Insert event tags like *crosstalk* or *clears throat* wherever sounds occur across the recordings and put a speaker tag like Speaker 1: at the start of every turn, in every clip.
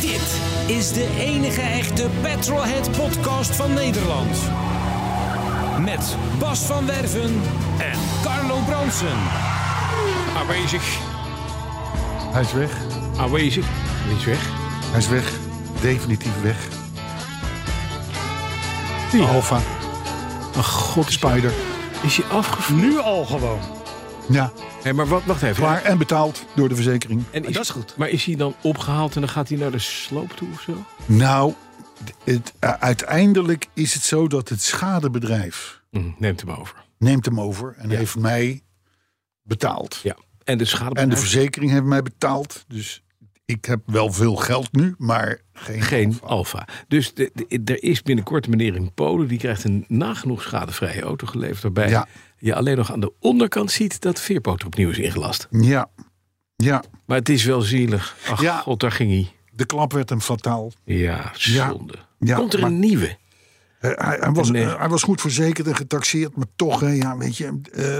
Speaker 1: Dit is de enige echte Petrolhead podcast van Nederland. Met Bas van Werven en Carlo Bronsen.
Speaker 2: Aanwezig,
Speaker 3: Hij is weg.
Speaker 2: aanwezig. Niet weg.
Speaker 3: Hij is weg. Definitief weg. Oh. Alpha.
Speaker 2: Ach god,
Speaker 3: Spider.
Speaker 2: is hij afgevoerd?
Speaker 4: Nu al gewoon.
Speaker 3: Ja,
Speaker 2: Hé, maar wat, wacht even.
Speaker 3: klaar en betaald door de verzekering.
Speaker 2: En is,
Speaker 4: dat is goed.
Speaker 2: Maar is hij dan opgehaald en dan gaat hij naar de sloop toe of zo?
Speaker 3: Nou, het, eh, uiteindelijk is het zo dat het schadebedrijf
Speaker 2: Hm, neemt hem over.
Speaker 3: neemt hem over en heeft mij betaald.
Speaker 2: Ja. En de schade.
Speaker 3: En de verzekering heeft mij betaald. Dus ik heb wel veel geld nu, maar geen,
Speaker 2: Geen
Speaker 3: alpha.
Speaker 2: Alfa. Dus de, de- er is binnenkort een meneer in Polen. Die krijgt een nagenoeg schadevrije auto geleverd. Waarbij
Speaker 3: Ja.
Speaker 2: je alleen nog aan de onderkant ziet dat de veerpoot er opnieuw is ingelast.
Speaker 3: Ja, ja.
Speaker 2: Maar het is wel zielig. Ach
Speaker 3: Ja.
Speaker 2: god, daar ging hij.
Speaker 3: De klap werd hem fataal.
Speaker 2: Ja, zonde.
Speaker 3: Ja,
Speaker 2: Komt er
Speaker 3: maar-
Speaker 2: een nieuwe?
Speaker 3: Eh, hij, hij was,
Speaker 2: Nee.
Speaker 3: eh, hij was goed verzekerd en getaxeerd, maar toch, hè, ja, weet je. eh,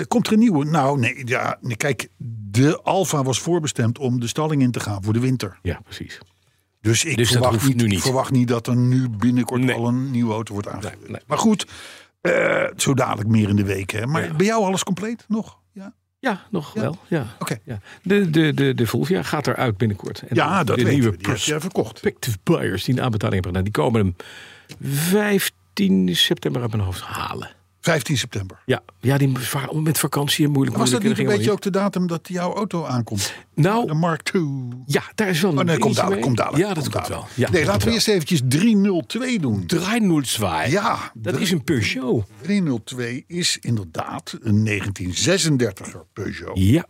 Speaker 3: eh, komt er een nieuwe? Nou, nee, ja, nee, kijk, de Alfa was voorbestemd om de stalling in te gaan voor de winter.
Speaker 2: Ja, precies.
Speaker 3: Dus ik
Speaker 2: Dus dat
Speaker 3: verwacht,
Speaker 2: hoeft
Speaker 3: niet,
Speaker 2: nu niet.
Speaker 3: verwacht niet dat er nu binnenkort
Speaker 2: Nee.
Speaker 3: al een nieuwe auto wordt aangeleverd.
Speaker 2: Nee, nee.
Speaker 3: Maar goed, eh, zo dadelijk meer in de week. Hè. Maar
Speaker 2: Ja.
Speaker 3: bij jou alles compleet nog? Ja,
Speaker 2: Ja, nog
Speaker 3: Ja.
Speaker 2: wel. Ja.
Speaker 3: Oké.
Speaker 2: Ja. De, de, de, de Volvia gaat eruit binnenkort. En
Speaker 3: ja
Speaker 2: de,
Speaker 3: dat
Speaker 2: de
Speaker 3: weten
Speaker 2: nieuwe
Speaker 3: we. Die heb jij verkocht.
Speaker 2: prospective buyers die een aanbetaling hebben gedaan, die komen hem 15 september uit mijn hoofd halen.
Speaker 3: 15 september.
Speaker 2: Ja, ja die va- met vakantie en moeilijk.
Speaker 3: Was dat niet
Speaker 2: moeilijk,
Speaker 3: een
Speaker 2: en
Speaker 3: beetje
Speaker 2: Oh, ging
Speaker 3: ook de datum dat jouw auto aankomt?
Speaker 2: allemaal niet.
Speaker 3: De
Speaker 2: Nou,
Speaker 3: Mark II.
Speaker 2: ja, daar is wel een
Speaker 3: Oh nee, komt
Speaker 2: dingetje
Speaker 3: dadelijk,
Speaker 2: mee.
Speaker 3: komt dadelijk.
Speaker 2: Ja, dat
Speaker 3: komt
Speaker 2: komt wel.
Speaker 3: dadelijk.
Speaker 2: Ja,
Speaker 3: nee, laten we eerst eventjes 302 doen.
Speaker 2: 302.
Speaker 3: Ja,
Speaker 2: Dat
Speaker 3: drie-
Speaker 2: is een Peugeot.
Speaker 3: 302 is inderdaad een 1936er Peugeot.
Speaker 2: Ja,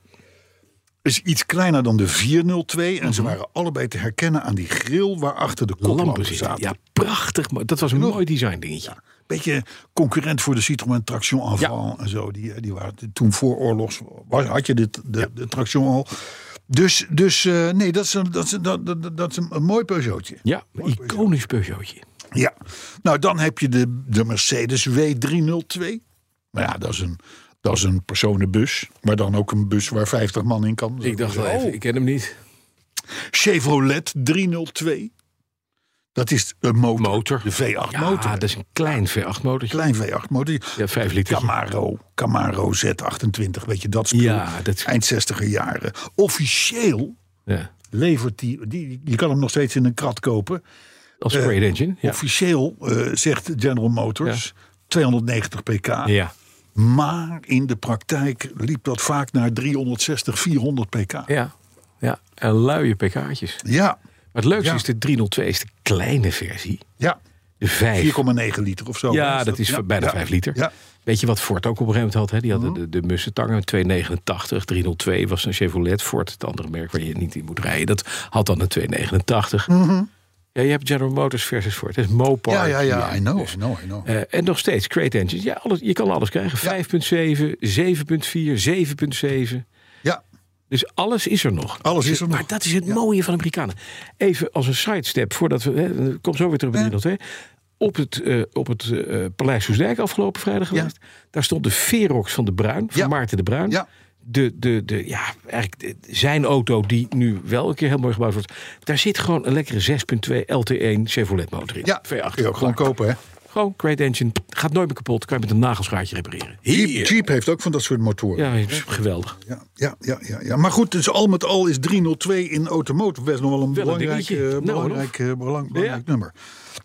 Speaker 3: Is iets kleiner dan de 402 en ze waren allebei te herkennen aan die grill waarachter de
Speaker 2: lampen
Speaker 3: koplampen
Speaker 2: zitten.
Speaker 3: zaten.
Speaker 2: Ja, prachtig. Maar dat was een
Speaker 3: Nog-
Speaker 2: mooi design dingetje.
Speaker 3: Beetje concurrent voor de Citroën Traction Avant en zo. Die, die waren toen voor oorlogs was- had je dit, de, de Traction al. Dus, dus eh, nee, dat is, een, dat is, een- dat, dat, dat is een, een mooi Peugeotje.
Speaker 2: Ja, een iconisch Peugeotje.
Speaker 3: Ja, nou dan heb je de, de Mercedes W302. Maar ja, dat is, een, dat is een personenbus. Maar dan ook een bus waar 50 man in kan. Oh.
Speaker 2: Ik dacht wel even, ik ken hem niet.
Speaker 3: Chevrolet 302. Dat is een motor.
Speaker 2: Motor.
Speaker 3: De V8
Speaker 2: Ja,
Speaker 3: motor.
Speaker 2: dat is een klein V8 motortje.
Speaker 3: Klein V8 motor.
Speaker 2: Ja, 5 liter.
Speaker 3: Camaro, Camaro Z28, weet je dat spul.
Speaker 2: Ja, dat is-
Speaker 3: Eind 60er jaren. Officieel
Speaker 2: Ja.
Speaker 3: levert die, die... Je kan hem nog steeds in een krat kopen.
Speaker 2: Als
Speaker 3: Eh,
Speaker 2: straight engine. Ja.
Speaker 3: Officieel eh, zegt General Motors 290 pk.
Speaker 2: ja.
Speaker 3: Maar in de praktijk liep dat vaak naar 360, 400 pk. Ja,
Speaker 2: Ja, ja. En luie pk'tjes.
Speaker 3: ja.
Speaker 2: Maar het leukste
Speaker 3: Ja.
Speaker 2: is de 302 is de kleine versie. De 5.
Speaker 3: 4,9 liter of zo.
Speaker 2: ja, dat is
Speaker 3: ja,
Speaker 2: bijna
Speaker 3: ja,
Speaker 2: 5 liter.
Speaker 3: Ja, Mhm.
Speaker 2: Weet je wat Ford ook op een gegeven moment had? Hè? Die hadden de, de mussentangen, 289, 302 was een Chevrolet. Ford, het andere merk waar je niet in moet rijden, dat had dan een 289. Ja, je hebt General Motors versus Ford. Dat is Mopar.
Speaker 3: Mhm. ja, ja, ja, I know,
Speaker 2: Dus,
Speaker 3: I know, I know.
Speaker 2: eh, en nog steeds, crate engines. Ja, alles, je kan alles krijgen. 5.7, 7.4, 7.7.
Speaker 3: Ja,
Speaker 2: Dus alles is er nog. Dus
Speaker 3: Alles is er nog.
Speaker 2: Maar dat is het mooie van de Amerikanen. Even als een sidestep, voordat we. Hè, ik kom zo weer terug bij
Speaker 3: Ja.
Speaker 2: Nederland. Hè. Op het, eh, op het eh, Paleis Hoesdijk afgelopen vrijdag
Speaker 3: Ja.
Speaker 2: geweest. Daar stond de Verox van de Bruin, van
Speaker 3: Ja.
Speaker 2: Maarten de Bruin.
Speaker 3: Ja.
Speaker 2: De, de, de, ja, eigenlijk de- zijn auto die nu wel een keer heel mooi gebouwd wordt. Daar zit gewoon een lekkere 6.2 LT1 Chevrolet motor in.
Speaker 3: ja.
Speaker 2: V8.
Speaker 3: Kun je ook gewoon kopen, hè?
Speaker 2: Gewoon great engine. Gaat nooit meer kapot. Kan je met een nagelschaartje repareren.
Speaker 3: Jeep, Jeep heeft ook van dat soort motoren.
Speaker 2: Ja, is geweldig.
Speaker 3: Ja, ja, ja, ja, ja. Maar goed, dus al met al is 302 in automotive best nog wel een belangrijk,
Speaker 2: dingetje.
Speaker 3: eh,
Speaker 2: Nou,
Speaker 3: belangrijk, eh, belang- belangrijk nummer.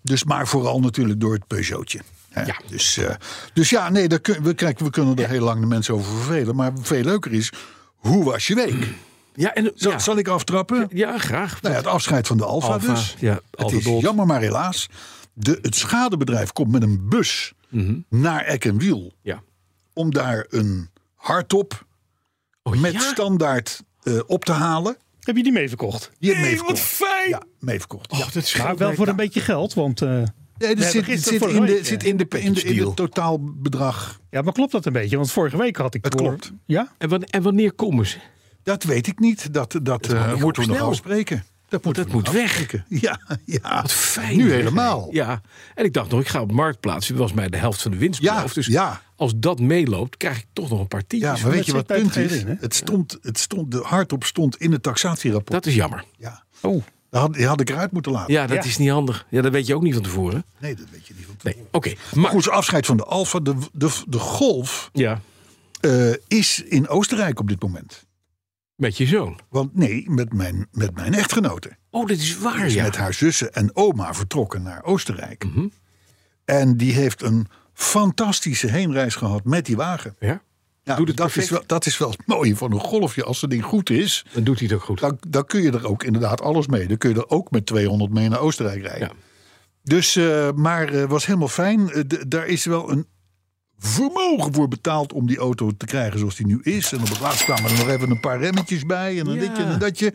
Speaker 3: Dus maar vooral natuurlijk door het Peugeotje. hè.
Speaker 2: Ja.
Speaker 3: Dus, eh, dus ja, nee, daar kun- we, kijk, we kunnen er heel lang de mensen over vervelen. Maar veel leuker is, hoe was je week?
Speaker 2: Ja, en,
Speaker 3: Zal,
Speaker 2: ja.
Speaker 3: zal ik aftrappen?
Speaker 2: ja graag.
Speaker 3: Nou ja, het afscheid van de Alfa
Speaker 2: Alfa,
Speaker 3: dus.
Speaker 2: ja,
Speaker 3: het
Speaker 2: Alfa
Speaker 3: is
Speaker 2: Bolt.
Speaker 3: jammer, maar helaas. De, het schadebedrijf komt met een
Speaker 2: Mhm.
Speaker 3: bus naar Eck en Wiel
Speaker 2: Ja.
Speaker 3: om daar een hardtop
Speaker 2: Oh,
Speaker 3: met
Speaker 2: ja?
Speaker 3: standaard eh, op te halen.
Speaker 4: Heb je die mee verkocht?
Speaker 3: Die
Speaker 2: Jee,
Speaker 3: heb ik
Speaker 2: wat
Speaker 3: meeverkocht.
Speaker 2: fijn!
Speaker 3: Ja, meeverkocht.
Speaker 2: Och, dat scheelt
Speaker 4: Maar wel
Speaker 2: mij.
Speaker 4: voor een beetje geld, want... eh,
Speaker 3: Nee, dat
Speaker 4: Ja,
Speaker 3: zit,
Speaker 4: gisteren
Speaker 3: zit,
Speaker 4: vorige
Speaker 3: in de,
Speaker 4: week,
Speaker 3: zit
Speaker 4: ja.
Speaker 3: in de in de in
Speaker 2: Deal.
Speaker 3: het totaalbedrag.
Speaker 4: ja, maar klopt dat een beetje? Want vorige week had ik...
Speaker 3: Het
Speaker 4: door-
Speaker 3: klopt.
Speaker 4: Ja?
Speaker 2: En, wan- en wanneer komen ze?
Speaker 3: Dat weet ik niet. Dat, dat eh,
Speaker 2: heel
Speaker 3: moeten we nog
Speaker 2: snel.
Speaker 3: afspreken. Dat moeten
Speaker 2: dat
Speaker 3: we
Speaker 2: moet
Speaker 3: nog
Speaker 2: weg.
Speaker 3: afspreken. *laughs* Ja, ja.
Speaker 2: Wat fijn.
Speaker 3: Ah, Nu
Speaker 2: hè?
Speaker 3: helemaal.
Speaker 2: Ja, en ik dacht nog, ik ga op de markt plaatsen. Dat was mij de helft van de winst
Speaker 3: Ja,
Speaker 2: beloofd. Dus
Speaker 3: ja.
Speaker 2: als dat meeloopt, krijg ik toch nog een paar tientjes.
Speaker 3: Ja, maar weet je wat
Speaker 4: zit
Speaker 3: het punt
Speaker 4: bij het
Speaker 3: is?
Speaker 4: erin, hè?
Speaker 3: het stond, het stond, de hardop stond in het taxatierapport.
Speaker 2: Dat is jammer.
Speaker 3: ja.
Speaker 4: Oh,
Speaker 3: Dat had, die had ik eruit moeten laten.
Speaker 2: Ja, dat
Speaker 4: Ja.
Speaker 2: is niet handig. Ja, dat weet je ook niet van tevoren.
Speaker 3: Nee, dat weet je niet. van tevoren.
Speaker 2: Nee, oké. Maar
Speaker 3: Goed, afscheid van de Alfa. De, de, de Golf
Speaker 2: ja,
Speaker 3: eh, is in Oostenrijk op dit moment.
Speaker 2: met je zoon.
Speaker 3: Want nee, met mijn, met mijn echtgenote.
Speaker 2: Oh, dat is waar,
Speaker 3: is
Speaker 2: ja. Mhm.
Speaker 3: met haar zussen en oma vertrokken naar Oostenrijk. En die heeft een fantastische heenreis gehad met die wagen.
Speaker 2: ja.
Speaker 3: Ja,
Speaker 2: Doet het
Speaker 3: dat, is
Speaker 2: perfect.
Speaker 3: wel, dat is wel het mooie van een golfje. Als het ding goed is,
Speaker 2: Dan doet hij het ook goed.
Speaker 3: dan, dan kun je er ook inderdaad alles mee. Dan kun je er ook met 200 mee naar Oostenrijk rijden.
Speaker 2: Ja.
Speaker 3: Dus, eh, maar eh, was helemaal fijn. Eh, d- daar is wel een vermogen voor betaald om die auto te krijgen zoals die nu is. En op het laatst kwamen er nog even een paar remmetjes bij. En een
Speaker 2: Ja.
Speaker 3: ditje en een datje.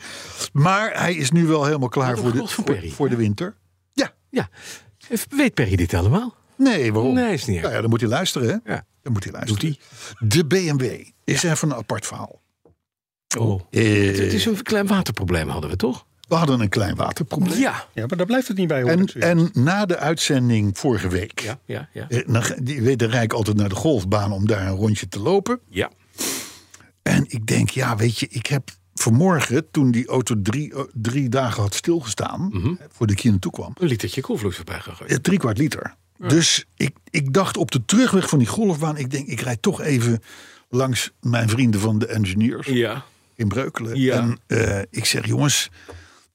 Speaker 3: Maar hij is nu wel helemaal klaar
Speaker 2: Wat een
Speaker 3: voor de,
Speaker 2: god voor
Speaker 3: voor,
Speaker 2: Perry.
Speaker 3: voor de winter. Ja,
Speaker 2: Ja. Even- Weet Perry dit allemaal?
Speaker 3: nee, waarom?
Speaker 2: Nee, is niet erg.
Speaker 3: Nou ja, dan moet hij luisteren, hè?
Speaker 2: Ja.
Speaker 3: Dan moet hij luisteren. De BMW is even een apart verhaal.
Speaker 2: Oh.
Speaker 3: Eh,
Speaker 2: Het is een klein waterprobleem hadden we, toch?
Speaker 3: we hadden een klein waterprobleem.
Speaker 2: Ja.
Speaker 4: ja, maar daar blijft het niet bij, hoor.
Speaker 3: En,
Speaker 4: ik zojuist.
Speaker 3: en na de uitzending vorige week...
Speaker 2: Ja, ja, ja.
Speaker 3: eh, dan, ga- die, weet, dan rijd ik altijd naar de golfbaan om daar een rondje te lopen.
Speaker 2: Ja.
Speaker 3: En ik denk, ja, weet je, ik heb vanmorgen, toen die auto drie, eh, drie dagen had stilgestaan, eh, voordat ik hier naartoe kwam,
Speaker 2: Een litertje koelvloes erbij gegooid.
Speaker 3: eh, drie kwart liter. Dus ik, ik dacht op de terugweg van die golfbaan, ik denk, ik rijd toch even langs mijn vrienden van de engineers
Speaker 2: Ja.
Speaker 3: in Breukelen.
Speaker 2: Ja.
Speaker 3: En eh, ik zeg, jongens,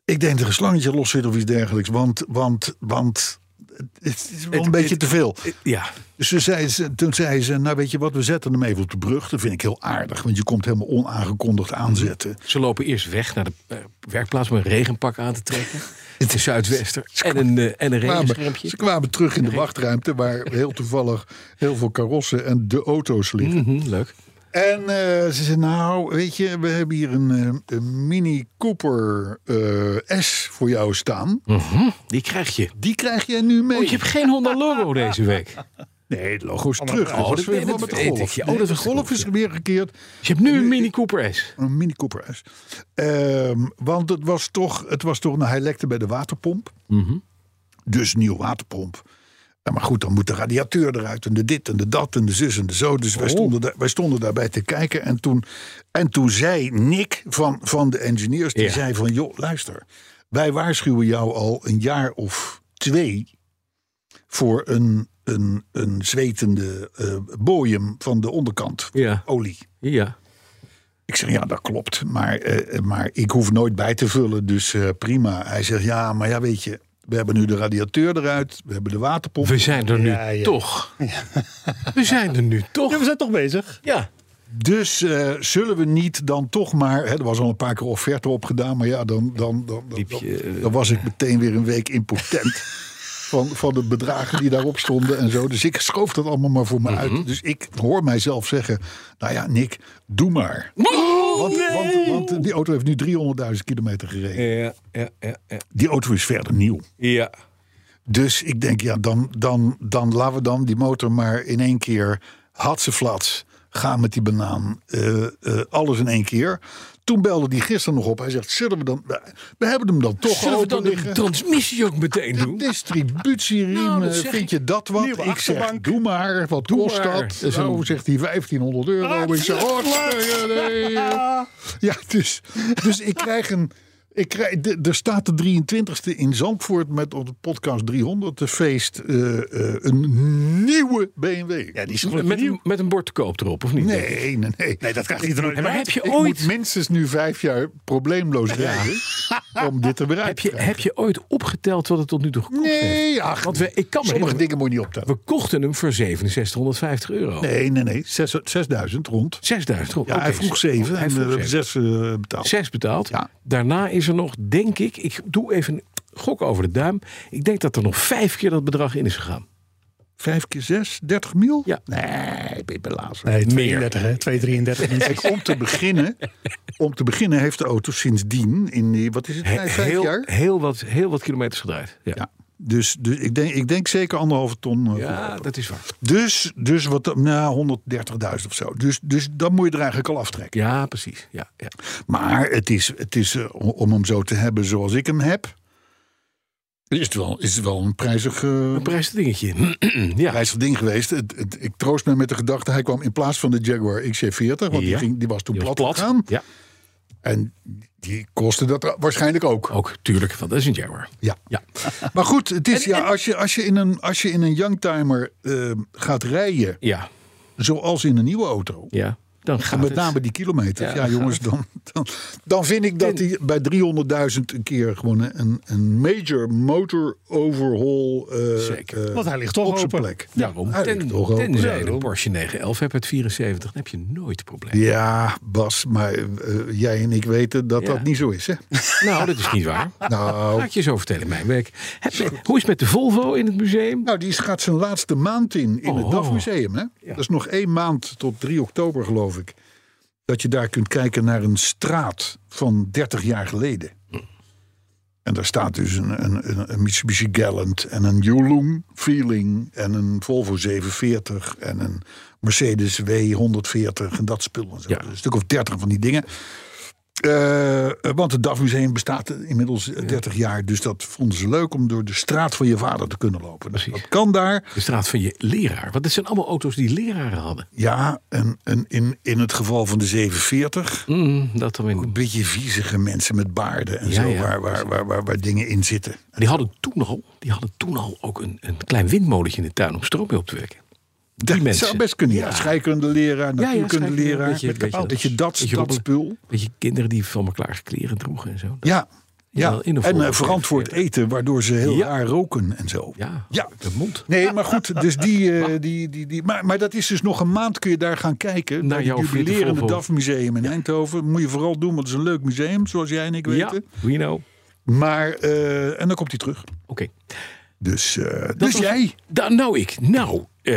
Speaker 3: ik denk dat er een slangetje los zit of iets dergelijks, want, want, want het- het is wel een
Speaker 2: Het-
Speaker 3: beetje
Speaker 2: het-
Speaker 3: te veel.
Speaker 2: Ja.
Speaker 3: Dus toen zei, ze, toen zei ze, nou weet je wat, we zetten hem even op de brug. Dat vind ik heel aardig, want je komt helemaal onaangekondigd aanzetten.
Speaker 2: Ze lopen eerst weg naar de eh, werkplaats om een regenpak aan te trekken. *laughs* Het is zuidwester. En een, eh, en
Speaker 3: kwamen,
Speaker 2: een regenschermpje.
Speaker 3: ze kwamen terug in de wachtruimte waar heel toevallig heel veel karossen en de auto's liggen.
Speaker 2: Mhm, leuk.
Speaker 3: En eh, ze zei, nou weet je, we hebben hier een, eh, een Mini Cooper eh, S voor jou staan.
Speaker 2: Die krijg je.
Speaker 3: Die krijg jij nu mee.
Speaker 2: Mm. Oh, je hebt geen Honda logo deze week.
Speaker 3: Nee, het logo is terug.
Speaker 2: oh,
Speaker 3: dat is
Speaker 2: dat
Speaker 3: weer
Speaker 2: weet-
Speaker 3: wat met
Speaker 2: dat
Speaker 3: de
Speaker 2: weet
Speaker 3: golf.
Speaker 2: ik. Ja, oh,
Speaker 3: Nee,
Speaker 2: dat
Speaker 3: de
Speaker 2: was de
Speaker 3: golf
Speaker 2: golf,
Speaker 3: is
Speaker 2: ja.
Speaker 3: weer gekeerd.
Speaker 2: Je hebt nu een Mini Cooper S.
Speaker 3: Een Mini Cooper S. Ehm, want het was toch, het was toch nou, hij lekte bij de waterpomp. Dus nieuw waterpomp. Ja, maar goed, dan moet de radiateur eruit en de dit en de dat en de zus en de zo. Dus wij, stonden daar, wij stonden daarbij te kijken. En toen, en toen zei Nick van, van de engineers, die
Speaker 2: Ja.
Speaker 3: zei van... joh, luister, wij waarschuwen jou al een jaar of twee... voor een, een, een zwetende eh bojem van de onderkant,
Speaker 2: Ja.
Speaker 3: olie.
Speaker 2: Ja.
Speaker 3: Ik zeg, ja, dat klopt. Maar, eh, maar ik hoef nooit bij te vullen, dus eh, prima. Hij zegt, ja, maar ja, weet je... We hebben nu de radiateur eruit, we hebben de waterpomp.
Speaker 2: We zijn er nu
Speaker 4: Ja, ja.
Speaker 2: toch. We zijn er nu
Speaker 4: Ja, we
Speaker 2: toch.
Speaker 4: zijn toch bezig.
Speaker 2: Ja.
Speaker 3: Dus eh, zullen we niet dan toch maar... Hè, er was al een paar keer offerte op gedaan, maar ja, dan, dan, dan, dan,
Speaker 2: Liep je,
Speaker 3: dan-
Speaker 2: eh,
Speaker 3: dan was ik meteen weer een week
Speaker 2: *laughs*
Speaker 3: impotent... van, van de bedragen die daarop stonden en zo. Dus ik schoof dat allemaal maar voor me
Speaker 2: Mhm.
Speaker 3: uit. Dus ik hoor mijzelf zeggen, nou ja, Nick, doe maar. want, want, want die auto heeft nu 300.000 kilometer gereden.
Speaker 2: Ja, ja, ja, ja.
Speaker 3: Die auto is verder nieuw.
Speaker 2: Ja.
Speaker 3: Dus ik denk, ja, dan, dan, dan laten we dan die motor maar in één keer hatseflats. Ga met die banaan. eh, eh, alles in één keer. Toen belde die gisteren nog op. Hij zegt, zullen we dan... We hebben hem dan toch
Speaker 2: Zullen we dan
Speaker 3: open
Speaker 2: de
Speaker 3: liggen.
Speaker 2: transmissie ook meteen doen?
Speaker 3: Distributieriem,
Speaker 2: Nou, dat
Speaker 3: eh,
Speaker 2: zeg ik.
Speaker 3: vind je dat wat?
Speaker 4: Nieuwe
Speaker 3: Ik zeg,
Speaker 4: achterbank.
Speaker 3: doe maar, wat kost
Speaker 2: maar. Ah,
Speaker 3: dat?
Speaker 2: Dat is
Speaker 3: nou,
Speaker 2: een-
Speaker 3: zegt hij 1500 euro. ik zeg, oh,
Speaker 2: *laughs*
Speaker 3: nee, nee, eh. Ja, dus, dus ik krijg een... Ik krijg, de- er staat de 23e in Zandvoort met op de podcast 300 de feest eh, eh, een nieuwe BMW.
Speaker 4: Ja, die is
Speaker 2: Met, met een bord te koop erop, of niet?
Speaker 3: nee, nee, nee.
Speaker 4: Nee, dat krijg je er nooit
Speaker 2: En maar heb je
Speaker 3: ik
Speaker 2: ooit
Speaker 3: moet minstens nu vijf jaar probleemloos rijden om
Speaker 2: *laughs*
Speaker 3: dit te bereiken.
Speaker 2: Heb je, heb je ooit opgeteld wat het tot nu toe gekost heeft?
Speaker 3: Nee, ach,
Speaker 2: Want we, ik kan me
Speaker 3: sommige
Speaker 2: herinneren,
Speaker 3: dingen moet je niet optellen.
Speaker 2: We kochten hem voor 6750 euro.
Speaker 3: Nee, nee, nee. Zes- 6000 rond.
Speaker 2: 6000 euro.
Speaker 3: Ja,
Speaker 2: Oké,
Speaker 3: hij vroeg 7
Speaker 2: Hij
Speaker 3: en we
Speaker 2: vroeg
Speaker 3: hebben
Speaker 2: zeven.
Speaker 3: 6 eh betaald.
Speaker 2: Zes betaald.
Speaker 3: Ja.
Speaker 2: Daarna is er nog, denk ik, ik doe even een gok over de duim. Ik denk dat er nog vijf keer dat bedrag in is gegaan.
Speaker 3: Vijf keer zes, 30 mil?
Speaker 2: Ja.
Speaker 3: Nee, ik ben belazen.
Speaker 4: Nee,
Speaker 2: Meer.
Speaker 4: 32, hè? 233 niet.
Speaker 3: Kijk, om te
Speaker 2: *laughs*
Speaker 3: beginnen, om te beginnen heeft de auto sindsdien in die, wat is het, vijf
Speaker 2: heel,
Speaker 3: jaar?
Speaker 2: Heel, wat, heel wat kilometers gedraaid. Ja, ja,
Speaker 3: Ja. Dus, dus ik, denk, ik denk zeker anderhalve ton. eh, goedkoper.
Speaker 2: dat is waar.
Speaker 3: Dus, dus wat, nou, 130.000 of zo. Dus, dus dan moet je er eigenlijk al aftrekken.
Speaker 2: Ja, precies. Ja, ja.
Speaker 3: Maar het is, het is eh, om hem zo te hebben zoals ik hem heb. Is het wel, is het wel een prijzig, eh,
Speaker 2: Een prijsdingetje. *clears throat* ja.
Speaker 3: prijzig ding geweest. Het, het- ik troost me met de gedachte, hij kwam in plaats van de Jaguar XC40. Want die,
Speaker 2: Ja.
Speaker 3: ging, die was toen
Speaker 2: Die was
Speaker 3: plat, gegaan.
Speaker 2: Ja,
Speaker 3: En die kostte dat waarschijnlijk ook.
Speaker 2: ook tuurlijk. Want dat is een Jaguar.
Speaker 3: Ja.
Speaker 2: Ja.
Speaker 3: Maar goed, het is, ja, als, je, als, je in een, als je in een youngtimer eh, gaat rijden,
Speaker 2: Ja.
Speaker 3: zoals in een nieuwe auto.
Speaker 2: Ja. Dan
Speaker 3: En
Speaker 2: gaat
Speaker 3: met
Speaker 2: het.
Speaker 3: name die kilometers.
Speaker 2: Ja,
Speaker 3: Ja,
Speaker 2: gaat
Speaker 3: jongens, dan, dan, dan vind ik dat hij bij 300.000 een keer gewoon een, een major motor overhaul. eh,
Speaker 2: Zeker.
Speaker 3: eh,
Speaker 4: Want hij ligt toch
Speaker 3: op zijn
Speaker 4: open.
Speaker 3: plek.
Speaker 2: Daarom.
Speaker 3: Hij
Speaker 2: Ten,
Speaker 3: ligt toch open.
Speaker 2: tenzij je
Speaker 3: Ja,
Speaker 2: de Porsche 911 hebt uit 74, dan heb je nooit problemen.
Speaker 3: Ja, Bas, maar eh, jij en ik weten dat
Speaker 2: Ja.
Speaker 3: dat niet zo is,
Speaker 2: *laughs*
Speaker 3: hè?
Speaker 2: Nou, dat is niet waar.
Speaker 3: Nou,
Speaker 2: Laat ik je zo vertellen, mijn werk. Heb je- hoe is het met de Volvo in het museum?
Speaker 3: nou die gaat zijn laatste maand in, in
Speaker 2: Oh.
Speaker 3: het DAF-museum, hè? Dat is nog één maand tot 3 oktober, geloof ik. Dat je daar kunt kijken naar een straat van 30 jaar geleden. En daar staat dus een, een, een, een Mitsubishi Gallant en een Yulung Feeling en een Volvo 740 en een Mercedes W140 en dat spul. En zo.
Speaker 2: Ja.
Speaker 3: Dus Een stuk of 30 van die dingen. Eh, want het DAF Museum bestaat inmiddels eh, 30 jaar. Dus dat vonden ze leuk om door de straat van je vader te kunnen lopen.
Speaker 2: Precies.
Speaker 3: Dat kan daar.
Speaker 2: De straat van je leraar. Want dit zijn allemaal auto's die leraren hadden.
Speaker 3: Ja, en, en in, in het geval van de 740.
Speaker 2: Mm, dat dan weer niet.
Speaker 3: Een beetje viezige mensen met baarden en
Speaker 2: Ja,
Speaker 3: zo.
Speaker 2: ja,
Speaker 3: Waar, waar, waar, waar, waar dingen in zitten.
Speaker 2: Die hadden toen al, die hadden toen al ook een, een klein windmolentje in de tuin om stroom mee op te wekken. Die
Speaker 3: Dat
Speaker 2: mensen.
Speaker 3: zou best kunnen, ja. Scheikundeleraar, natuurkundeleraar. Weet
Speaker 2: scheikunde, beetje-
Speaker 3: je,
Speaker 2: beetje-
Speaker 3: dat,
Speaker 2: beetje
Speaker 3: dat
Speaker 2: rommelen.
Speaker 3: spul.
Speaker 2: Weet je, kinderen die van elkaar kleren droegen en zo. Dat-
Speaker 3: Ja,
Speaker 2: Ja,
Speaker 3: ja.
Speaker 2: in een
Speaker 3: en eh,
Speaker 2: vorm.
Speaker 3: verantwoord eten, waardoor ze heel
Speaker 2: Ja.
Speaker 3: raar roken en zo.
Speaker 2: Ja,
Speaker 3: Ja.
Speaker 2: de mond.
Speaker 3: Nee, maar goed, dus die,
Speaker 2: *laughs*
Speaker 3: eh, die, die, die maar, maar dat is dus nog een maand kun je daar gaan kijken.
Speaker 2: Naar
Speaker 3: Naar
Speaker 2: jouw
Speaker 3: het
Speaker 2: Friete
Speaker 3: jubilerende
Speaker 2: Volvo.
Speaker 3: DAF Museum in Eindhoven. Moet je vooral doen, want het is een leuk museum, zoals jij en ik
Speaker 2: Ja, nou-
Speaker 3: weten.
Speaker 2: we know. Oké.
Speaker 3: Maar, eh, en dan komt hij terug. Dus, eh, dus
Speaker 2: was-
Speaker 3: jij.
Speaker 2: Da- nou, ik. Nou, eh,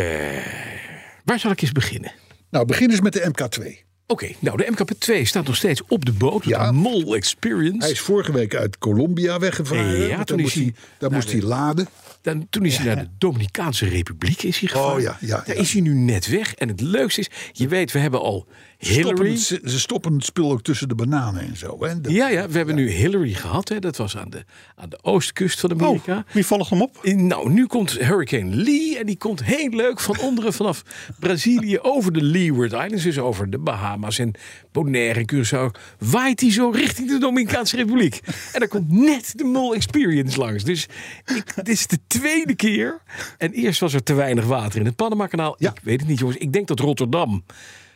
Speaker 2: waar zal ik eens beginnen?
Speaker 3: Nou, begin eens met de MK2.
Speaker 2: Oké, nou, de MKP2 staat nog steeds op de boot.
Speaker 3: Ja.
Speaker 2: De Mol Experience.
Speaker 3: Hij is vorige week uit Colombia weggevaren.
Speaker 2: Ja,
Speaker 3: want daar
Speaker 2: toen is
Speaker 3: moest
Speaker 2: hij Nou,
Speaker 3: hij, daar moest hij laden.
Speaker 2: Dan, toen is hij naar de Dominicaanse Republiek is hij gegaan.
Speaker 3: Oh ja, ja,
Speaker 2: Daar
Speaker 3: ja.
Speaker 2: is hij nu net weg. En het leukste is, je weet, we hebben al
Speaker 3: Stoppen
Speaker 2: Hillary.
Speaker 3: het- ze, ze stoppen het spul ook tussen de bananen en zo. Hè? Dat-
Speaker 2: Ja, ja, we hebben nu Hillary gehad. Hè. Dat was aan de, aan de oostkust van
Speaker 4: Oh,
Speaker 2: Amerika.
Speaker 3: Oh.
Speaker 4: Wie volgt hem op?
Speaker 2: In- Nou, nu komt Hurricane Lee. En die komt heel leuk van onderen vanaf Brazilië over de Leeward Islands. Dus over de Bahamas en Bonaire en Curaçao. Waait hij zo richting de Dominicaanse Republiek. En daar komt net de Mol Experience langs. Dus ik, dit is de tweede keer. En eerst was er te weinig water in het Panama-kanaal.
Speaker 3: Ja.
Speaker 2: Ik weet het niet, jongens. Ik denk dat Rotterdam.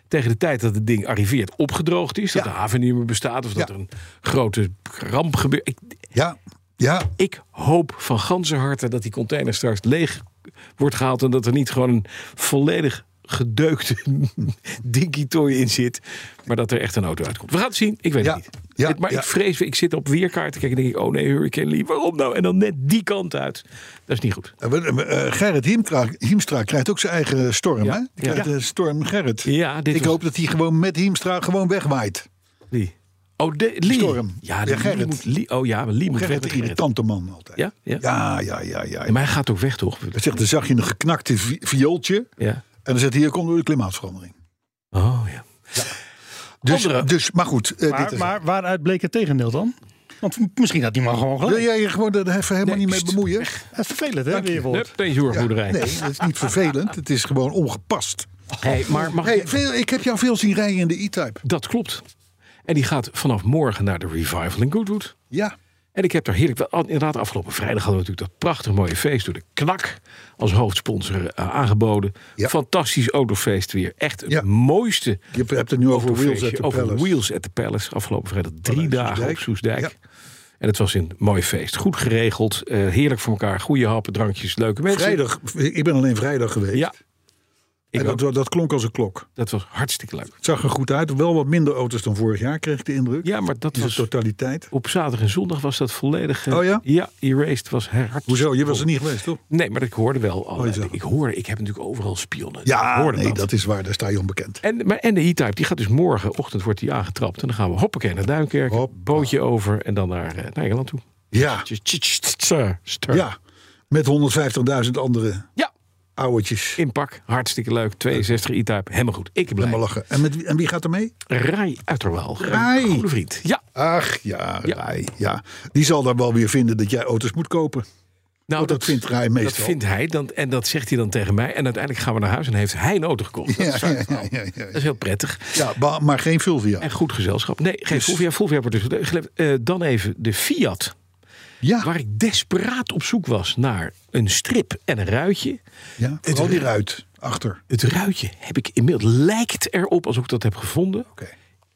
Speaker 2: Tegen de tijd dat het ding arriveert, opgedroogd is. Dat
Speaker 3: Ja.
Speaker 2: de haven niet meer bestaat. Of dat
Speaker 3: Ja.
Speaker 2: er een grote ramp gebeurt. Ik,
Speaker 3: ja, ja.
Speaker 2: ik hoop van ganse harte dat die container straks leeg wordt gehaald. En dat er niet gewoon een volledig gedeukte *laughs* dinky-toy in zit. Maar dat er echt een auto uitkomt. We gaan het zien. Ik weet
Speaker 3: Ja,
Speaker 2: het niet.
Speaker 3: ja,
Speaker 2: Het- maar
Speaker 3: ja.
Speaker 2: ik vrees, ik zit op weerkaarten. Kijk, en denk ik, oh nee, Hurricane Lee, waarom nou? En dan net die kant uit. Dat is niet goed.
Speaker 3: Eh, we- eh, eh, Gerrit Hiemstra, Hiemstra krijgt ook zijn eigen storm.
Speaker 2: Ja,
Speaker 3: Hè? Die
Speaker 2: ja.
Speaker 3: krijgt de storm Gerrit.
Speaker 2: Ja, dit
Speaker 3: Ik
Speaker 2: was-
Speaker 3: hoop dat hij gewoon met Hiemstra gewoon wegwaait.
Speaker 2: Lee. Oh, de, Lee.
Speaker 3: Storm.
Speaker 2: Ja,
Speaker 3: Ja,
Speaker 2: de, Lee
Speaker 3: Gerrit.
Speaker 2: moet, Lee, oh ja, maar Lee moet weg
Speaker 3: Gerrit,
Speaker 2: met
Speaker 3: de
Speaker 2: Gerrit.
Speaker 3: irritante man altijd.
Speaker 2: Ja, ja.
Speaker 3: ja, ja. ja, ja,
Speaker 2: Maar hij gaat ook weg, toch?
Speaker 3: Hij zegt, dan zag je een geknakte vi- viooltje.
Speaker 2: Ja.
Speaker 3: En dan zegt hij, hier komt door de klimaatverandering.
Speaker 2: Oh ja.
Speaker 3: Dus,
Speaker 2: Andere-
Speaker 3: dus maar goed. eh, dit
Speaker 4: Maar,
Speaker 3: is-
Speaker 4: maar waaruit bleek het tegendeel dan? Want m- misschien had hij maar gewoon
Speaker 3: Wil
Speaker 2: Oh.
Speaker 4: gelijk.
Speaker 3: jij je gewoon er even helemaal niet mee bemoeien?
Speaker 4: Het is vervelend, hè,
Speaker 2: Hup,
Speaker 4: weerwoord.
Speaker 2: deze
Speaker 3: Ja,
Speaker 2: zorgboerderij.
Speaker 3: nee, dat is niet vervelend. Het is gewoon
Speaker 2: *laughs*
Speaker 3: ongepast.
Speaker 2: Hey, maar mag
Speaker 3: Hey, veel, ik heb jou veel zien rijden in de E-Type.
Speaker 2: Dat klopt. En die gaat vanaf morgen naar de Revival in Goodwood.
Speaker 3: Ja.
Speaker 2: En ik heb daar heerlijk... wel- oh, Inderdaad, afgelopen vrijdag hadden we natuurlijk dat prachtig mooie feest... door de KNAK als hoofdsponsor eh, aangeboden.
Speaker 3: Ja.
Speaker 2: Fantastisch autofeest weer. Echt het
Speaker 3: Ja.
Speaker 2: mooiste
Speaker 3: Je hebt het nu over Wheels at
Speaker 2: autofeestje
Speaker 3: the
Speaker 2: over
Speaker 3: Palace.
Speaker 2: Wheels at the Palace. Afgelopen vrijdag drie
Speaker 3: Vanuit
Speaker 2: dagen op
Speaker 3: Soesdijk.
Speaker 2: Soesdijk.
Speaker 3: Ja.
Speaker 2: En het was een mooi feest. Goed geregeld, eh, heerlijk voor elkaar. Goede happen, drankjes, leuke mensen.
Speaker 3: Vrijdag, ik ben alleen vrijdag geweest.
Speaker 2: Ja, Ik
Speaker 3: En
Speaker 2: ook.
Speaker 3: dat, dat klonk als een klok.
Speaker 2: Dat was hartstikke leuk.
Speaker 3: Het zag er goed uit. Wel wat minder auto's dan vorig jaar, kreeg ik de indruk.
Speaker 2: Ja, maar dat
Speaker 3: In zijn
Speaker 2: was
Speaker 3: totaliteit.
Speaker 2: op zaterdag en zondag was dat volledig. eh,
Speaker 3: Oh ja?
Speaker 2: Ja, erased was hard.
Speaker 3: Hoezo? Je was er niet geweest, toch?
Speaker 2: Nee, maar ik hoorde wel. Al,
Speaker 3: Oh, zo.
Speaker 2: ik hoorde, ik heb natuurlijk overal spionnen. Ik
Speaker 3: Ja,
Speaker 2: hoorde
Speaker 3: nee, dat is waar. Daar sta je onbekend.
Speaker 2: En, maar, en de E-Type, die gaat dus morgenochtend wordt die aangetrapt. En dan gaan we hoppakee naar Duinkerk,
Speaker 3: Hoppa.
Speaker 2: bootje over en dan naar, eh, naar Engeland toe.
Speaker 3: Ja,
Speaker 2: Tjus, tjus, tjus, tjus, sir, sir.
Speaker 3: ja. Met 150.000 andere
Speaker 2: ja,
Speaker 3: ouwetjes.
Speaker 2: inpak, hartstikke leuk. 62 E-Type, helemaal goed. Ik ben blij.
Speaker 3: Helemaal lachen. En, met, wie- en wie gaat er mee?
Speaker 2: Rai Uiterwaal,
Speaker 3: Rai.
Speaker 2: een goede vriend. Ja,
Speaker 3: Ach, ja,
Speaker 2: Ja.
Speaker 3: Rai. Ja. Die zal daar wel weer vinden dat jij auto's moet kopen.
Speaker 2: nou,
Speaker 3: Oh, dat vindt Rai meestal.
Speaker 2: Dat vindt hij dan, en dat zegt hij dan tegen mij. En uiteindelijk gaan we naar huis en heeft hij een auto gekocht. Dat, is,
Speaker 3: Ja,
Speaker 2: zijn
Speaker 3: ja,
Speaker 2: verhaal.
Speaker 3: ja, ja, ja.
Speaker 2: dat is heel prettig.
Speaker 3: Ja, ba- maar geen Fulvia.
Speaker 2: En goed gezelschap. Nee, geen Fulvia. Fulvia wordt dus geleverd. Eh, dan even de Fiat.
Speaker 3: Ja,
Speaker 2: Waar ik desperaat op zoek was naar een strip en een ruitje.
Speaker 3: ja.
Speaker 2: Het-
Speaker 3: vooral die ruit achter.
Speaker 2: Het ruitje heb ik inmiddels lijkt erop als ik dat heb gevonden
Speaker 3: Oké.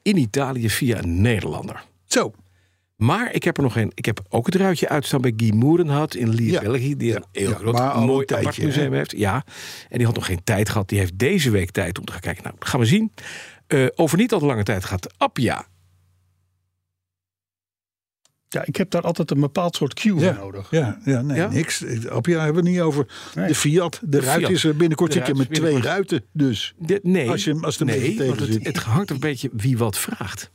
Speaker 2: in Italië via een Nederlander.
Speaker 3: Zo,
Speaker 2: Maar ik heb er nog een. Ik heb ook het ruitje uitstaan bij Guy Moerenhout in Lier,
Speaker 3: Ja.
Speaker 2: België. Die een
Speaker 3: Ja.
Speaker 2: heel
Speaker 3: Ja,
Speaker 2: groot,
Speaker 3: maar al een
Speaker 2: mooi
Speaker 3: tijdje,
Speaker 2: museum heeft. Ja, en die had nog geen tijd gehad. Die heeft deze week tijd om te gaan kijken. Nou, gaan we zien. Eh, over niet al te lange tijd gaat Appia.
Speaker 4: Ja, ik heb daar altijd een bepaald soort cue
Speaker 3: Ja.
Speaker 4: voor *laughs* nodig.
Speaker 3: ja, ja nee,
Speaker 2: Ja?
Speaker 3: niks. Appia hebben we het niet over.
Speaker 4: Nee.
Speaker 3: De Fiat, de, ruit
Speaker 2: Fiat.
Speaker 3: is er binnenkort
Speaker 2: De
Speaker 3: zit je
Speaker 2: ruit
Speaker 3: met
Speaker 2: is
Speaker 3: twee
Speaker 2: binnenkort-
Speaker 3: ruiten dus.
Speaker 2: De- nee,
Speaker 3: Als je hem- als het een
Speaker 2: nee
Speaker 3: beetje tegen
Speaker 2: want het,
Speaker 3: zit.
Speaker 2: het hangt een beetje wie wat vraagt.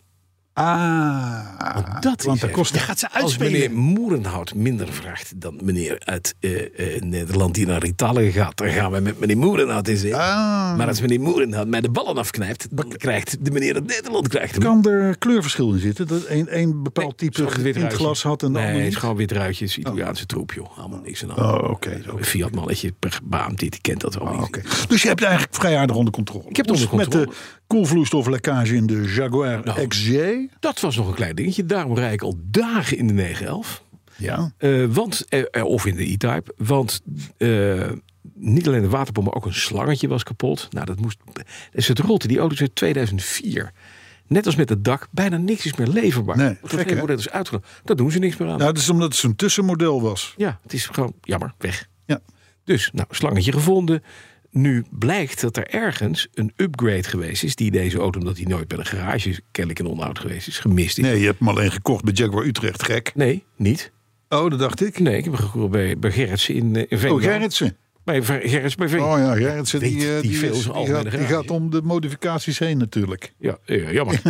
Speaker 3: Ah,
Speaker 2: Oh, dat
Speaker 3: want
Speaker 2: is
Speaker 3: dat
Speaker 2: het.
Speaker 3: kost
Speaker 4: Daar gaat ze
Speaker 2: Als
Speaker 4: uitspelen.
Speaker 2: meneer Moerenhout minder vraagt dan meneer uit eh, eh, Nederland die naar Italië gaat, dan gaan we met meneer Moerenhout in zee.
Speaker 3: Ah,
Speaker 2: Maar als meneer Moerenhout mij de ballen afknijpt, dan krijgt de meneer uit Nederland krijgt hem.
Speaker 3: kan er kleurverschil in zitten? Dat een, een bepaald
Speaker 2: Nee,
Speaker 3: type
Speaker 2: het is gewoon
Speaker 3: in het
Speaker 2: ruitje.
Speaker 3: glas had en de
Speaker 2: Nee,
Speaker 3: ander
Speaker 2: het
Speaker 3: niet?
Speaker 2: is gewoon wit ruitjes, Italiaanse troep, joh. Allemaal niks aan de hand.
Speaker 3: Oh, oké. oké.
Speaker 2: Een Fiat mannetje, beaamd dit, die kent dat wel
Speaker 3: Ah,
Speaker 2: niet.
Speaker 3: oké. Dus je hebt het eigenlijk vrij aardig onder controle.
Speaker 2: Ik heb het onder
Speaker 3: Met de
Speaker 2: controle.
Speaker 3: koelvloeistoflekkage in de Jaguar
Speaker 2: Nou.
Speaker 3: XJ.
Speaker 2: Dat was nog een klein dingetje, daarom rijd ik al dagen in de 911.
Speaker 3: Ja.
Speaker 2: Eh, want, eh, eh, of in de E-Type. Want eh, niet alleen de waterpomp, maar ook een slangetje was kapot. Nou, dat moest. Dus het rotte, die auto is uit 2004. Net als met het dak, bijna niks is meer leverbaar.
Speaker 3: Nee,
Speaker 2: Want
Speaker 3: gek,
Speaker 2: dat hele
Speaker 3: hè?
Speaker 2: model is uitgelopen. Daar doen ze niks meer aan.
Speaker 3: Nou, dat is omdat het zo'n tussenmodel was.
Speaker 2: Ja, het is gewoon jammer, weg.
Speaker 3: Ja.
Speaker 2: Dus, nou, slangetje gevonden. Nu blijkt dat er ergens een upgrade geweest is. Die deze auto, omdat die nooit bij de garage is, kennelijk in onderhoud geweest is, gemist is.
Speaker 3: Nee, je hebt hem alleen gekocht bij Jaguar Utrecht, gek.
Speaker 2: Nee, niet.
Speaker 3: Oh, dat dacht ik.
Speaker 2: Nee, ik heb hem gekocht bij, bij Gerritsen in, eh, in Veenendaal.
Speaker 3: Oh, Gerritsen.
Speaker 2: Bij Ver- Gerrits bij Veen.
Speaker 3: Oh ja, Gerritsen
Speaker 2: Weet
Speaker 3: die, eh,
Speaker 2: die
Speaker 3: die,
Speaker 2: veel
Speaker 3: is-
Speaker 2: zijn
Speaker 3: die
Speaker 2: algemene
Speaker 3: gaat, die
Speaker 2: garage.
Speaker 3: gaat om de modificaties heen natuurlijk. *laughs*
Speaker 2: Ja, eh, jammer.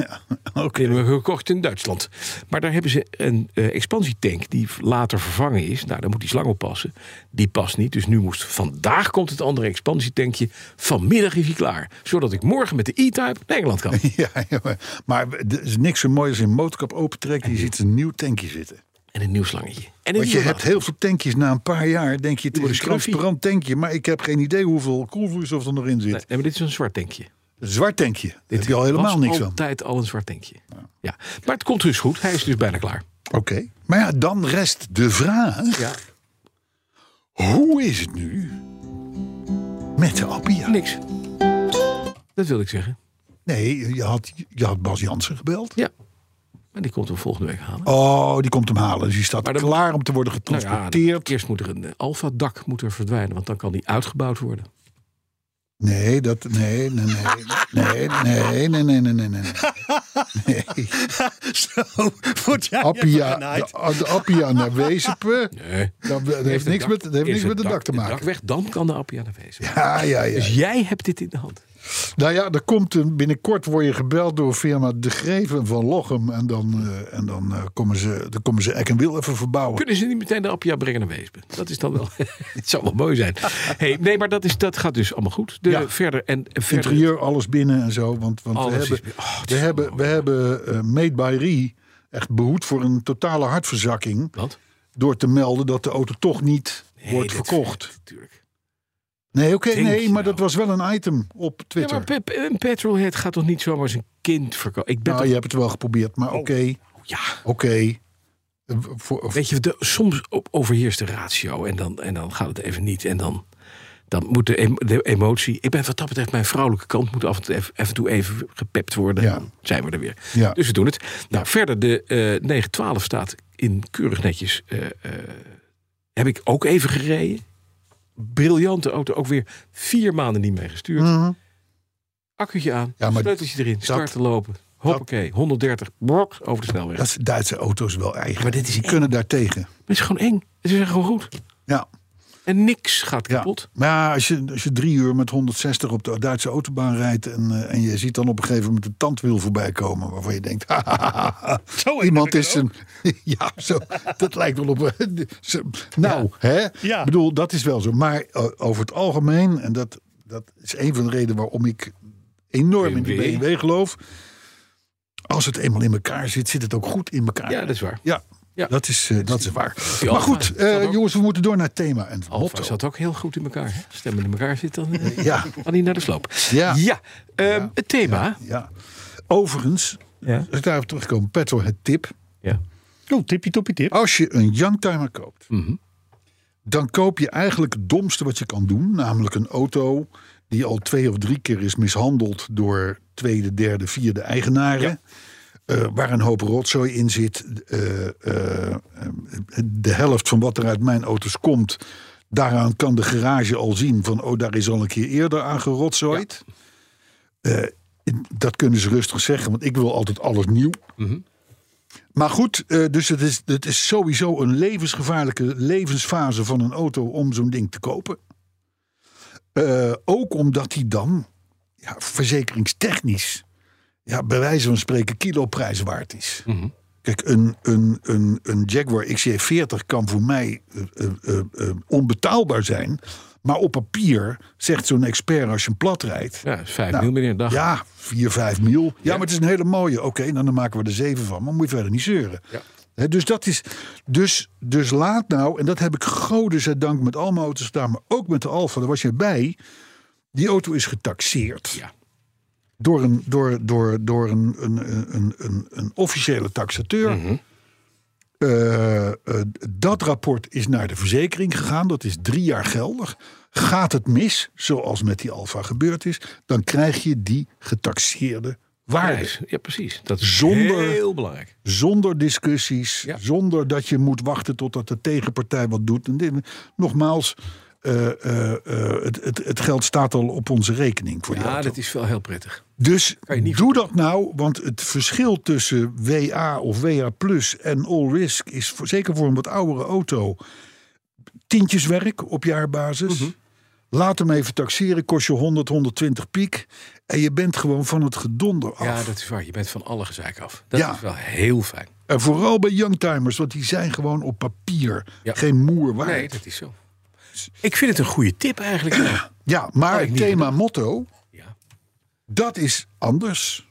Speaker 3: Oké.
Speaker 2: Die hebben we gekocht in Duitsland. Maar daar hebben ze een eh, expansietank die later vervangen is. Nou, daar moet die slang op passen. Die past niet. Dus nu moest vandaag komt het andere expansietankje. Vanmiddag is hij klaar. Zodat ik morgen met de E-Type naar
Speaker 3: *laughs*
Speaker 2: Engeland kan.
Speaker 3: Ja, ja, maar- maar er is niks zo mooi als je een motorkap opentrekt en je ziet een nieuw tankje zitten.
Speaker 2: En een nieuw slangetje. En een
Speaker 3: Want je
Speaker 2: nieuwe
Speaker 3: hebt heel veel tankjes na een paar jaar, denk je, het is
Speaker 2: wordt
Speaker 3: een
Speaker 2: een scruffie.
Speaker 3: transparant tankje, maar ik heb geen idee hoeveel koelvloeistof er nog in zit.
Speaker 2: Nee, maar dit is een zwart tankje.
Speaker 3: Een zwart tankje, daar heb je al
Speaker 2: was
Speaker 3: helemaal niks aan.
Speaker 2: altijd al een zwart tankje. Ja. Maar het komt dus goed. Hij is dus bijna klaar.
Speaker 3: Oké, maar ja, dan rest de vraag,
Speaker 2: Ja.
Speaker 3: hoe is het nu met de Appia?
Speaker 2: Niks. Dat wil ik zeggen.
Speaker 3: Nee, je had, je had Bas Jansen gebeld.
Speaker 2: Ja. Maar die komt hem volgende week halen.
Speaker 3: Oh, die komt hem halen. Dus die staat
Speaker 2: Maar dan-
Speaker 3: klaar om te worden
Speaker 2: Nou ja,
Speaker 3: getransporteerd.
Speaker 2: eerst moet er een alfa-dak moet er verdwijnen, want dan kan die uitgebouwd worden.
Speaker 3: Nee, dat. Nee, nee, nee. Nee, nee, nee, nee, nee, nee. nee, nee.
Speaker 2: *laughs*
Speaker 3: Nee.
Speaker 4: Zo wordt jij
Speaker 3: Appia,
Speaker 4: even genaaid.
Speaker 3: de, de Appia naar Wezenpe.
Speaker 2: Nee.
Speaker 3: Dat, dat heeft niks, met, dat heeft niks met de dak te
Speaker 2: Dak
Speaker 3: maken.
Speaker 2: weg, dan kan de Appia naar wezen.
Speaker 3: Ja, ja, ja.
Speaker 2: Dus jij hebt dit in de hand.
Speaker 3: Nou ja, er komt een, binnenkort word je gebeld door firma De Greven van Lochem. En dan, eh, en dan, eh, komen, ze, dan komen ze Eck en Wiel even verbouwen.
Speaker 2: Kunnen ze niet meteen de Appia brengen naar Weesp? Dat is dan wel. *laughs* het zou wel mooi zijn. Hey, nee, maar dat, is, dat gaat dus allemaal goed. De,
Speaker 3: Ja.
Speaker 2: Verder en en verder.
Speaker 3: Interieur, alles binnen en zo. Want, want we
Speaker 2: Alles is
Speaker 3: hebben,
Speaker 2: bi- Oh, het
Speaker 3: we
Speaker 2: is
Speaker 3: hebben, we hebben eh, Made by Rie echt behoed voor een totale hartverzakking.
Speaker 2: Wat?
Speaker 3: door te melden dat de auto toch niet
Speaker 2: Nee,
Speaker 3: wordt
Speaker 2: dat-
Speaker 3: verkocht.
Speaker 2: Natuurlijk.
Speaker 3: Nee, oké,
Speaker 2: Denk
Speaker 3: nee,
Speaker 2: je
Speaker 3: maar
Speaker 2: nou?
Speaker 3: dat was wel een item op
Speaker 2: Ja,
Speaker 3: Twitter.
Speaker 2: maar pe- pe- een petrolhead gaat toch niet zomaar zijn kind verkopen? Ik ben
Speaker 3: nou,
Speaker 2: toch-
Speaker 3: je hebt het wel geprobeerd, maar
Speaker 2: Oh.
Speaker 3: oké,
Speaker 2: ja.
Speaker 3: oké. Eh, voor-
Speaker 2: Weet je, de, soms o- overheerst de ratio en dan, en dan gaat het even niet. En dan, dan moet de, em- de emotie... Ik ben wat dat betreft, mijn vrouwelijke kant moet af en toe even, af en toe even gepept worden.
Speaker 3: Ja.
Speaker 2: Dan zijn we er weer.
Speaker 3: Ja.
Speaker 2: Dus we doen het. Nou, verder, de eh 912 staat in keurig netjes... eh, eh, heb ik ook even gereden. briljante auto. Ook weer vier maanden niet mee gestuurd.
Speaker 3: Mhm.
Speaker 2: Accu'tje aan,
Speaker 3: Hmm. Ja, maar
Speaker 2: sleuteltje erin, starten lopen. Hoppakee, 130, brok, over de snelweg.
Speaker 3: Dat is Duitse auto's wel eigen.
Speaker 2: Maar dit is
Speaker 3: Die
Speaker 2: eng.
Speaker 3: kunnen daartegen.
Speaker 2: Het is gewoon eng. Het is echt gewoon goed.
Speaker 3: Ja.
Speaker 2: En niks gaat
Speaker 3: Ja.
Speaker 2: kapot.
Speaker 3: Maar ja, als je, als je drie uur met 160 op de Duitse autobaan rijdt... en, eh, en je ziet dan op een gegeven moment een tandwiel voorbij komen... waarvan je denkt, *laughs*
Speaker 4: Zo
Speaker 3: iemand is een... *laughs* ja, zo, dat lijkt wel op... een- *laughs* zo- nou, hè?
Speaker 4: Ja.
Speaker 3: Ik bedoel, dat is wel zo. Maar eh, over het algemeen, en dat, dat is een van de redenen waarom ik enorm in die
Speaker 2: BMW.
Speaker 3: BMW geloof... als het eenmaal in elkaar zit, zit het ook goed in elkaar.
Speaker 2: Ja, dat is waar.
Speaker 3: Ja,
Speaker 2: Ja.
Speaker 3: Dat, is, eh, dat is waar.
Speaker 2: Die
Speaker 3: Maar
Speaker 2: Alfa
Speaker 3: goed,
Speaker 2: zat
Speaker 3: eh,
Speaker 2: ook-
Speaker 3: jongens, we moeten door naar het thema. En het
Speaker 2: Alfa
Speaker 3: motto.
Speaker 2: zat ook heel goed in elkaar. hè? Stemmen in elkaar zit dan. eh,
Speaker 3: Ja,
Speaker 2: Kan hij naar de sloop.
Speaker 3: Ja.
Speaker 2: ehm, Het thema.
Speaker 3: ja. Overigens,
Speaker 2: Ja.
Speaker 3: als ik daarop terugkom, Petro, het tip.
Speaker 2: Ja.
Speaker 4: Oh, tippie toppie tip.
Speaker 3: Als je een youngtimer koopt,
Speaker 2: Mhm.
Speaker 3: dan koop je eigenlijk het domste wat je kan doen. Namelijk een auto die al twee of drie keer is mishandeld door tweede, derde, vierde eigenaren. Eh, waar een hoop rotzooi in zit. Eh, eh, eh, de helft van wat er uit mijn auto's komt. Daaraan kan de garage al zien van, oh, daar is al een keer eerder aan gerotzooid. Eh, dat kunnen ze rustig zeggen, want ik wil altijd alles nieuw. Maar goed, eh, dus het is, het is sowieso een levensgevaarlijke levensfase van een auto om zo'n ding te kopen. Eh, ook omdat hij dan ja, verzekeringstechnisch, ja, bij wijze van spreken, kiloprijs waard is.
Speaker 2: Mhm.
Speaker 3: Kijk, een, een, een, een Jaguar XJ40 kan voor mij eh, eh, eh, eh, onbetaalbaar zijn. Maar op papier zegt zo'n expert als je hem plat rijdt.
Speaker 2: Ja, dat is vijf
Speaker 3: Nou,
Speaker 2: mil meer een dag.
Speaker 3: Ja, 4, 5 mil. Ja, maar het is een hele mooie. Oké, nou, dan maken we er 7 van. Maar moet je verder niet zeuren.
Speaker 2: Ja.
Speaker 3: Hè, dus dat is. Dus, dus laat nou, en dat heb ik godzijdank met al mijn auto's gedaan, maar ook met de Alfa, daar was je bij. Die auto is getaxeerd.
Speaker 2: Ja.
Speaker 3: Door een, door, door, door een, een, een- een, een, een officiële taxateur.
Speaker 2: Mhm.
Speaker 3: Eh, eh, dat rapport is naar de verzekering gegaan. Dat is drie jaar geldig. Gaat het mis, zoals met die Alfa gebeurd is, dan krijg je die getaxeerde waarde.
Speaker 2: Prijs. Ja, precies. Dat is
Speaker 3: Zonder-
Speaker 2: heel belangrijk.
Speaker 3: Zonder discussies,
Speaker 2: Ja.
Speaker 3: zonder dat je moet wachten totdat de tegenpartij wat doet. En dit, nogmaals, eh, eh, eh, het, het, het geld staat al op onze rekening voor die
Speaker 2: Ja,
Speaker 3: auto.
Speaker 2: Ah, dat is wel heel prettig.
Speaker 3: Dus
Speaker 2: Kan je niet
Speaker 3: doe dat nou, want het verschil tussen WA of WA Plus en All Risk is voor, zeker voor een wat oudere auto tientjeswerk op jaarbasis.
Speaker 2: Mhm.
Speaker 3: Laat hem even taxeren, kost je 100, 120 piek. En je bent gewoon van het gedonder af.
Speaker 2: Ja, dat is waar. Je bent van alle gezeik af. Dat
Speaker 3: Ja.
Speaker 2: is wel heel fijn.
Speaker 3: En vooral bij youngtimers, want die zijn gewoon op papier
Speaker 2: Ja.
Speaker 3: geen moer waard.
Speaker 2: Nee, dat is zo. Ik vind het een goede
Speaker 3: *clears throat*
Speaker 2: tip eigenlijk. Nou,
Speaker 3: Ja, maar
Speaker 2: ik
Speaker 3: het
Speaker 2: niet
Speaker 3: thema motto,
Speaker 2: Ja.
Speaker 3: dat is anders.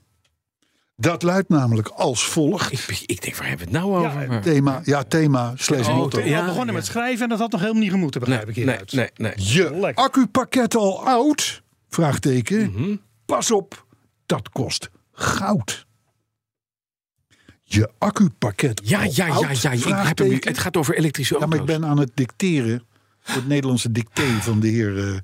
Speaker 3: Dat luidt namelijk als volgt.
Speaker 2: Ik, ik denk, waar hebben we het nou over? Maar-
Speaker 3: Thema, ja, thema slash
Speaker 2: Oh,
Speaker 3: motto.
Speaker 4: We
Speaker 2: Ja,
Speaker 4: begonnen
Speaker 2: ja.
Speaker 4: met schrijven en dat had nog helemaal niet gemoeten,
Speaker 2: nee,
Speaker 4: begrijp
Speaker 2: nee,
Speaker 4: ik hieruit.
Speaker 2: nee, nee.
Speaker 3: Je
Speaker 4: Lekker.
Speaker 3: accupakket al oud? Vraagteken.
Speaker 2: Mhm.
Speaker 3: Pas op, dat kost goud. Je accupakket
Speaker 2: Ja,
Speaker 3: al
Speaker 2: ja, ja, ja.
Speaker 3: oud?
Speaker 2: ja. Ik heb hem
Speaker 3: Vraagteken.
Speaker 2: nu- het gaat over elektrische
Speaker 3: Ja,
Speaker 2: auto's.
Speaker 3: maar ik ben aan het dicteren. voor Het Nederlandse dicté van de heer eh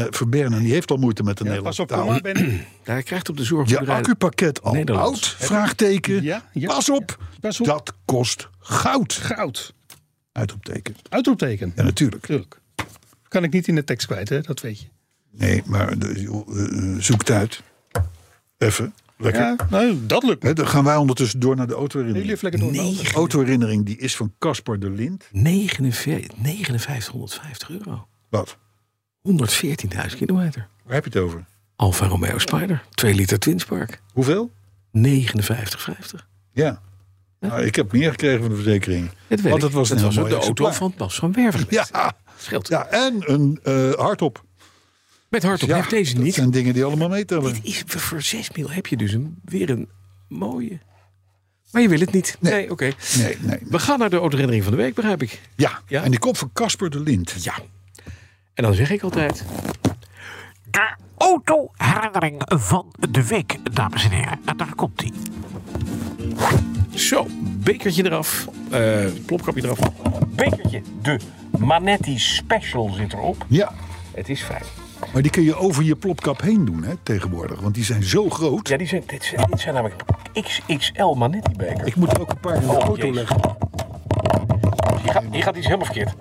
Speaker 3: eh, Verbern. En die heeft al moeite met de
Speaker 4: Ja, pas
Speaker 3: Nederlandse
Speaker 4: op,
Speaker 3: taal.
Speaker 4: kom maar, ben.
Speaker 2: Hij krijgt op de zorg.
Speaker 3: Je accupakket al oud?
Speaker 2: Nederlands.
Speaker 3: Vraagteken.
Speaker 4: Ja, ja.
Speaker 3: Pas op,
Speaker 4: Pas op.
Speaker 3: dat kost goud.
Speaker 4: Goud.
Speaker 3: Uitroepteken.
Speaker 4: Uitroepteken.
Speaker 3: Ja, natuurlijk.
Speaker 4: Tuurlijk. Kan ik niet in de tekst kwijt, hè? dat weet je.
Speaker 3: Nee, maar eh, joh, eh, eh, zoek het uit. Even. Lekker.
Speaker 4: Ja, nou, dat lukt me.
Speaker 3: Hè, dan gaan wij ondertussen door naar de
Speaker 4: Jullie
Speaker 3: autoherinnering.
Speaker 4: vlekken door.
Speaker 3: De autoherinnering die is van Caspar de Lind.
Speaker 2: 5950 euro.
Speaker 3: Wat?
Speaker 2: 114.000 kilometer.
Speaker 3: Waar heb je het over?
Speaker 2: Alfa Romeo Spider. 2 liter Twinspark.
Speaker 3: Hoeveel?
Speaker 2: 59,50.
Speaker 3: Ja. Nou, ik heb meer gekregen van de verzekering.
Speaker 2: Dat weet
Speaker 3: Want
Speaker 2: ik.
Speaker 3: het was een
Speaker 2: dat
Speaker 3: heel
Speaker 2: was ook
Speaker 3: mooi
Speaker 2: de auto
Speaker 3: exemplaar.
Speaker 2: van Bas van Werven. geweest.
Speaker 3: Ja,
Speaker 2: Scheelt.
Speaker 3: ja en een eh, hardop.
Speaker 2: Met hardop
Speaker 3: Ja,
Speaker 2: heeft deze
Speaker 3: dat
Speaker 2: niet.
Speaker 3: zijn dingen die allemaal meetellen.
Speaker 2: Dit is, voor 6 mil heb je dus een, weer een mooie. Maar je wil het niet. Nee, oké.
Speaker 3: Nee, nee.
Speaker 2: We gaan naar de autoherinnering van de week, begrijp ik.
Speaker 3: Ja.
Speaker 2: Ja?
Speaker 3: en die komt van Casper de Lind.
Speaker 2: Ja. En dan zeg ik altijd...
Speaker 5: De autoherinnering van de week, dames en heren. En daar komt hij.
Speaker 2: Zo, bekertje eraf. Eh plopkapje eraf. Bekertje. De Manetti Special zit erop.
Speaker 3: Ja,
Speaker 2: Het is fijn.
Speaker 3: maar die kun je over je plopkap heen doen hè, tegenwoordig. Want die zijn zo groot.
Speaker 2: Ja, die zijn, dit, zijn, dit zijn namelijk XXL Manetti beker.
Speaker 3: Ik moet er ook een paar in de
Speaker 2: Oh,
Speaker 3: auto
Speaker 2: jezus.
Speaker 3: leggen.
Speaker 2: Je gaat, je gaat iets helemaal verkeerd.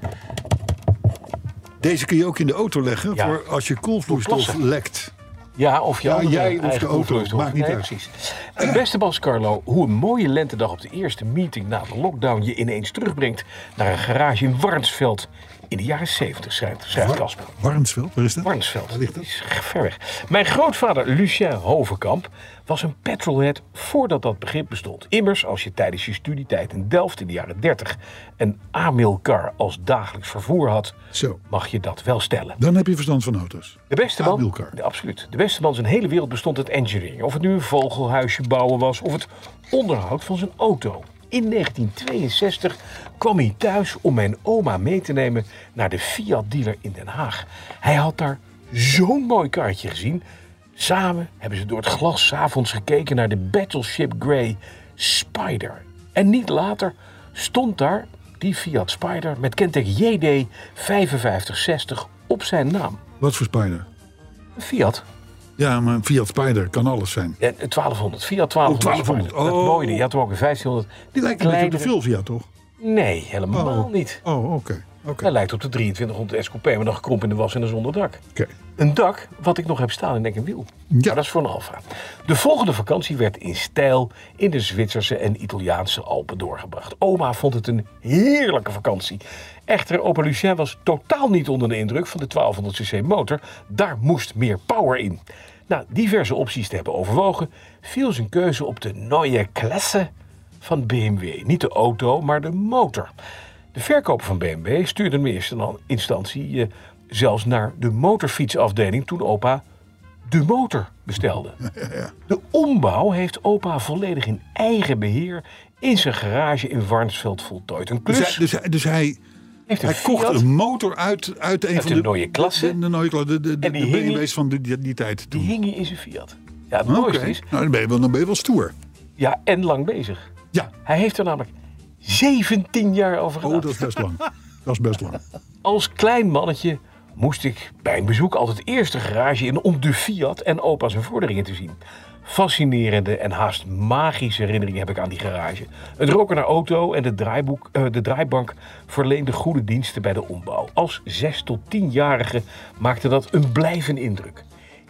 Speaker 3: Deze kun je ook in de auto leggen
Speaker 2: Ja.
Speaker 3: voor als je koelvloeistof
Speaker 2: Plassen.
Speaker 3: lekt.
Speaker 2: Ja, of je
Speaker 3: Ja,
Speaker 2: andere
Speaker 3: jij of de
Speaker 2: eigen
Speaker 3: auto,
Speaker 2: invloedstof.
Speaker 3: maakt niet
Speaker 2: Nee,
Speaker 3: uit.
Speaker 2: Precies. Eh, Beste Bas Carlo, hoe een mooie lentedag op de eerste meeting na de lockdown je ineens terugbrengt naar een garage in Warnsveld in de jaren 70, schrijft, schrijft Casper.
Speaker 3: Warmsveld, waar is dat?
Speaker 2: Warnsveld.
Speaker 3: Waar ligt
Speaker 2: dat
Speaker 3: dat?
Speaker 2: is ver weg. Mijn grootvader Lucien Hovenkamp was een petrolhead voordat dat begrip bestond. Immers, als je tijdens je studietijd in Delft in de jaren 30 een Amilcar als dagelijks vervoer had,
Speaker 3: Zo.
Speaker 2: mag je dat wel stellen.
Speaker 3: Dan heb je verstand van auto's.
Speaker 2: De beste man,
Speaker 3: Abielcar.
Speaker 2: de- absoluut. De beste man zijn hele wereld bestond uit engineering. Of het nu een vogelhuisje bouwen was of het onderhoud van zijn auto. In 1962 kwam hij thuis om mijn oma mee te nemen naar de Fiat dealer in Den Haag. Hij had daar zo'n mooi kaartje gezien. Samen hebben ze door het glas 's avonds gekeken naar de Battleship Grey Spider. En niet later stond daar die Fiat Spider met kenteken JD 5560 op zijn naam.
Speaker 3: Wat voor Spider?
Speaker 2: Fiat.
Speaker 3: Ja, maar een Fiat Spider kan alles zijn.
Speaker 2: Ja, 1200. Fiat 1200.
Speaker 3: 1200.
Speaker 2: Dat
Speaker 3: Oh.
Speaker 2: mooie. Je had er ook een 1500.
Speaker 3: Die lijkt een beetje op de
Speaker 2: kleinere-
Speaker 3: Fulvia, toch?
Speaker 2: Nee, helemaal niet.
Speaker 3: Oh, oké. oké.
Speaker 2: Hij lijkt op de 2300 Escopé, maar dan gekrompen in de was en dan zonder dak.
Speaker 3: Oké. Dus
Speaker 2: Een dak wat ik nog heb staan in nek en wiel. Maar dat is voor een Alfa. De volgende vakantie werd in stijl in de Zwitserse en Italiaanse Alpen doorgebracht. Oma vond het een heerlijke vakantie. Echter, opa Lucien was totaal niet onder de indruk van de 1200cc motor. Daar moest meer power in. Na diverse opties te hebben overwogen, viel zijn keuze op de Neue Klasse van BMW. Niet de auto, maar de motor. De verkoper van BMW stuurde hem in eerste instantie eh, zelfs naar de motorfietsafdeling toen opa de motor
Speaker 3: *laughs*
Speaker 2: bestelde. De ombouw heeft opa volledig in eigen beheer in zijn garage in Warnsveld voltooid. Een klus
Speaker 3: Dus, hij, dus, hij, dus hij,
Speaker 2: heeft een
Speaker 3: hij kocht
Speaker 2: Fiat,
Speaker 3: een motor uit, uit een
Speaker 2: Uit
Speaker 3: van
Speaker 2: de
Speaker 3: de...
Speaker 2: nooie klasse.
Speaker 3: De, de nooie klasse, de, de, de,
Speaker 2: En die
Speaker 3: de
Speaker 2: hing-
Speaker 3: BMW's van die, die, die tijd
Speaker 2: die
Speaker 3: toen.
Speaker 2: hing hij in zijn Fiat. Ja, het
Speaker 3: Oké.
Speaker 2: mooiste is,
Speaker 3: Nou, dan ben, je wel, dan ben je wel stoer.
Speaker 2: ja, en lang bezig.
Speaker 3: Ja.
Speaker 2: Hij heeft er namelijk 17 jaar over gedaan.
Speaker 3: Oh, dat is best lang. Dat is best lang.
Speaker 2: Als klein mannetje moest ik bij een bezoek altijd eerst de garage in om de Fiat en opa's en vorderingen te zien. Fascinerende en haast magische herinneringen heb ik aan die garage. Het roken naar auto en de, draaiboek, eh, de draaibank verleende goede diensten bij de ombouw. Als 6 tot 10-jarige maakte dat een blijvende indruk.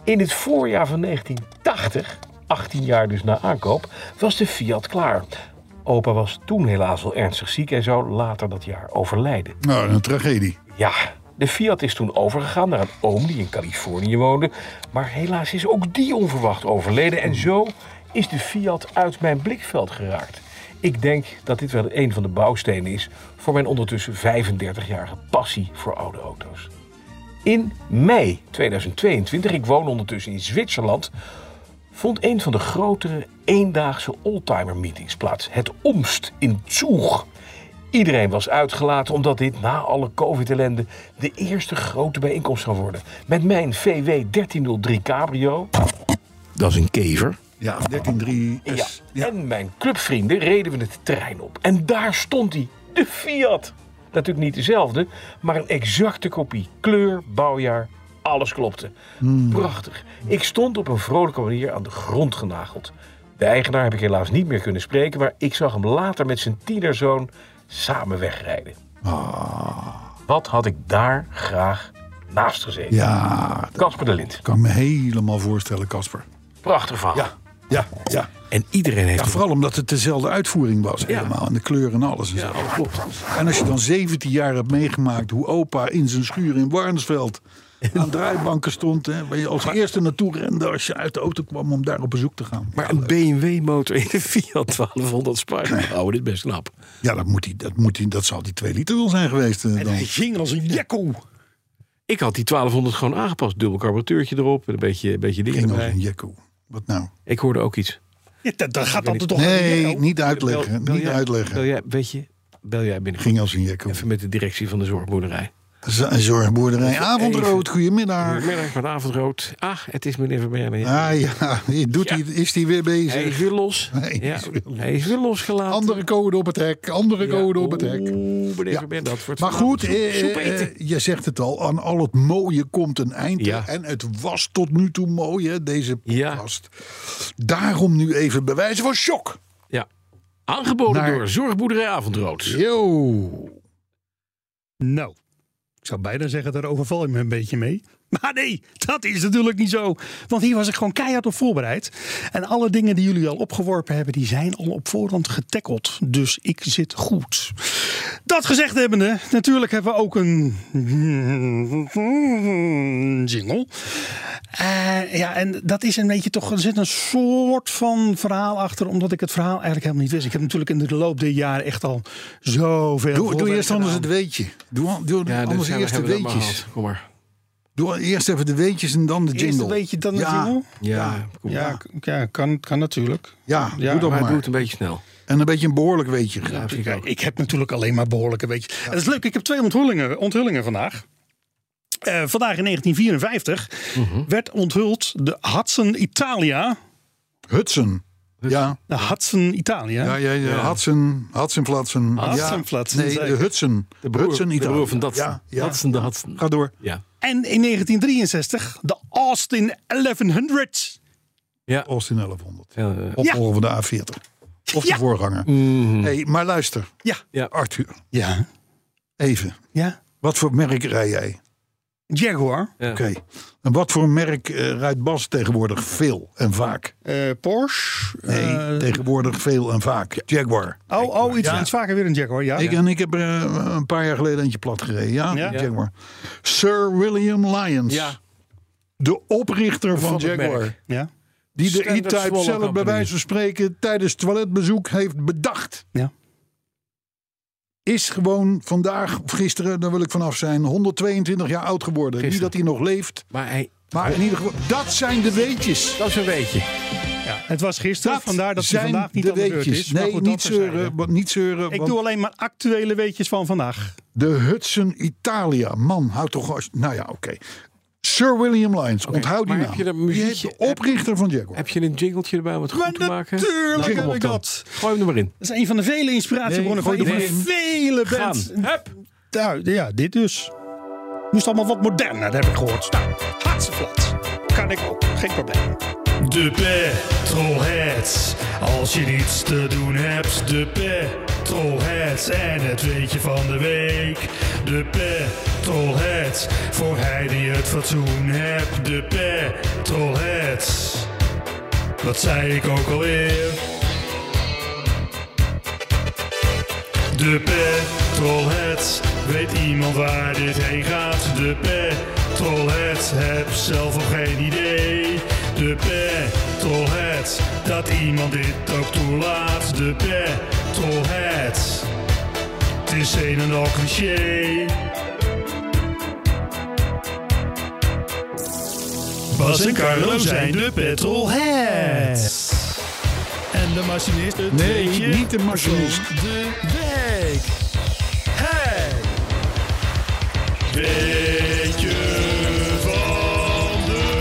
Speaker 2: In het voorjaar van 1980, 18 jaar dus na aankoop, was de Fiat klaar. Opa was toen helaas wel ernstig ziek en zou later dat jaar overlijden.
Speaker 3: Nou, een tragedie.
Speaker 2: Ja, de Fiat is toen overgegaan naar een oom die in Californië woonde. Maar helaas is ook die onverwacht overleden. En zo is de Fiat uit mijn blikveld geraakt. Ik denk dat dit wel een van de bouwstenen is voor mijn ondertussen 35-jarige passie voor oude auto's. In mei 2022, ik woon ondertussen in Zwitserland, vond een van de grotere eendaagse oldtimer meetings plaats. Het Omst in Zug. Iedereen was uitgelaten omdat dit na alle covid-ellende de eerste grote bijeenkomst zou worden. Met mijn VW 1303 Cabrio. Dat is een kever.
Speaker 3: Ja, 13-3
Speaker 2: Ja.
Speaker 3: S. Ja.
Speaker 2: En mijn clubvrienden reden we het terrein op. En daar stond hij, de Fiat. Natuurlijk niet dezelfde, maar een exacte kopie. Kleur, bouwjaar, alles klopte.
Speaker 3: Hmm.
Speaker 2: Prachtig. Ik stond op een vrolijke manier aan de grond genageld. De eigenaar heb ik helaas niet meer kunnen spreken, maar ik zag hem later met zijn tienerzoon samen wegrijden. Wat had ik daar graag naast gezeten?
Speaker 3: Ah. ja, dat
Speaker 2: Casper de Lint.
Speaker 3: kan ik me helemaal voorstellen, Casper.
Speaker 2: Prachtig verhaal.
Speaker 3: Ja, ja, ja.
Speaker 1: En iedereen heeft
Speaker 3: Ja, vooral omdat het dezelfde uitvoering was helemaal. En de kleur en alles. En, zo. en als je dan 17 jaar hebt meegemaakt hoe opa in zijn schuur in Warnsveld aan draaibanken stond. Hè, waar je als eerste naartoe rende als je uit de auto kwam om daar op bezoek te gaan.
Speaker 1: Maar een BMW-motor in de Fiat 1200 Spider. *laughs* Oh, dit is best knap.
Speaker 3: Ja, dat, moet die, dat, moet die, dat zal die 2 liter wel zijn geweest. eh, dan.
Speaker 1: Hij ging als een jekko. Ik had die 1200 gewoon aangepast. Dubbel carburateurtje erop. en Een beetje, een beetje dingen
Speaker 3: Ging als
Speaker 1: erbij.
Speaker 3: een jekko. Wat nou?
Speaker 1: Ik hoorde ook iets.
Speaker 4: Ja, dat, dat gaat altijd toch...
Speaker 3: Nee, niet uitleggen.
Speaker 1: Bel- bel
Speaker 3: Niet
Speaker 1: jij- Bel
Speaker 3: uitleggen.
Speaker 1: jij, weet je, bel jij binnen.
Speaker 3: Ging als een jekko.
Speaker 1: Even met de directie van de zorgboerderij.
Speaker 3: Z- Zorgboerderij Avondrood, goedemiddag.
Speaker 1: Goedemiddag, van Avondrood. Ah, het is meneer Vermeer.
Speaker 3: Ah ja, *laughs* doet
Speaker 1: Ja.
Speaker 3: Hij, is hij weer
Speaker 1: Hij is
Speaker 3: bezig?
Speaker 1: weer los.
Speaker 3: *laughs* Hij is
Speaker 1: ja,
Speaker 3: weer los.
Speaker 1: Hij is weer losgelaten.
Speaker 3: Andere code op het hek, andere
Speaker 1: Ja,
Speaker 3: code op het
Speaker 2: oh.
Speaker 3: hek.
Speaker 1: Oeh, meneer
Speaker 3: Ja.
Speaker 1: Vermeer, dat wordt
Speaker 3: Maar goed,
Speaker 1: vanavond
Speaker 3: eh,
Speaker 1: soep- soep
Speaker 3: eh,
Speaker 1: eten.
Speaker 3: eh, je zegt het al, aan al het mooie komt een eind.
Speaker 1: Ja.
Speaker 3: En het was tot nu toe mooi, hè, deze
Speaker 1: Ja.
Speaker 3: podcast. Daarom nu even bewijzen van shock.
Speaker 1: ja. Aangeboden
Speaker 3: Naar-
Speaker 1: door Zorgboerderij Avondrood.
Speaker 3: Yo.
Speaker 4: Nou, Ik zou bijna zeggen, daar overval je me een beetje mee. *laughs* Maar nee, dat is natuurlijk niet zo. Want hier was ik gewoon keihard op voorbereid. En alle dingen die jullie al opgeworpen hebben, die zijn al op voorhand getackeld. Dus ik zit goed. Dat gezegd hebbende, natuurlijk hebben we ook een *laughs* jingle. Eh, ja, en dat is een beetje toch, er zit een soort van verhaal achter, omdat ik het verhaal eigenlijk helemaal niet wist. Ik heb natuurlijk in de loop der jaren echt al zoveel
Speaker 3: Doe, doe
Speaker 4: voorwerpen
Speaker 3: eerst anders
Speaker 4: gedaan.
Speaker 3: het weetje. Doe, doe
Speaker 2: Ja,
Speaker 6: dus
Speaker 3: anders
Speaker 2: zijn we-
Speaker 3: eerst de
Speaker 2: hebben we dat maar
Speaker 3: weetjes.
Speaker 2: gehad. Kom maar.
Speaker 3: Doe eerst even de weetjes en dan de jingle.
Speaker 4: Eerst een beetje dan de
Speaker 3: ja,
Speaker 4: jingle?
Speaker 2: Ja, kom maar.
Speaker 4: Ja, k- ja kan, kan natuurlijk.
Speaker 3: Ja,
Speaker 4: Ja,
Speaker 3: doe dat
Speaker 2: Maar
Speaker 3: maar.
Speaker 2: doe het een beetje snel.
Speaker 3: En een beetje een behoorlijk weetje graag.
Speaker 2: vind ik ook.
Speaker 4: Ik heb natuurlijk alleen maar behoorlijk een beetje. En dat is leuk, ik heb twee onthullingen, onthullingen vandaag. Eh, vandaag in 1954 werd onthuld de Hudson Italia.
Speaker 3: Hudson. Ja,
Speaker 4: De Hudson Italia.
Speaker 3: ja, ja, ja. Hudson, Hudson Flatsen.
Speaker 4: Hudson Flatsen,
Speaker 3: Nee,
Speaker 4: zeker.
Speaker 3: de Hudson. De
Speaker 2: Broer-
Speaker 3: Hudson
Speaker 2: de
Speaker 3: Italië.
Speaker 2: broer van Datsen.
Speaker 3: Ja, ja.
Speaker 2: Datsen de Datsen.
Speaker 3: Ga door.
Speaker 2: Ja.
Speaker 4: En in 1963 de Austin 1100.
Speaker 3: Austin 1100.
Speaker 2: Ja, eh,
Speaker 3: Opvolger van de A40. Of de
Speaker 4: Ja.
Speaker 3: voorganger.
Speaker 2: Mhm.
Speaker 3: Hey, maar luister,
Speaker 4: Ja.
Speaker 3: Arthur.
Speaker 4: Ja.
Speaker 3: Even.
Speaker 4: Ja.
Speaker 3: Wat voor merk rij jij?
Speaker 4: Jaguar.
Speaker 2: ja.
Speaker 3: Oké. En wat voor merk eh, rijdt Bas tegenwoordig veel en vaak?
Speaker 4: eh, Porsche.
Speaker 3: Nee,
Speaker 4: eh,
Speaker 3: tegenwoordig veel en vaak. Jaguar.
Speaker 4: oh, oh iets, iets vaker weer een Jaguar. Ja.
Speaker 3: Ik, en ik heb er eh, een paar jaar geleden eentje plat gereden. Ja,
Speaker 4: Ja.
Speaker 3: Jaguar. Sir William Lyons.
Speaker 2: Ja.
Speaker 3: De oprichter van,
Speaker 2: Van het
Speaker 3: Jaguar.
Speaker 2: merk.
Speaker 4: ja.
Speaker 3: Die de
Speaker 2: Standard
Speaker 3: E-Type
Speaker 2: Swallow
Speaker 3: zelf bij
Speaker 2: Company.
Speaker 3: wijze van spreken tijdens toiletbezoek heeft bedacht.
Speaker 4: Ja.
Speaker 3: Is gewoon vandaag, of gisteren, daar wil ik vanaf zijn, 122 jaar oud geworden.
Speaker 2: Gisteren.
Speaker 3: Niet dat hij nog leeft,
Speaker 2: Maar hij,
Speaker 3: maar in ieder geval, dat zijn de weetjes.
Speaker 2: dat is een beetje.
Speaker 4: Ja, het was gisteren, vandaar dat hij
Speaker 3: zijn
Speaker 4: vandaag niet
Speaker 3: de
Speaker 4: aan de beurt
Speaker 3: weetjes.
Speaker 4: is. Maar
Speaker 3: Nee,
Speaker 4: goed,
Speaker 3: niet
Speaker 4: dat terzijde.
Speaker 3: zeuren, want- niet zeuren.
Speaker 4: Ik
Speaker 3: want
Speaker 4: doe alleen maar actuele weetjes van vandaag.
Speaker 3: De Hudson Italia. Man, houd toch als. Nou ja, oké. Sir William Lyons, onthoud die
Speaker 2: maar
Speaker 3: naam.
Speaker 2: heb je er
Speaker 3: Die
Speaker 2: muziekje-
Speaker 3: heeft de oprichter van Jaguar.
Speaker 2: Heb je een jingletje erbij om het goed te maken?
Speaker 4: natuurlijk
Speaker 2: Nou, kom
Speaker 4: heb
Speaker 2: op
Speaker 4: ik
Speaker 2: dan.
Speaker 4: dat.
Speaker 2: Gooi hem er maar in.
Speaker 4: Dat is een van de vele inspiratiebronnen
Speaker 3: Nee,
Speaker 4: van
Speaker 3: gooi
Speaker 4: een van de vele
Speaker 2: Gaan.
Speaker 4: bands.
Speaker 2: Hup.
Speaker 4: Nou, ja, dit dus. Moest allemaal wat moderner, dat heb ik gehoord. Nou, hartstikke Kan ik ook, geen probleem.
Speaker 7: De Petrolheads. Als je niets te doen hebt, de Petrolheads. En het weetje van de week. De Petrolheads. Voor hij die het fatsoen hebt, de Petrolheads. Wat zei ik ook alweer? De Petrolheads. Weet iemand waar dit heen gaat? De Petrolheads. Heb zelf nog geen idee. De Petrolheads. Dat iemand dit ook toelaat. De Petrolheads. Het is een en al cliché. Bas en Carlo zijn de Petrolheads. En de machinist het
Speaker 3: Nee,
Speaker 7: weetje
Speaker 3: niet de machinist.
Speaker 7: van De week. Hey. Weetje van de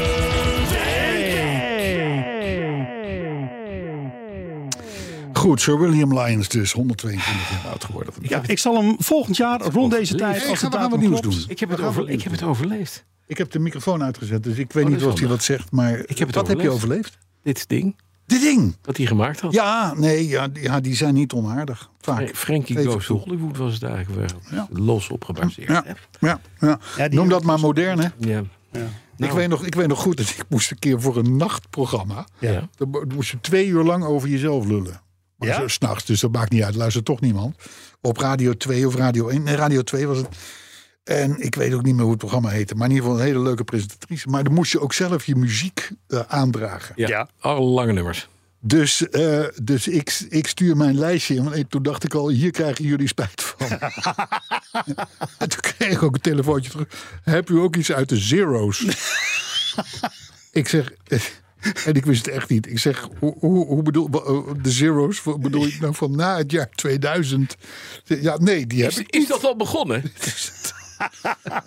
Speaker 7: week.
Speaker 3: Goed, Sir William Lyons dus, 122 jaar oud geworden.
Speaker 4: Ja, ik zal hem volgend jaar rond deze tijd
Speaker 3: Hey,
Speaker 4: als
Speaker 3: gaan
Speaker 4: het
Speaker 3: we gaan wat
Speaker 4: datum
Speaker 3: nieuws
Speaker 4: klopt.
Speaker 3: doen.
Speaker 2: Ik heb, het over, ik heb het overleefd.
Speaker 3: Ik heb de microfoon uitgezet, dus ik weet
Speaker 2: Oh,
Speaker 3: niet
Speaker 2: dat is
Speaker 3: of hij
Speaker 2: handig.
Speaker 3: wat zegt, maar
Speaker 2: heb het
Speaker 3: wat heb je
Speaker 2: overleefd.
Speaker 3: overleefd?
Speaker 2: Dit ding
Speaker 3: Dit ding.
Speaker 2: dat hij gemaakt had.
Speaker 3: Ja, nee, ja, die, ja, die zijn niet onaardig. Vaak.
Speaker 2: Fre- Frankie
Speaker 3: Even
Speaker 2: Goes to
Speaker 3: toe.
Speaker 2: Hollywood was het eigenlijk wel.
Speaker 3: Ja.
Speaker 2: Los op gebaseerd.
Speaker 3: Ja, ja, ja.
Speaker 4: Ja, die- dus-
Speaker 3: Noem dat maar modern, hè?
Speaker 2: Ja.
Speaker 4: Nou.
Speaker 3: Ik, weet nog, ik weet nog goed dat ik moest een keer voor een nachtprogramma.
Speaker 2: Ja.
Speaker 3: Dan mo- moest je twee uur lang over jezelf lullen. Maar
Speaker 4: Ja?
Speaker 3: zo s'nachts, dus dat maakt niet uit. Luistert toch niemand. Op Radio 2 of Radio 1. Nee, Radio 2 was het. En ik weet ook niet meer hoe het programma heette. Maar in ieder geval een hele leuke presentatrice. Maar dan moest je ook zelf je muziek eh, aandragen.
Speaker 2: Ja. Alle lange nummers.
Speaker 3: Dus, eh, dus ik, ik stuur mijn lijstje in. Want toen dacht ik al, hier krijgen jullie spijt van. en toen kreeg ik ook een telefoontje terug. Heb u ook iets uit de zeros? ik zeg... eh, En ik wist het echt niet. Ik zeg, hoe, hoe, hoe bedoel wa- eh, de zeros? Wat Bedoel ik nou van na het jaar 2000? Ja, nee, die heb
Speaker 2: Is,
Speaker 3: ik.
Speaker 2: is dat al begonnen?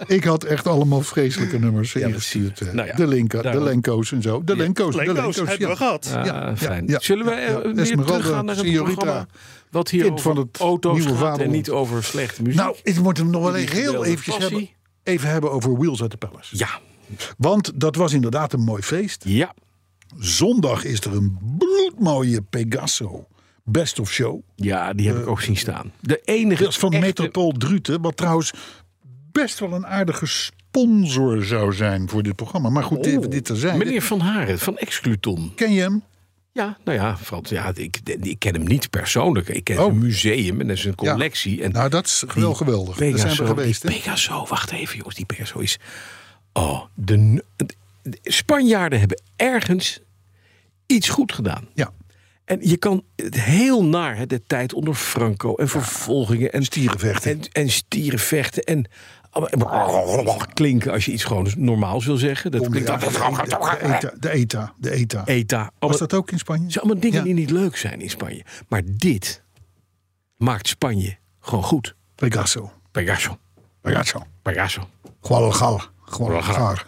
Speaker 3: Ik had echt allemaal vreselijke nummers ingestuurd. eh,
Speaker 2: Nou ja,
Speaker 3: de Linka, de
Speaker 2: daarom.
Speaker 3: Lenko's en zo. De Lenko's, de
Speaker 4: Leuk,
Speaker 3: Lenko's.
Speaker 4: hebben
Speaker 3: ja.
Speaker 4: we gehad.
Speaker 2: Ja,
Speaker 3: ja,
Speaker 2: fijn.
Speaker 3: ja,
Speaker 2: Zullen we
Speaker 3: ja,
Speaker 2: eh,
Speaker 3: ja.
Speaker 2: weer
Speaker 3: Esmeralda,
Speaker 2: teruggaan naar een
Speaker 3: Señorita,
Speaker 2: programma dat hier
Speaker 3: kind
Speaker 2: over
Speaker 3: van het
Speaker 2: auto's
Speaker 3: nieuwe
Speaker 2: gaat en
Speaker 3: vaderland.
Speaker 2: niet over slechte muziek?
Speaker 3: Nou, ik moet hem nog wel
Speaker 2: Die
Speaker 3: heel
Speaker 2: verbeelde
Speaker 3: eventjes
Speaker 2: passie.
Speaker 3: hebben, even hebben over Wheels at the Palace.
Speaker 2: ja.
Speaker 3: Want dat was inderdaad een mooi feest.
Speaker 2: Ja.
Speaker 3: Zondag is er een bloedmooie Pegaso Best of Show.
Speaker 2: Ja, die heb ik ook zien staan. De enige
Speaker 3: Dat is Eh, van
Speaker 2: echte-
Speaker 3: Metropool Druten. Wat trouwens best wel een aardige sponsor zou zijn voor dit programma. Maar goed, even dit te zijn.
Speaker 2: Oh, Meneer Van Haren van Excluton.
Speaker 3: Ken je hem?
Speaker 2: Ja, nou ja, valt, ja ik, ik ken hem niet persoonlijk. Ik ken
Speaker 3: Oh.
Speaker 2: zijn museum en zijn
Speaker 3: Ja.
Speaker 2: collectie. En
Speaker 3: Nou, dat is wel geweldig. Daar
Speaker 2: Pegaso,
Speaker 3: zijn we geweest,
Speaker 2: die
Speaker 3: hè?
Speaker 2: Pegaso, wacht even jongens, die Pegaso is... Oh, de, de Spanjaarden hebben ergens iets goed gedaan.
Speaker 3: Ja.
Speaker 2: En je kan het heel naar hè, de tijd onder Franco en vervolgingen en
Speaker 3: Stierenvechten.
Speaker 2: En, en stierenvechten en klinken als je iets gewoon normaals wil zeggen. Dat
Speaker 3: Om-
Speaker 2: klinkt
Speaker 3: ja,
Speaker 2: altijd
Speaker 3: de ETA. De ETA. De ETA.
Speaker 2: ETA.
Speaker 3: Was
Speaker 2: Allemaal-
Speaker 3: dat ook in Spanje?
Speaker 2: het zijn allemaal dingen
Speaker 3: Ja.
Speaker 2: die niet leuk zijn in Spanje. Maar dit maakt Spanje gewoon goed.
Speaker 3: Pegaso.
Speaker 2: Pegaso.
Speaker 3: Pegaso.
Speaker 2: Pegaso.
Speaker 3: Guadalajara. Guadalajara.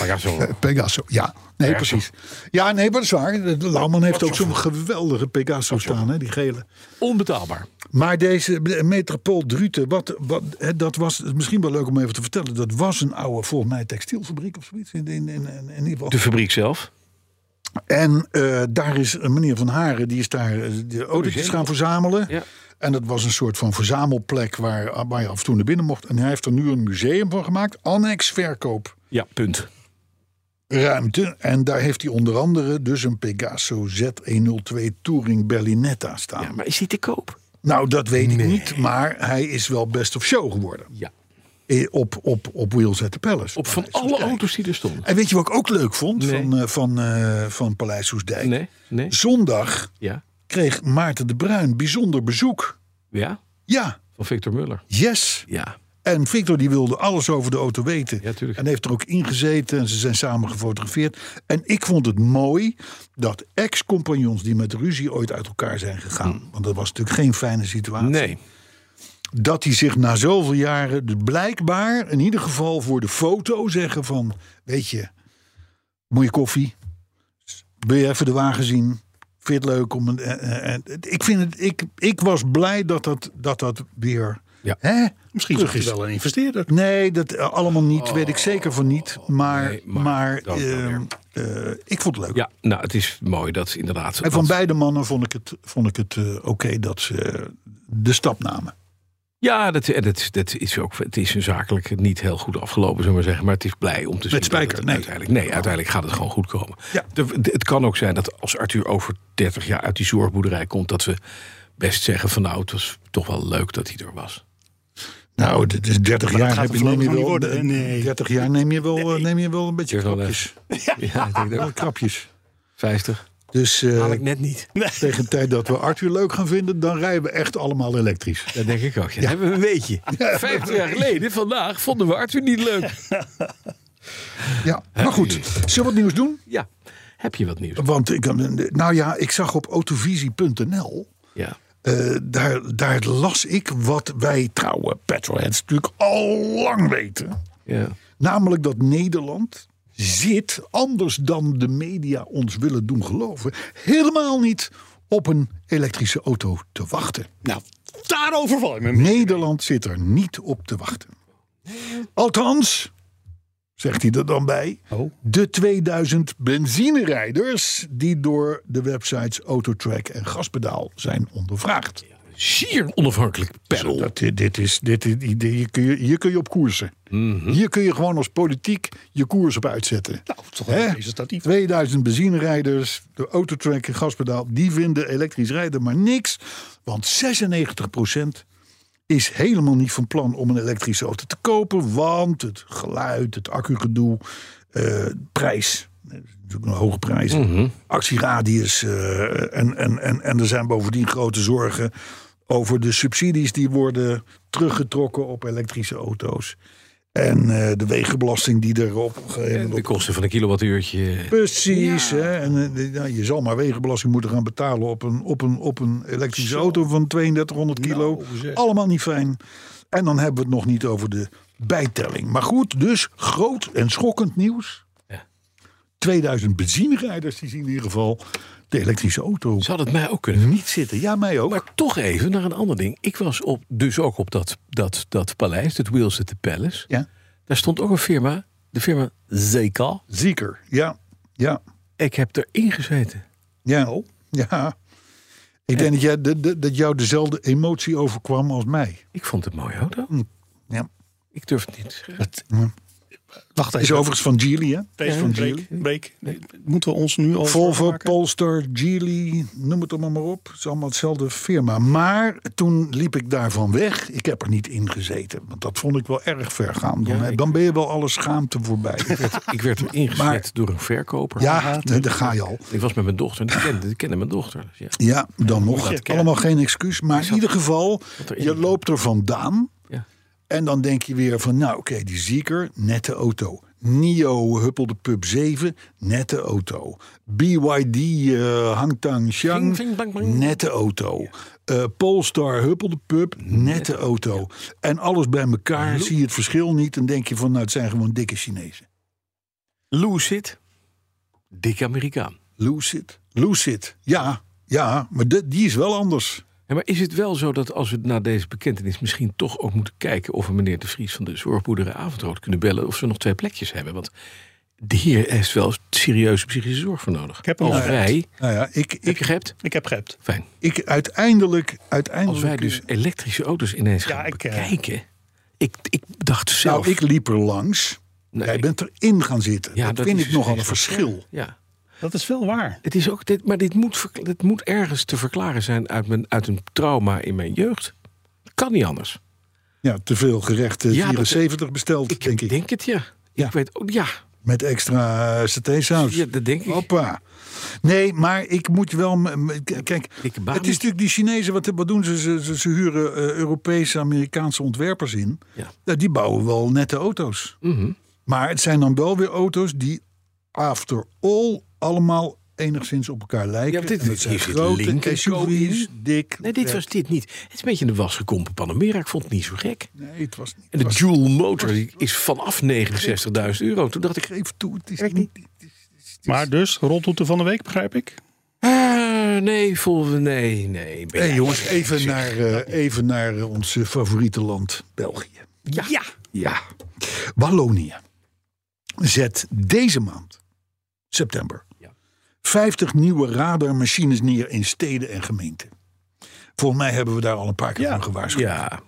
Speaker 2: Pegaso.
Speaker 3: Eh, Pegaso, ja. Nee,
Speaker 2: Pegaso.
Speaker 3: precies. Ja, nee, maar dat is waar. De Lauwman heeft ook zo'n geweldige Pegaso staan, hè, die gele.
Speaker 2: *laughs* Onbetaalbaar.
Speaker 3: Maar deze eh, metropool Druten, wat, wat, hè, dat was misschien wel leuk om even te vertellen. Dat was een oude, volgens mij, textielfabriek of zoiets. In, in, in, in ieder geval.
Speaker 2: De fabriek zelf.
Speaker 3: En eh, daar is een meneer Van Haren, die is daar eh, de autootjes gaan verzamelen.
Speaker 2: Oh, Ja.
Speaker 3: En dat was een soort van verzamelplek waar, waar je af en toe naar binnen mocht. En hij heeft er nu een museum van gemaakt. Annex verkoop.
Speaker 2: Ja, punt.
Speaker 3: ruimte. En daar heeft hij onder andere dus een Pegaso Z102 Touring Berlinetta staan.
Speaker 2: Ja, maar is die te koop?
Speaker 3: Nou, dat weet ik niet, maar hij is wel best of show geworden.
Speaker 2: Ja.
Speaker 3: Eh, Op, op, op Wheels at the Palace.
Speaker 2: Op van
Speaker 3: Paleis
Speaker 2: alle
Speaker 3: Soestdijk.
Speaker 2: auto's die er stonden.
Speaker 3: En weet je wat ik ook leuk vond
Speaker 2: Nee.
Speaker 3: van, eh, van, eh, van Paleis Soestdijk?
Speaker 2: Nee, nee.
Speaker 3: Zondag
Speaker 2: Ja.
Speaker 3: kreeg Maarten de Bruin bijzonder bezoek.
Speaker 2: Ja,
Speaker 3: Ja,
Speaker 2: van Victor Muller.
Speaker 3: yes.
Speaker 2: Ja.
Speaker 3: En Victor die wilde alles over de auto weten.
Speaker 2: Ja, tuurlijk.
Speaker 3: en heeft er ook ingezeten en ze zijn samen gefotografeerd. En ik vond het mooi dat ex-compagnons die met ruzie ooit uit elkaar zijn gegaan... want dat was natuurlijk geen fijne situatie...
Speaker 2: Hm. Nee.
Speaker 3: dat die zich na zoveel jaren de- blijkbaar in ieder geval voor de foto zeggen van... weet je, moet je koffie? Wil je even de wagen zien? Vind je het leuk om... Een, eh, eh, eh, ik, vind het, ik, ik was blij dat dat, dat, dat weer...
Speaker 2: Ja.
Speaker 3: Hè?
Speaker 4: Misschien
Speaker 3: terug
Speaker 4: zocht hij
Speaker 3: is.
Speaker 4: wel een investeerder.
Speaker 3: Nee, dat eh, allemaal niet. Weet ik zeker van niet. Maar,
Speaker 2: Oh. nee, maar
Speaker 3: maar,
Speaker 2: dan wel
Speaker 3: ehm, eh, ik vond het leuk.
Speaker 2: Ja, nou, het is mooi dat ze inderdaad...
Speaker 3: En van
Speaker 2: dat-
Speaker 3: beide mannen vond ik het, vond ik het eh, oké dat ze eh, de stap namen.
Speaker 2: Ja, dat, en dat, dat is ook, het is een zakelijk niet heel goed afgelopen, zullen we maar zeggen. Maar het is blij om te zien. dat
Speaker 3: Spijker,
Speaker 2: het
Speaker 3: nee.
Speaker 2: Uiteindelijk, nee, uiteindelijk gaat het gewoon goed komen.
Speaker 3: Ja.
Speaker 2: De- de- het kan ook zijn dat als Arthur over 30 jaar uit die zorgboerderij komt... dat we best zeggen van nou, het was toch wel leuk dat hij er was.
Speaker 3: Nou, dit is 30 jaar
Speaker 4: gaat
Speaker 3: heb
Speaker 4: er
Speaker 3: je, neem je
Speaker 4: voorlopig
Speaker 3: wel.
Speaker 4: nog niet worden, nee.
Speaker 3: 30 jaar neem je wel, eh, neem je wel een beetje
Speaker 2: Eerst wel
Speaker 3: krapjes.
Speaker 2: *laughs* Ja, ik denk dat
Speaker 3: Wel krapjes.
Speaker 2: 50.
Speaker 3: Dus eh,
Speaker 2: Haal ik net niet.
Speaker 3: *laughs* tegen de tijd dat we Arthur leuk gaan vinden, dan rijden we echt allemaal elektrisch.
Speaker 2: Dat denk ik ook. Ja. Dan hebben we een *laughs* weetje. 50 jaar geleden, vandaag, vonden we Arthur niet leuk.
Speaker 3: Ja, maar goed. Zullen we wat nieuws doen?
Speaker 2: Ja, heb je wat nieuws?
Speaker 3: Want ik, nou ja, ik zag op autovisie.nl
Speaker 2: Ja.
Speaker 3: Eh, daar, daar las ik wat wij trouwe petrolheads natuurlijk al lang weten.
Speaker 2: ja.
Speaker 3: Namelijk dat Nederland zit, anders dan de media ons willen doen geloven, helemaal niet op een elektrische auto te wachten.
Speaker 4: Nou, daarover val ik me.
Speaker 3: Nederland zit er niet op te wachten. Althans, zegt hij er dan bij,
Speaker 4: Oh.
Speaker 3: de 2000 benzinerijders die door de websites Autotrack en Gaspedaal zijn ondervraagd.
Speaker 2: Zeer onafhankelijk panel.
Speaker 3: Dat, dit- dit is, dit, is- die- die- hier, kun je, hier kun je op koersen. Hier kun je gewoon als politiek je koers op uitzetten.
Speaker 4: Nou, toch
Speaker 3: Hè?
Speaker 4: wel representatief.
Speaker 3: 2000 benzinerijders, de autotrack en gaspedaal... die vinden elektrisch rijden maar niks. Want 96% is helemaal niet van plan om een elektrische auto te kopen... want het geluid, het accugedoe, eh prijs... eh, Natuurlijk een hoge prijs. Actieradius. eh, en, en, en, en er zijn bovendien grote zorgen over de subsidies die worden teruggetrokken op elektrische auto's. En eh, de wegenbelasting die erop
Speaker 2: En
Speaker 3: gegeven
Speaker 2: de kosten van een kilowattuurtje. eh,
Speaker 3: Precies. Hè? En, eh, de- nou, je zal maar wegenbelasting moeten gaan betalen op een, op een, op een elektrische auto van 3200 kilo. Allemaal niet fijn. En dan hebben we het nog niet over de bijtelling. Maar goed, dus groot en schokkend nieuws. 2000 benzinerijders die zien in ieder geval de elektrische auto
Speaker 2: Zou dat mij ook kunnen
Speaker 3: niet zitten. Ja, mij ook.
Speaker 2: Maar toch even naar een ander ding. Ik was op, dus ook op dat, dat, dat paleis, het Wheels at the Palace.
Speaker 3: Ja.
Speaker 2: Daar stond ook een firma, de firma Zeka.
Speaker 3: Zeker. Ja, ja,
Speaker 2: Ik heb erin gezeten.
Speaker 3: ja. ja. Ik denk dat, jij, dat, dat- dat jou dezelfde emotie overkwam als mij.
Speaker 2: Ik vond het een mooie auto.
Speaker 3: Ja.
Speaker 2: Ik durf het niet. te zeggen.
Speaker 4: Wacht
Speaker 3: Is
Speaker 4: even.
Speaker 3: overigens van Geely, hè?
Speaker 4: Deze
Speaker 3: van
Speaker 4: Breek.
Speaker 3: Geely.
Speaker 4: Breek. Moeten we ons nu al
Speaker 3: Volvo,
Speaker 4: maken?
Speaker 3: Polster, Geely, noem het allemaal maar op. Het is allemaal hetzelfde firma. Maar toen liep ik daarvan weg. Ik heb er niet in gezeten. Want dat vond ik wel erg ver gaan. Dan, hè. dan ben je wel alle schaamte voorbij.
Speaker 2: Ik werd er ingezet
Speaker 3: Maar-
Speaker 2: door een verkoper.
Speaker 3: ja, nee, daar ga je al.
Speaker 2: Ik was met mijn dochter. Die kende, die kende mijn dochter. Dus ja.
Speaker 3: Ja, dan nog. Allemaal geen excuus. Maar in ieder geval,
Speaker 2: erin.
Speaker 3: je loopt er vandaan.
Speaker 2: Ja.
Speaker 3: En dan denk je weer van, nou oké, die zieker, nette auto. NIO huppelde pub 7, nette auto. BYD eh Hangtang
Speaker 2: Ving,
Speaker 3: Xiang,
Speaker 2: ving, bang, bang.
Speaker 3: nette auto. Eh, Polestar huppelde pub, nette auto. En alles bij elkaar, zie je het verschil niet. En denk je van, nou het zijn gewoon dikke Chinezen.
Speaker 2: Lucid. Dik Amerikaan.
Speaker 3: Lucid, Lucid, ja, ja, maar de- die is wel anders.
Speaker 2: Ja, maar is het wel zo dat als we na deze bekentenis misschien toch ook moeten kijken of we meneer De Vries van de Zorgboerderij Avondrood kunnen bellen of ze nog twee plekjes hebben? Want hier is wel serieuze psychische zorg voor nodig. Ik
Speaker 4: heb hem
Speaker 2: als
Speaker 4: al
Speaker 2: wij,
Speaker 3: Nou ja, ik,
Speaker 2: heb
Speaker 3: ik,
Speaker 2: je gehebt?
Speaker 4: Ik heb gehept.
Speaker 2: Fijn.
Speaker 3: ik uiteindelijk,
Speaker 2: Als
Speaker 3: uiteindelijk...
Speaker 2: wij dus elektrische auto's ineens
Speaker 4: Ja,
Speaker 2: gaan
Speaker 4: ik, eh,
Speaker 2: bekijken. Ik, ik dacht zelf.
Speaker 3: Nou, ik liep er langs.
Speaker 2: Nee,
Speaker 3: Jij bent erin gaan zitten.
Speaker 2: Ja,
Speaker 3: dat,
Speaker 2: dat
Speaker 3: vind
Speaker 2: is
Speaker 3: ik
Speaker 2: dus
Speaker 3: nogal een
Speaker 2: echt-
Speaker 3: verschil.
Speaker 2: ja.
Speaker 4: Dat is wel waar.
Speaker 2: Het is ook, dit, maar dit moet, verkla- dit moet ergens te verklaren zijn uit, mijn, uit een trauma in mijn jeugd. Kan niet anders.
Speaker 3: Ja, te veel gerechten
Speaker 2: Ja, dat-
Speaker 3: 74 besteld,
Speaker 2: Ik
Speaker 3: denk
Speaker 2: denk,
Speaker 3: ik.
Speaker 2: het, ja.
Speaker 3: Ja.
Speaker 2: Ik weet ook, ja.
Speaker 3: Met extra eh, satésaus.
Speaker 2: ja, dat denk ik.
Speaker 3: Hoppa. Nee, maar ik moet wel... m- m- k- Kijk,
Speaker 2: Dikke
Speaker 3: het
Speaker 2: baan.
Speaker 3: is natuurlijk die Chinezen, wat, wat doen ze? Ze, ze- ze huren eh, Europese, Amerikaanse ontwerpers in.
Speaker 2: Ja.
Speaker 3: Nou, die bouwen wel nette auto's.
Speaker 2: Mhm.
Speaker 3: Maar het zijn dan wel weer auto's die after all allemaal enigszins op elkaar lijken.
Speaker 2: Ja, dit-
Speaker 3: En dat
Speaker 2: hier
Speaker 3: zijn
Speaker 2: zit
Speaker 3: grote
Speaker 2: Lincoln Co.
Speaker 3: SUV's,
Speaker 2: in.
Speaker 3: dik.
Speaker 2: Nee, dit was dit niet. Het is een beetje in de was gekompen Panamera. Ik vond het niet zo gek.
Speaker 3: Nee, het was niet.
Speaker 2: En de
Speaker 3: was-
Speaker 2: Dual Motor die is vanaf 69.000 euro. Toen dacht ik,
Speaker 3: geef toe, het is niet.
Speaker 4: Maar dus, roltoete van de week, begrijp ik.
Speaker 2: eh, nee, vol, nee, nee. ben
Speaker 3: Hey,
Speaker 2: jij-
Speaker 3: jongens, even naar, eh, even naar eh, ons eh, favoriete land, België.
Speaker 4: Ja.
Speaker 3: Ja. Wallonië zet deze maand, september, 50 nieuwe radarmachines neer in steden en gemeenten. Volgens mij hebben we daar al een paar keer van gewaarschuwd.
Speaker 2: Ja,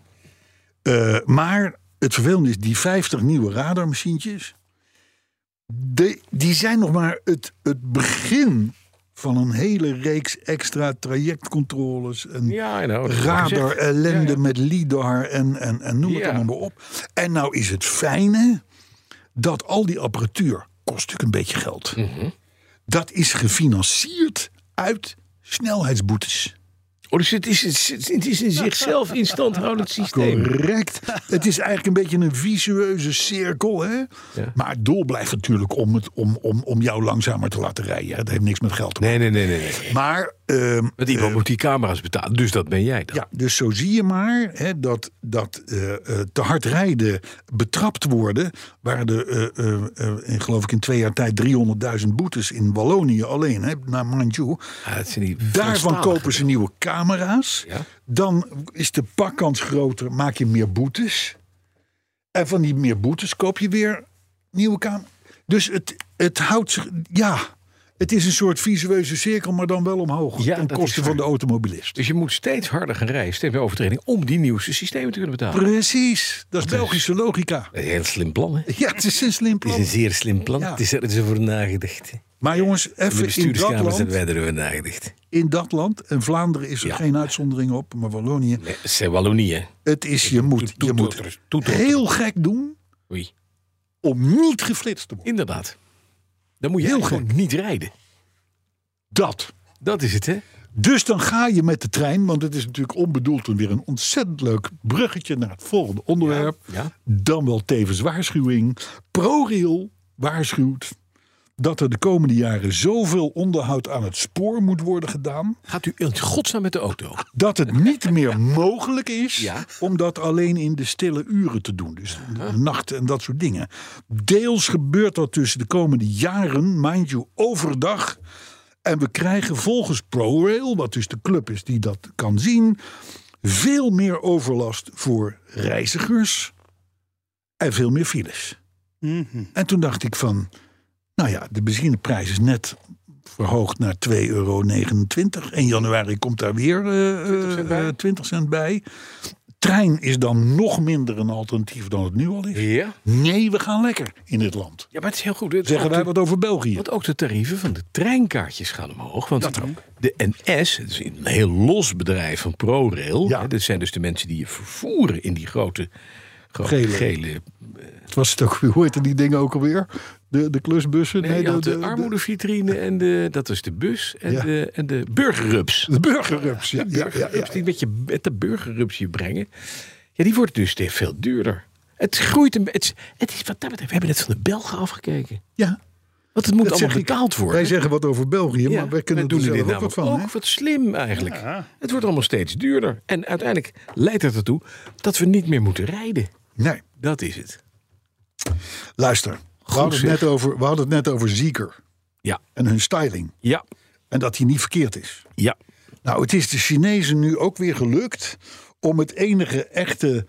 Speaker 3: Eh, maar het vervelende is, die 50 nieuwe radarmachientjes... De, die zijn nog maar het, het begin van een hele reeks extra trajectcontroles... en
Speaker 2: ja nou, dat heb ik
Speaker 3: radar,
Speaker 2: gezegd.
Speaker 3: ellende
Speaker 2: Ja, ja.
Speaker 3: met lidar en, en, en noem het
Speaker 2: Ja.
Speaker 3: allemaal maar op. En nou is het fijne dat al die apparatuur kost natuurlijk een beetje geld.
Speaker 2: Mhm.
Speaker 3: Dat is gefinancierd uit snelheidsboetes.
Speaker 2: Oh, dus het is, het is- het is in zichzelf in stand houdend systeem. *laughs*
Speaker 3: Correct. het is eigenlijk een beetje een vicieuze cirkel. Hè? Maar het doel blijft natuurlijk om, het, om, om, om jou langzamer te laten rijden. Het heeft niks met geld te maken.
Speaker 2: Nee, nee, nee, nee. nee.
Speaker 3: Maar ehm,
Speaker 2: Want iemand moet die camera's betalen, dus dat ben jij dan.
Speaker 3: Ja, dus zo zie je maar hè, dat, dat eh, eh, te hard rijden, betrapt worden. waren er, eh, eh, eh, in, geloof ik, in twee jaar tijd 300.000 boetes in Wallonië alleen, hè, naar mind you.
Speaker 2: Ah, het zijn die
Speaker 3: Daarvan
Speaker 2: Franstaligen.
Speaker 3: kopen ze nieuwe camera's.
Speaker 2: Ja.
Speaker 3: Dan is de pakkans groter, maak je meer boetes. En van die meer boetes koop je weer nieuwe camera's. Dus het, het houdt zich. Ja, het is een soort visueuze cirkel, maar dan wel omhoog.
Speaker 2: Ja,
Speaker 3: ten
Speaker 2: dat
Speaker 3: koste
Speaker 2: is
Speaker 3: van de
Speaker 2: waar.
Speaker 3: automobilist.
Speaker 2: Dus je moet steeds harder gaan rijden, steeds meer overtreding, om die nieuwste systemen te kunnen betalen.
Speaker 3: Precies, dat
Speaker 2: Dus-
Speaker 3: is Belgische logica.
Speaker 2: Een heel slim plan, hè?
Speaker 3: Ja, het is een slim
Speaker 2: Het is
Speaker 3: plan.
Speaker 2: een zeer slim plan.
Speaker 3: Ja.
Speaker 2: Het is er is over nagedacht. hè.
Speaker 3: Maar jongens,
Speaker 2: In de
Speaker 3: even in dat,
Speaker 2: bestuurskamer zijn
Speaker 3: land,
Speaker 2: wij erover nagedacht.
Speaker 3: in dat land, en Vlaanderen is er
Speaker 2: Ja.
Speaker 3: geen uitzondering op, maar Wallonië.
Speaker 2: Nee, het zijn Wallonie, hè?
Speaker 3: Het is, je moet, je moet
Speaker 2: Toetoters, toetoters.
Speaker 3: heel gek doen
Speaker 2: Oei.
Speaker 3: om niet geflitst te worden.
Speaker 2: Inderdaad. Dan moet je
Speaker 3: Heel
Speaker 2: gewoon niet rijden.
Speaker 3: Dat.
Speaker 2: Dat is het, hè?
Speaker 3: Dus dan ga je met de trein, want het is natuurlijk onbedoeld en weer een ontzettend leuk bruggetje naar het volgende onderwerp.
Speaker 2: Ja.
Speaker 3: Dan wel tevens waarschuwing. ProRail waarschuwt dat er de komende jaren zoveel onderhoud aan het spoor moet worden gedaan.
Speaker 2: Gaat u in godsnaam met de auto?
Speaker 3: dat het niet
Speaker 2: *laughs*
Speaker 3: meer mogelijk is
Speaker 2: Ja.
Speaker 3: om dat alleen in de stille uren te doen. Dus nachten en dat soort dingen. Deels gebeurt dat tussen de komende jaren, mind you, overdag. En we krijgen volgens ProRail, wat dus de club is die dat kan zien, veel meer overlast voor reizigers en veel meer files.
Speaker 2: Mhm.
Speaker 3: En toen dacht ik van, nou ja, de benzineprijs is net verhoogd naar 2,29 euro. 1 januari komt daar weer eh, eh, 20 cent bij. trein is dan nog minder een alternatief dan het nu al is.
Speaker 2: Ja.
Speaker 3: Nee, we gaan lekker in dit land.
Speaker 2: Ja, maar het is heel goed. Het-
Speaker 3: Zeggen
Speaker 2: ook
Speaker 3: wij
Speaker 2: de-
Speaker 3: wat over België.
Speaker 2: Want ook de tarieven van de treinkaartjes gaan omhoog. Want de NS, het is een heel los bedrijf van ProRail.
Speaker 3: Ja.
Speaker 2: hè, Dat zijn dus de mensen die je vervoeren in die grote, grote
Speaker 3: Gele.
Speaker 2: gele.
Speaker 3: Het was het ook, *laughs* hoe heette die dingen ook alweer? De, de klusbussen?
Speaker 2: Nee, je
Speaker 3: de,
Speaker 2: had de, armoedevitrine en de, dat is de bus. En,
Speaker 3: Ja.
Speaker 2: de, en de burgerrups.
Speaker 3: de burgerrups. Ja, ja, ja, ja.
Speaker 2: burgerrups die met, je, met de burgerrups je brengen. Ja, die wordt dus steeds veel duurder. Het groeit een beetje. Het is wat dat betreft. We hebben het van de Belgen afgekeken.
Speaker 3: Ja,
Speaker 2: Want het moet
Speaker 3: Dat
Speaker 2: allemaal
Speaker 3: zeg ik.
Speaker 2: betaald worden.
Speaker 3: Wij zeggen wat over België,
Speaker 2: Ja,
Speaker 3: maar wij kunnen
Speaker 2: wij
Speaker 3: er
Speaker 2: doen
Speaker 3: zelf
Speaker 2: er
Speaker 3: ook
Speaker 2: dit
Speaker 3: wat
Speaker 2: namelijk
Speaker 3: van. hè?
Speaker 2: ook wat slim eigenlijk. Het wordt allemaal steeds duurder. En uiteindelijk leidt dat ertoe dat we niet meer moeten rijden.
Speaker 3: Nee,
Speaker 2: Dat is het.
Speaker 3: luister. We hadden, het
Speaker 2: zeg.
Speaker 3: net over, we hadden het net over Zieker
Speaker 2: Ja.
Speaker 3: en hun styling.
Speaker 2: Ja.
Speaker 3: En dat die niet verkeerd is.
Speaker 2: Ja.
Speaker 3: Nou, het is de Chinezen nu ook weer gelukt om het enige echte,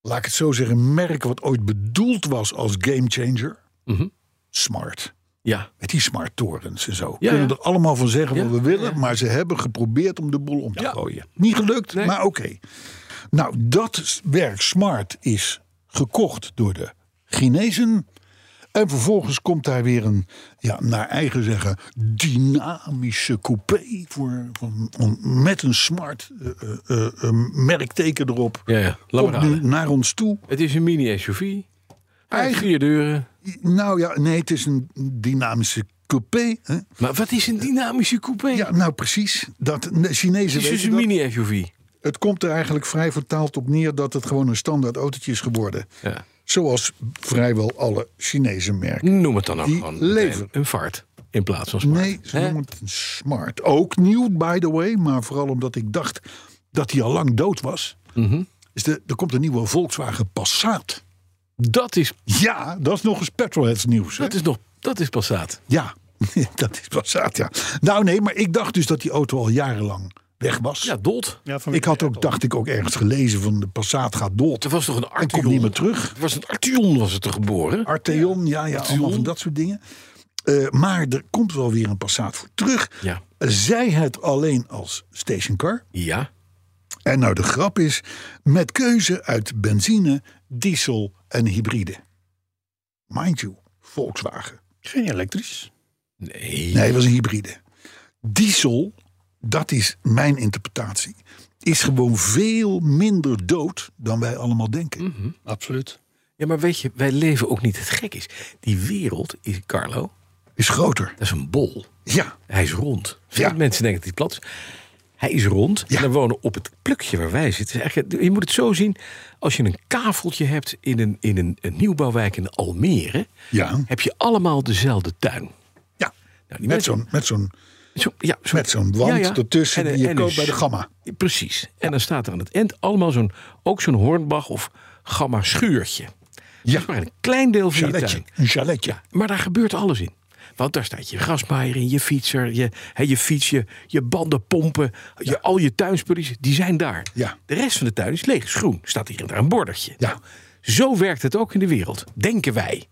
Speaker 3: laat ik het zo zeggen, merk wat ooit bedoeld was als gamechanger.
Speaker 2: Mhm.
Speaker 3: Smart.
Speaker 2: Ja.
Speaker 3: Met die smart torens en zo. We
Speaker 2: Ja,
Speaker 3: kunnen
Speaker 2: ja.
Speaker 3: er allemaal van zeggen wat
Speaker 2: Ja,
Speaker 3: we willen.
Speaker 2: ja, ja.
Speaker 3: Maar ze hebben geprobeerd om de boel om te
Speaker 2: Ja.
Speaker 3: gooien. Niet gelukt,
Speaker 2: Nee.
Speaker 3: maar oké. Nou, dat s- werk smart is gekocht door de Chinezen. En vervolgens komt daar weer een, ja, naar eigen zeggen, dynamische coupé. Voor, van- om- met een smart eh, eh, eh, merkteken erop.
Speaker 2: Ja, ja. Laat
Speaker 3: Komt
Speaker 2: maar
Speaker 3: nu
Speaker 2: raden.
Speaker 3: naar ons toe.
Speaker 2: Het is een mini-SUV. Hij heeft
Speaker 3: Eigen-
Speaker 2: vier deuren.
Speaker 3: Nou ja, nee, het is een dynamische coupé. Hè?
Speaker 2: Maar wat is een dynamische coupé?
Speaker 3: Ja, nou precies. Dat, de Chinezen
Speaker 2: het is dus
Speaker 3: weten
Speaker 2: een
Speaker 3: dat.
Speaker 2: mini-SUV.
Speaker 3: Het komt er eigenlijk vrij vertaald op neer dat het gewoon een standaard autootje is geworden.
Speaker 2: Ja.
Speaker 3: Zoals vrijwel alle Chinese merken.
Speaker 2: Noem het dan ook
Speaker 3: Die
Speaker 2: gewoon meteen
Speaker 3: leveren.
Speaker 2: een vaart. In plaats van smart.
Speaker 3: Nee, ze
Speaker 2: Hè?
Speaker 3: noemen het een smart. Ook nieuw, by the way. Maar vooral omdat ik dacht dat hij al lang dood was.
Speaker 2: Mhm.
Speaker 3: Dus de, er komt een nieuwe Volkswagen Passat.
Speaker 2: Dat is,
Speaker 3: Ja, dat is nog eens petrolheads nieuws. hè?
Speaker 2: dat is nog... Dat is Passaat.
Speaker 3: Ja, *laughs* dat is Passat, ja. Nou nee, maar ik dacht dus dat die auto al jarenlang weg was.
Speaker 2: Ja, dood.
Speaker 4: Ja, vanwege
Speaker 3: ik had
Speaker 4: de
Speaker 3: ook,
Speaker 4: Apple.
Speaker 3: dacht ik, ook ergens gelezen van de Passat gaat dood.
Speaker 2: Er was toch een
Speaker 3: En
Speaker 2: Arteon?
Speaker 3: komt niet meer terug.
Speaker 2: Er was een Arteon was het er geboren.
Speaker 3: Arteon, ja, ja, allemaal
Speaker 2: Arteon.
Speaker 3: van dat soort dingen. Eh, maar er komt wel weer een Passat voor terug. Eh,
Speaker 2: Ja.
Speaker 3: Zij het alleen als stationcar.
Speaker 2: Ja.
Speaker 3: En nou de grap is, met keuze uit benzine, diesel en hybride. Mind you, Volkswagen.
Speaker 4: Geen elektrisch.
Speaker 2: Nee.
Speaker 3: Nee, het was een hybride. Diesel, dat is mijn interpretatie, is gewoon veel minder dood dan wij allemaal denken.
Speaker 2: Mhm.
Speaker 4: Absoluut.
Speaker 2: Ja, maar weet je, wij leven ook niet. Het gek is, die wereld is, Carlo,
Speaker 3: Is groter.
Speaker 2: dat is een bol.
Speaker 3: Ja,
Speaker 2: Hij is rond. Veel
Speaker 3: Ja.
Speaker 2: mensen denken dat hij plat is. Hij is rond
Speaker 3: Ja.
Speaker 2: en dan wonen op het plukje waar wij zitten. Het is eigenlijk- Je moet het zo zien, als je een kaveltje hebt in een, in een, een nieuwbouwwijk in Almere...
Speaker 3: Ja.
Speaker 2: heb je allemaal dezelfde tuin.
Speaker 3: ja.
Speaker 2: Nou, die
Speaker 3: Met
Speaker 2: mensen-
Speaker 3: zo'n met zo'n
Speaker 2: zo- ja, zo-
Speaker 3: met zo'n wand ertussen
Speaker 2: En-
Speaker 3: die je
Speaker 2: en
Speaker 3: koopt
Speaker 2: een
Speaker 3: bij de
Speaker 2: s-
Speaker 3: Gamma.
Speaker 2: Precies. En dan staat er aan het eind allemaal zo'n, ook zo'n Hornbach of Gamma schuurtje. Ja. Dat is maar een klein deel van je
Speaker 3: chaletje.
Speaker 2: tuin.
Speaker 3: Een chaletje.
Speaker 2: Maar daar gebeurt alles in. Want daar staat je grasmaaier in, je fietser, je, hè, je fiets, je, je bandenpompen, je, al je tuinspulletjes, die zijn daar.
Speaker 3: Ja.
Speaker 2: De rest van de tuin is leeg, is groen. Staat hier en daar een bordertje.
Speaker 3: Ja.
Speaker 2: Nou, zo werkt het ook in de wereld, denken wij.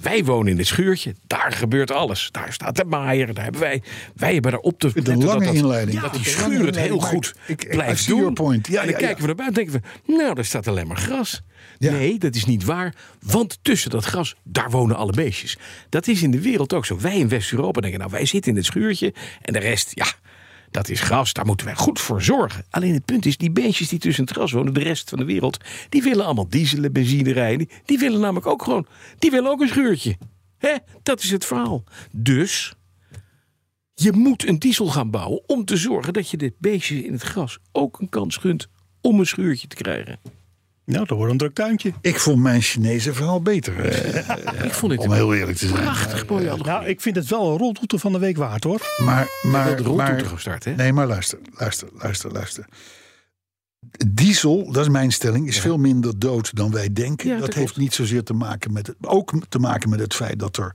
Speaker 2: Wij wonen in het schuurtje, daar gebeurt alles. Daar staat de maaier, daar hebben wij. Wij hebben daar op te
Speaker 3: vind het een
Speaker 2: letten
Speaker 3: lange
Speaker 2: dat, dat-
Speaker 3: inleiding.
Speaker 2: Dat die
Speaker 3: Ik vind het een
Speaker 2: schuur
Speaker 3: lange
Speaker 2: het heel
Speaker 3: inleiding,
Speaker 2: goed
Speaker 3: maar ik- ik- I
Speaker 2: blijft
Speaker 3: see
Speaker 2: doen.
Speaker 3: your point. Ja,
Speaker 2: en dan
Speaker 3: ja, ja.
Speaker 2: kijken we naar buiten en denken we, nou, daar staat alleen maar gras.
Speaker 3: Ja.
Speaker 2: Nee, dat is niet waar. Want tussen dat gras, daar wonen alle beestjes. Dat is in de wereld ook zo. Wij in West-Europa denken, nou, wij zitten in het schuurtje. En de rest, ja, dat is gras. Daar moeten wij goed voor zorgen. Alleen het punt is, die beestjes die tussen het gras wonen, de rest van de wereld, die willen allemaal dieselen, benzine rijden. Die willen namelijk ook gewoon, die willen ook een schuurtje. Hè? Dat is het verhaal. Dus, je moet een diesel gaan bouwen om te zorgen dat je de beestjes in het gras ook een kans gunt om een schuurtje te krijgen.
Speaker 4: Nou, dat wordt een druk tuintje.
Speaker 3: Ik vond mijn Chinese verhaal beter. eh,
Speaker 2: Ik vond dit
Speaker 3: om heel eerlijk te zijn.
Speaker 2: prachtig mooi algemeen.
Speaker 4: Nou, ik vind het wel een roltoeter van de week waard, hoor.
Speaker 3: Maar, maar,
Speaker 2: wilde roltoeter
Speaker 3: maar-
Speaker 2: gaan starten, hè?
Speaker 3: Nee, maar luister, luister, luister, luister. Diesel, dat is mijn stelling, is veel minder dood dan wij denken.
Speaker 2: Ja,
Speaker 3: dat
Speaker 2: dat
Speaker 3: heeft
Speaker 2: klopt.
Speaker 3: niet zozeer te maken met het, ook te maken met het feit dat er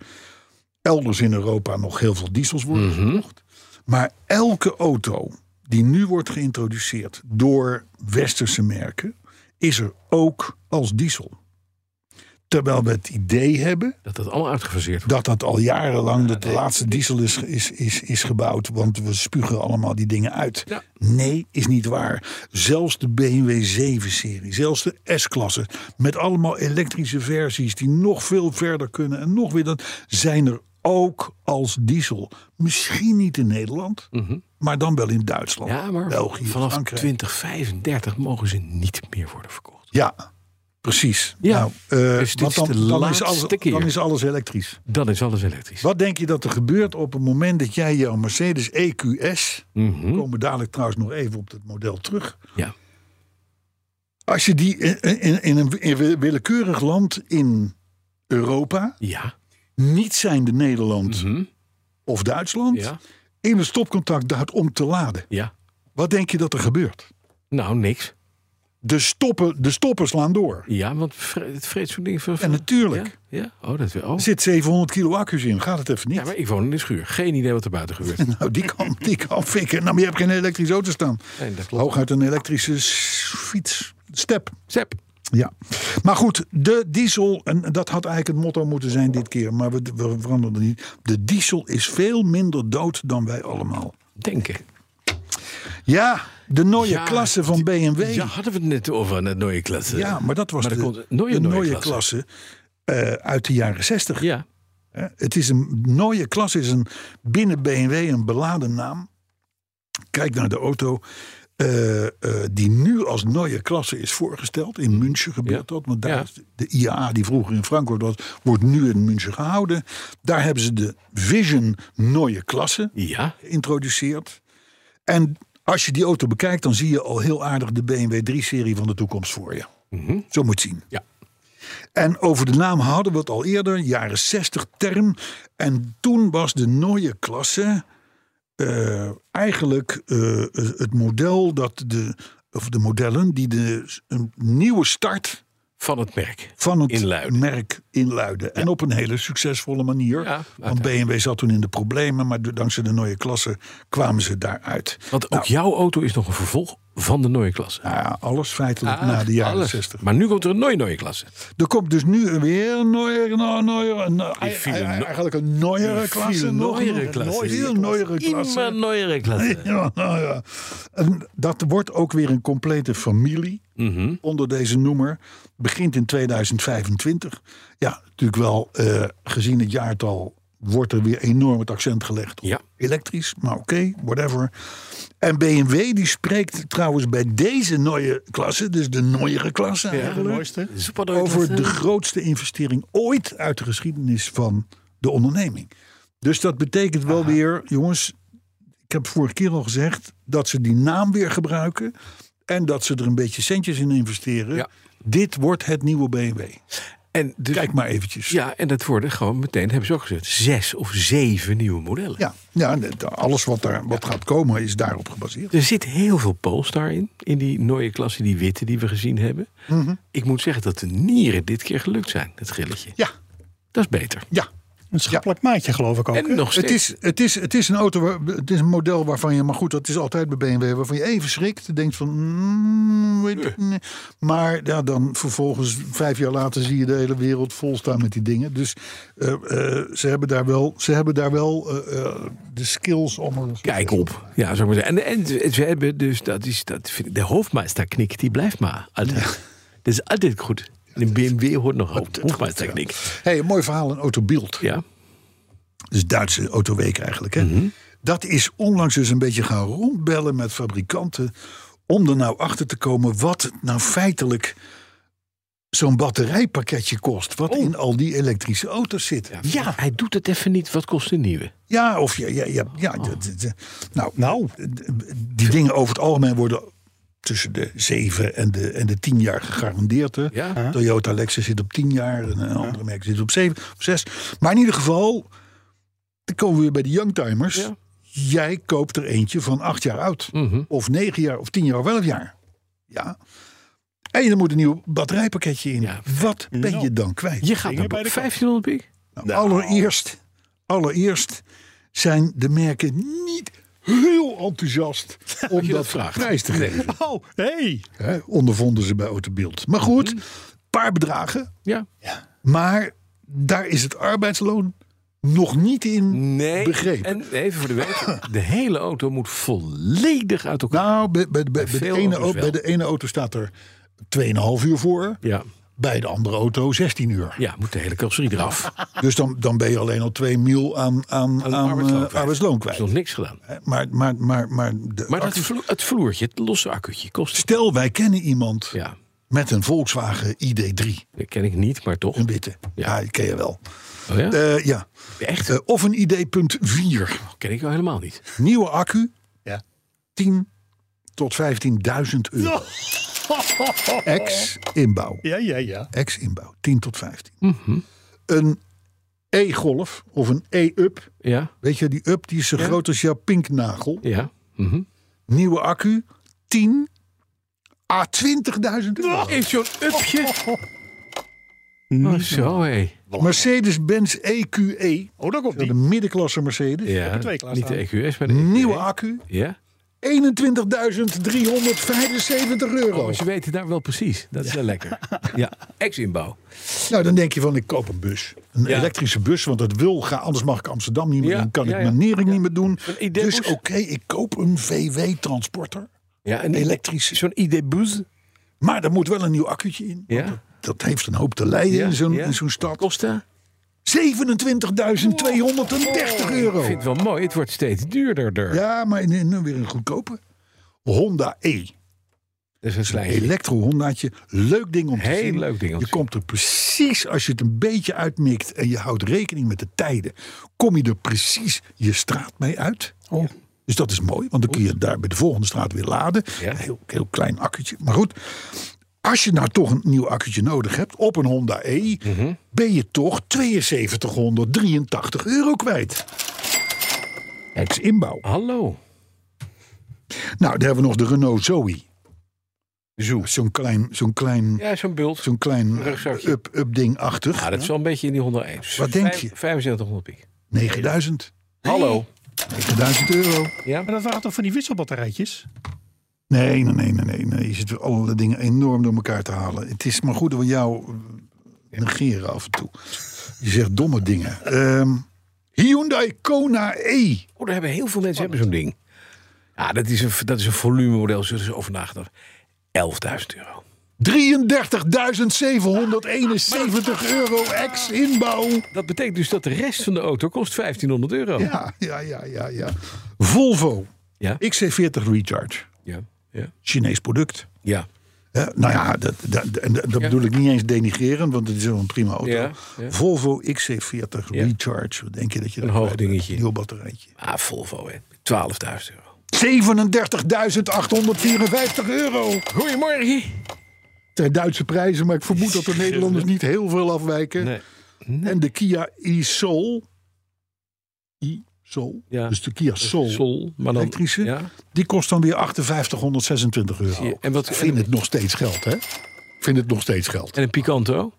Speaker 3: elders in Europa nog heel veel diesels worden
Speaker 2: Mhm.
Speaker 3: verkocht. Maar elke auto die nu wordt geïntroduceerd door westerse merken, is er ook als diesel. Terwijl we het idee hebben
Speaker 6: Dat dat allemaal uitgefaseerd wordt.
Speaker 3: dat dat al jarenlang de, de laatste diesel is, is, is, is gebouwd. Want we spugen allemaal die dingen uit.
Speaker 6: Ja.
Speaker 3: Nee, is niet waar. Zelfs de BMW 7-serie, zelfs de S-klasse. Met allemaal elektrische versies die nog veel verder kunnen. En nog weer dat zijn er ook als diesel. Misschien niet in Nederland. Maar dan wel in Duitsland,
Speaker 6: Mhm. Ja, maar
Speaker 3: België,
Speaker 6: vanaf
Speaker 3: Frankrijk.
Speaker 6: 2035 mogen ze niet meer worden verkocht.
Speaker 3: Ja, precies.
Speaker 6: Ja,
Speaker 3: eh,
Speaker 6: dus dit
Speaker 3: want
Speaker 6: is de laatste
Speaker 3: alles,
Speaker 6: keer.
Speaker 3: Dan is alles elektrisch.
Speaker 6: Dan is alles elektrisch.
Speaker 3: Wat denk je dat er gebeurt op het moment dat jij jouw Mercedes EQS...
Speaker 6: Mhm.
Speaker 3: komen we dadelijk trouwens nog even op dat model terug...
Speaker 6: Ja.
Speaker 3: Als je die in, in, in een in een willekeurig land in Europa...
Speaker 6: Ja.
Speaker 3: niet zijnde Nederland
Speaker 6: Mhm.
Speaker 3: of Duitsland...
Speaker 6: Ja.
Speaker 3: in een stopcontact duwt om te laden.
Speaker 6: Ja.
Speaker 3: Wat denk je dat er gebeurt?
Speaker 6: Nou, niks.
Speaker 3: De stoppen, de stoppen slaan door.
Speaker 6: Ja, want vre- het vreet zo'n ding van...
Speaker 3: En natuurlijk.
Speaker 6: Ja? ja? Oh, dat wel. Oh.
Speaker 3: Er zit 700 kilo accu's in. Gaat het even niet?
Speaker 6: Ja, maar ik woon in een schuur. Geen idee wat er
Speaker 3: *laughs*
Speaker 6: buiten gebeurt.
Speaker 3: Nou, die kan, die kan fikken. Nou, maar je hebt geen elektrische auto staan.
Speaker 6: Nee, dat klopt.
Speaker 3: Hooguit een elektrische s- fiets. Step.
Speaker 6: Sepp.
Speaker 3: Ja. Maar goed, de diesel, en dat had eigenlijk het motto moeten zijn dit keer, maar we, we veranderden niet. De diesel is veel minder dood dan wij allemaal.
Speaker 6: Denken.
Speaker 3: Ja, de nieuwe
Speaker 6: Ja,
Speaker 3: klasse van BMW.
Speaker 6: Ja, hadden we het net over een nieuwe klasse.
Speaker 3: Ja, maar dat was
Speaker 6: Maar er
Speaker 3: de,
Speaker 6: komt een
Speaker 3: de
Speaker 6: nieuwe,
Speaker 3: nieuwe
Speaker 6: nieuwe klasse.
Speaker 3: klasse, eh, uit de jaren 60.
Speaker 6: Ja.
Speaker 3: Hè? Het is een mooie klas, is een binnen BMW een beladen naam. Kijk naar de auto eh, eh, die nu als nieuwe klasse is voorgesteld. In München gebeurt dat, want daar
Speaker 6: Ja.
Speaker 3: is de IAA die vroeger in Frankfurt was, wordt nu in München gehouden. Daar hebben ze de Vision nieuwe klasse
Speaker 6: Ja.
Speaker 3: geïntroduceerd. En als je die auto bekijkt, dan zie je al heel aardig de BMW 3-serie van de toekomst voor je. Zo moet je het zien.
Speaker 6: Ja.
Speaker 3: En over de naam hadden we het al eerder, jaren 60 term. En toen was de nieuwe klasse eh, eigenlijk eh, het model dat de, of de modellen die de, een nieuwe start
Speaker 6: Van het merk.
Speaker 3: van het
Speaker 6: Inluiden.
Speaker 3: merk inluiden. En op een hele succesvolle manier.
Speaker 6: Ja,
Speaker 3: Want BMW zat toen in de problemen, maar dankzij de nieuwe klasse kwamen ze daaruit.
Speaker 6: Want ook jouw auto is nog een vervolg van de nieuwe klasse.
Speaker 3: Nou ja, alles feitelijk na de jaren
Speaker 6: Ah, Alles.
Speaker 3: 60.
Speaker 6: Maar nu komt er een nooie nieuwe klasse.
Speaker 3: Er komt dus nu een weer een nooiere, nou, nooiere, een, ei-
Speaker 6: viel
Speaker 3: ei-
Speaker 6: no-
Speaker 3: eigenlijk een nooiere klasse. nog,
Speaker 6: nooiere
Speaker 3: nog,
Speaker 6: klasse.
Speaker 3: Een veel nooiere klasse.
Speaker 6: Immer nieuwe klasse.
Speaker 3: *laughs* Ja, nou ja. En dat wordt ook weer een complete familie onder deze noemer. Begint in 2025. Ja, natuurlijk wel eh, gezien het jaartal wordt er weer enorm het accent gelegd op
Speaker 6: Ja.
Speaker 3: elektrisch. Maar oké, whatever. En BMW die spreekt trouwens bij deze nieuwe klasse, dus de nieuwere klasse eigenlijk,
Speaker 6: Super nieuwe
Speaker 3: over de
Speaker 6: klasse.
Speaker 3: grootste investering ooit uit de geschiedenis van de onderneming. Dus dat betekent wel weer, jongens, ik heb vorige keer al gezegd dat ze die naam weer gebruiken en dat ze er een beetje centjes in investeren.
Speaker 6: Ja.
Speaker 3: Dit wordt het nieuwe BMW.
Speaker 6: En dus,
Speaker 3: Kijk maar eventjes.
Speaker 6: Ja, en dat worden gewoon meteen, hebben ze ook gezegd, zes of zeven nieuwe modellen.
Speaker 3: ja, ja, net, alles wat, daar, wat gaat komen is daarop gebaseerd.
Speaker 6: Er zit heel veel Polestar in, in die nieuwe klasse, die witte die we gezien hebben.
Speaker 3: Mhm.
Speaker 6: Ik moet zeggen dat de nieren dit keer gelukt zijn, het grilletje.
Speaker 3: Ja,
Speaker 6: Dat is beter.
Speaker 3: ja.
Speaker 4: Een schappelijk maatje, geloof ik ook.
Speaker 6: En
Speaker 4: hè?
Speaker 6: nog
Speaker 3: Het
Speaker 6: steeds.
Speaker 3: is, het, is, het is een auto, waar- het is een model waarvan je, maar goed, dat is altijd bij BMW, waarvan je even schrikt. Denkt van, mm, weet ik niet. maar ja, dan vervolgens vijf jaar later zie je de hele wereld volstaan met die dingen. Dus eh, eh, ze hebben daar wel, ze hebben daar wel eh, eh, de skills om. er-
Speaker 6: Kijk op. Ja, zou ik maar zeggen. En, en ze hebben dus, dat is, dat vind ik, de hoofdmeisterknik, die blijft maar altijd. *laughs* Dat is altijd goed. Een BMW hoort nog op. Hoofdmeisterknik.
Speaker 3: hey, een mooi verhaal, een autobeeld.
Speaker 6: Ja.
Speaker 3: dus Duitse autoweek eigenlijk. Hè? Dat is onlangs dus een beetje gaan rondbellen met fabrikanten. om er nou achter te komen wat nou feitelijk zo'n batterijpakketje kost. Wat in al die elektrische auto's zit. Ja, ja,
Speaker 6: Hij doet het even niet. Wat kost een nieuwe?
Speaker 3: of ja, ja, ja. ja d- d- d- nou,
Speaker 4: Nou,
Speaker 3: die dingen over het algemeen worden tussen de 7 en de, en de 10 jaar gegarandeerd. Hè?
Speaker 6: Ja.
Speaker 3: Toyota Lexus zit op 10 jaar en een andere merk zit op 7 of 6. Maar in ieder geval, dan komen we weer bij de youngtimers.
Speaker 6: Ja. Mhm.
Speaker 3: Jij koopt er eentje van 8 jaar oud. Of 9 jaar, of 10 jaar, of 11 jaar. Ja. En je moet een nieuw batterijpakketje in.
Speaker 6: Ja. Nou,
Speaker 3: Wat ben je dan kwijt?
Speaker 6: Je gaat naar 1500 piek.
Speaker 3: Nou, Allereerst, allereerst zijn de merken niet heel enthousiast om
Speaker 6: je
Speaker 3: dat,
Speaker 6: dat vraagt.
Speaker 3: prijs te geven.
Speaker 4: oh, hey.
Speaker 6: Mhm.
Speaker 3: Hè, ondervonden ze bij Autobeeld. Maar goed, een paar bedragen.
Speaker 6: Ja.
Speaker 3: Maar daar is het arbeidsloon nog niet in
Speaker 6: Nee.
Speaker 3: begrepen.
Speaker 6: En even voor de week. De hele auto moet volledig uit elkaar.
Speaker 3: Nou, bij, bij, bij- bij de
Speaker 6: veel
Speaker 3: ene,
Speaker 6: auto's
Speaker 3: au- bij
Speaker 6: wel.
Speaker 3: de ene auto staat er 2,5 uur voor.
Speaker 6: Ja.
Speaker 3: Bij de andere auto 16 uur.
Speaker 6: Ja, moet de hele carrosserie eraf. Dat
Speaker 3: Dus dan, dan ben je alleen al 2 mil aan, aan, aan,
Speaker 6: arbeidsloon
Speaker 3: eh,
Speaker 6: kwijt.
Speaker 3: arbeidsloon
Speaker 6: is
Speaker 3: kwijt.
Speaker 6: nog niks gedaan.
Speaker 3: Maar, maar, maar, maar, de
Speaker 6: Maar dat
Speaker 3: accu-
Speaker 6: vlo- het vloertje, het losse accu'tje, kost...
Speaker 3: stel wij kennen iemand
Speaker 6: Ja,
Speaker 3: met een Volkswagen ID3.
Speaker 6: dat ken ik niet, maar toch.
Speaker 3: Een witte. Ja,
Speaker 6: Ja.
Speaker 3: die ken je wel.
Speaker 6: Oh ja?
Speaker 3: Eh, ja.
Speaker 6: Echt?
Speaker 3: Eh, of een ID.4.
Speaker 6: Dat ken ik wel helemaal niet.
Speaker 3: Nieuwe accu.
Speaker 4: Ja.
Speaker 3: 10 tot 15.000 euro.
Speaker 4: *laughs*
Speaker 3: Ex-inbouw.
Speaker 4: Ja, ja, ja.
Speaker 3: Ex-inbouw. 10 tot 15. Een E-golf of een E-up.
Speaker 6: Ja,
Speaker 3: Weet je, die up die is zo groot als jouw pinknagel.
Speaker 6: ja. mhm.
Speaker 3: Nieuwe accu. 10 à 20.000 euro.
Speaker 6: Heeft zo'n upje? Oh, zo, hé.
Speaker 3: Mercedes-Benz E EQE.
Speaker 4: Oh, daar komt
Speaker 3: De
Speaker 4: die.
Speaker 3: middenklasse Mercedes.
Speaker 6: Ja,
Speaker 4: twee
Speaker 6: niet
Speaker 4: klaarstaan.
Speaker 6: de EQS, maar de
Speaker 3: Nieuwe
Speaker 6: EQE.
Speaker 3: accu.
Speaker 6: Ja?
Speaker 3: 21.375 euro.
Speaker 6: Oh, ze weten daar wel precies. Dat is wel *laughs* lekker. Ja, ex-inbouw.
Speaker 3: Nou, dan denk je van, ik koop een bus. Een
Speaker 6: Ja.
Speaker 3: elektrische bus, want dat wil gaan. Anders mag ik Amsterdam niet meer
Speaker 6: Ja,
Speaker 3: doen. Kan
Speaker 6: ja,
Speaker 3: ik
Speaker 6: ja.
Speaker 3: mijn nering niet meer doen.
Speaker 6: Een idee
Speaker 3: Dus oké,
Speaker 6: bus.
Speaker 3: ik koop een VW-transporter.
Speaker 6: Ja, een
Speaker 3: Elektrische.
Speaker 6: Zo'n ID-bus.
Speaker 3: Maar er moet wel een nieuw accu'tje in.
Speaker 6: Ja.
Speaker 3: Want Dat, dat heeft een hoop te lijden
Speaker 6: Ja,
Speaker 3: in zo'n
Speaker 6: ja.
Speaker 3: in zo'n stad. 27.230
Speaker 6: Kosten?
Speaker 3: euro.
Speaker 6: Ik vind het wel mooi. Het wordt steeds duurder. er.
Speaker 3: Ja, maar in- in- weer een goedkope. Honda E.
Speaker 6: Dat Dus is een slijtje.
Speaker 3: Elektro-Hondaatje. Leuk ding om te
Speaker 6: Heel
Speaker 3: zien.
Speaker 6: leuk ding om te
Speaker 3: Je komt er precies, als je het een beetje uitmikt... en je houdt rekening met de tijden... kom je er precies je straat mee uit.
Speaker 4: Oh.
Speaker 3: Dus dat is mooi, want dan kun je daar bij de volgende straat weer laden.
Speaker 6: Ja.
Speaker 3: Een heel, heel klein accu'tje. Maar goed, als je nou toch een nieuw accu'tje nodig hebt... op een Honda E,
Speaker 6: Mhm.
Speaker 3: ben je toch 7283 euro kwijt. Ex-inbouw.
Speaker 6: Hallo.
Speaker 3: Nou, daar hebben we nog de Renault Zoe.
Speaker 6: Zo.
Speaker 3: Zo'n klein, zo'n klein,
Speaker 6: Ja, zo'n bult.
Speaker 3: zo'n klein
Speaker 6: Rugzakje.
Speaker 3: up-up-ding-achtig.
Speaker 6: Ah, dat is wel een beetje in die 101.
Speaker 3: Wat denk je?
Speaker 6: 7500 piek.
Speaker 3: 9000.
Speaker 6: Hallo.
Speaker 3: 9000 euro.
Speaker 4: Maar dat waren toch van die wisselbatterijtjes?
Speaker 3: Nee, nee, nee, nee, nee, nee. Je zit weer allerlei dingen enorm door elkaar te halen. Het is maar goed dat we jou eh, negeren af en toe. Je zegt domme dingen. Ehm, Hyundai Kona E.
Speaker 6: Oh, daar hebben heel veel mensen hebben zo'n ding. Ja, dat is een, dat is een volumemodel. Zullen ze over nagedacht. 11.000 euro.
Speaker 3: 33.771 euro ex-inbouw.
Speaker 6: Dat betekent dus dat de rest van de auto kost 1500 euro.
Speaker 3: Ja, ja, ja, ja, ja. Volvo.
Speaker 6: Ja.
Speaker 3: XC40 Recharge.
Speaker 6: Ja. Ja.
Speaker 3: Chinees product.
Speaker 6: ja.
Speaker 3: Hè, nou ja, dat, dat, en dat dat bedoel ik niet eens denigreren, want het is wel een prima auto.
Speaker 6: Ja, ja.
Speaker 3: Volvo XC40 Recharge. Wat denk je dat je
Speaker 6: Een
Speaker 3: dat
Speaker 6: hoog
Speaker 3: kwijt bent?
Speaker 6: dingetje.
Speaker 3: Nieuw batterijtje.
Speaker 6: Ah, Volvo, hè. 12.000 euro.
Speaker 3: 37.854 euro.
Speaker 6: Goedemorgen.
Speaker 3: Ter Duitse prijzen, maar ik vermoed dat de Nederlanders niet heel veel afwijken.
Speaker 6: Nee.
Speaker 3: En de Kia e-Soul. E-Soul.
Speaker 6: Ja.
Speaker 3: Dus de Kia Soul.
Speaker 6: Sol, maar dan...
Speaker 3: Elektrische.
Speaker 6: Ja.
Speaker 3: Die kost dan weer 5826 euro.
Speaker 6: je. En wat-
Speaker 3: Ik vind het nog steeds geld, hè? Ik vind het nog steeds geld.
Speaker 6: En een Picanto.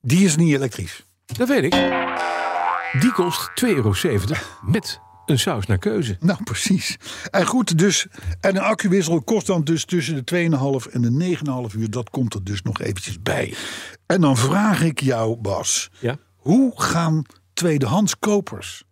Speaker 3: Die is niet elektrisch.
Speaker 6: Dat weet ik. Die kost 2,70 euro met een saus naar keuze.
Speaker 3: *laughs* Nou, precies. En goed, dus. En een accuwissel kost dan dus tussen de 2,5 en de 9,5 uur. Dat komt er dus nog eventjes bij. En dan vraag ik jou, Bas.
Speaker 6: Ja.
Speaker 3: Hoe gaan tweedehands kopers.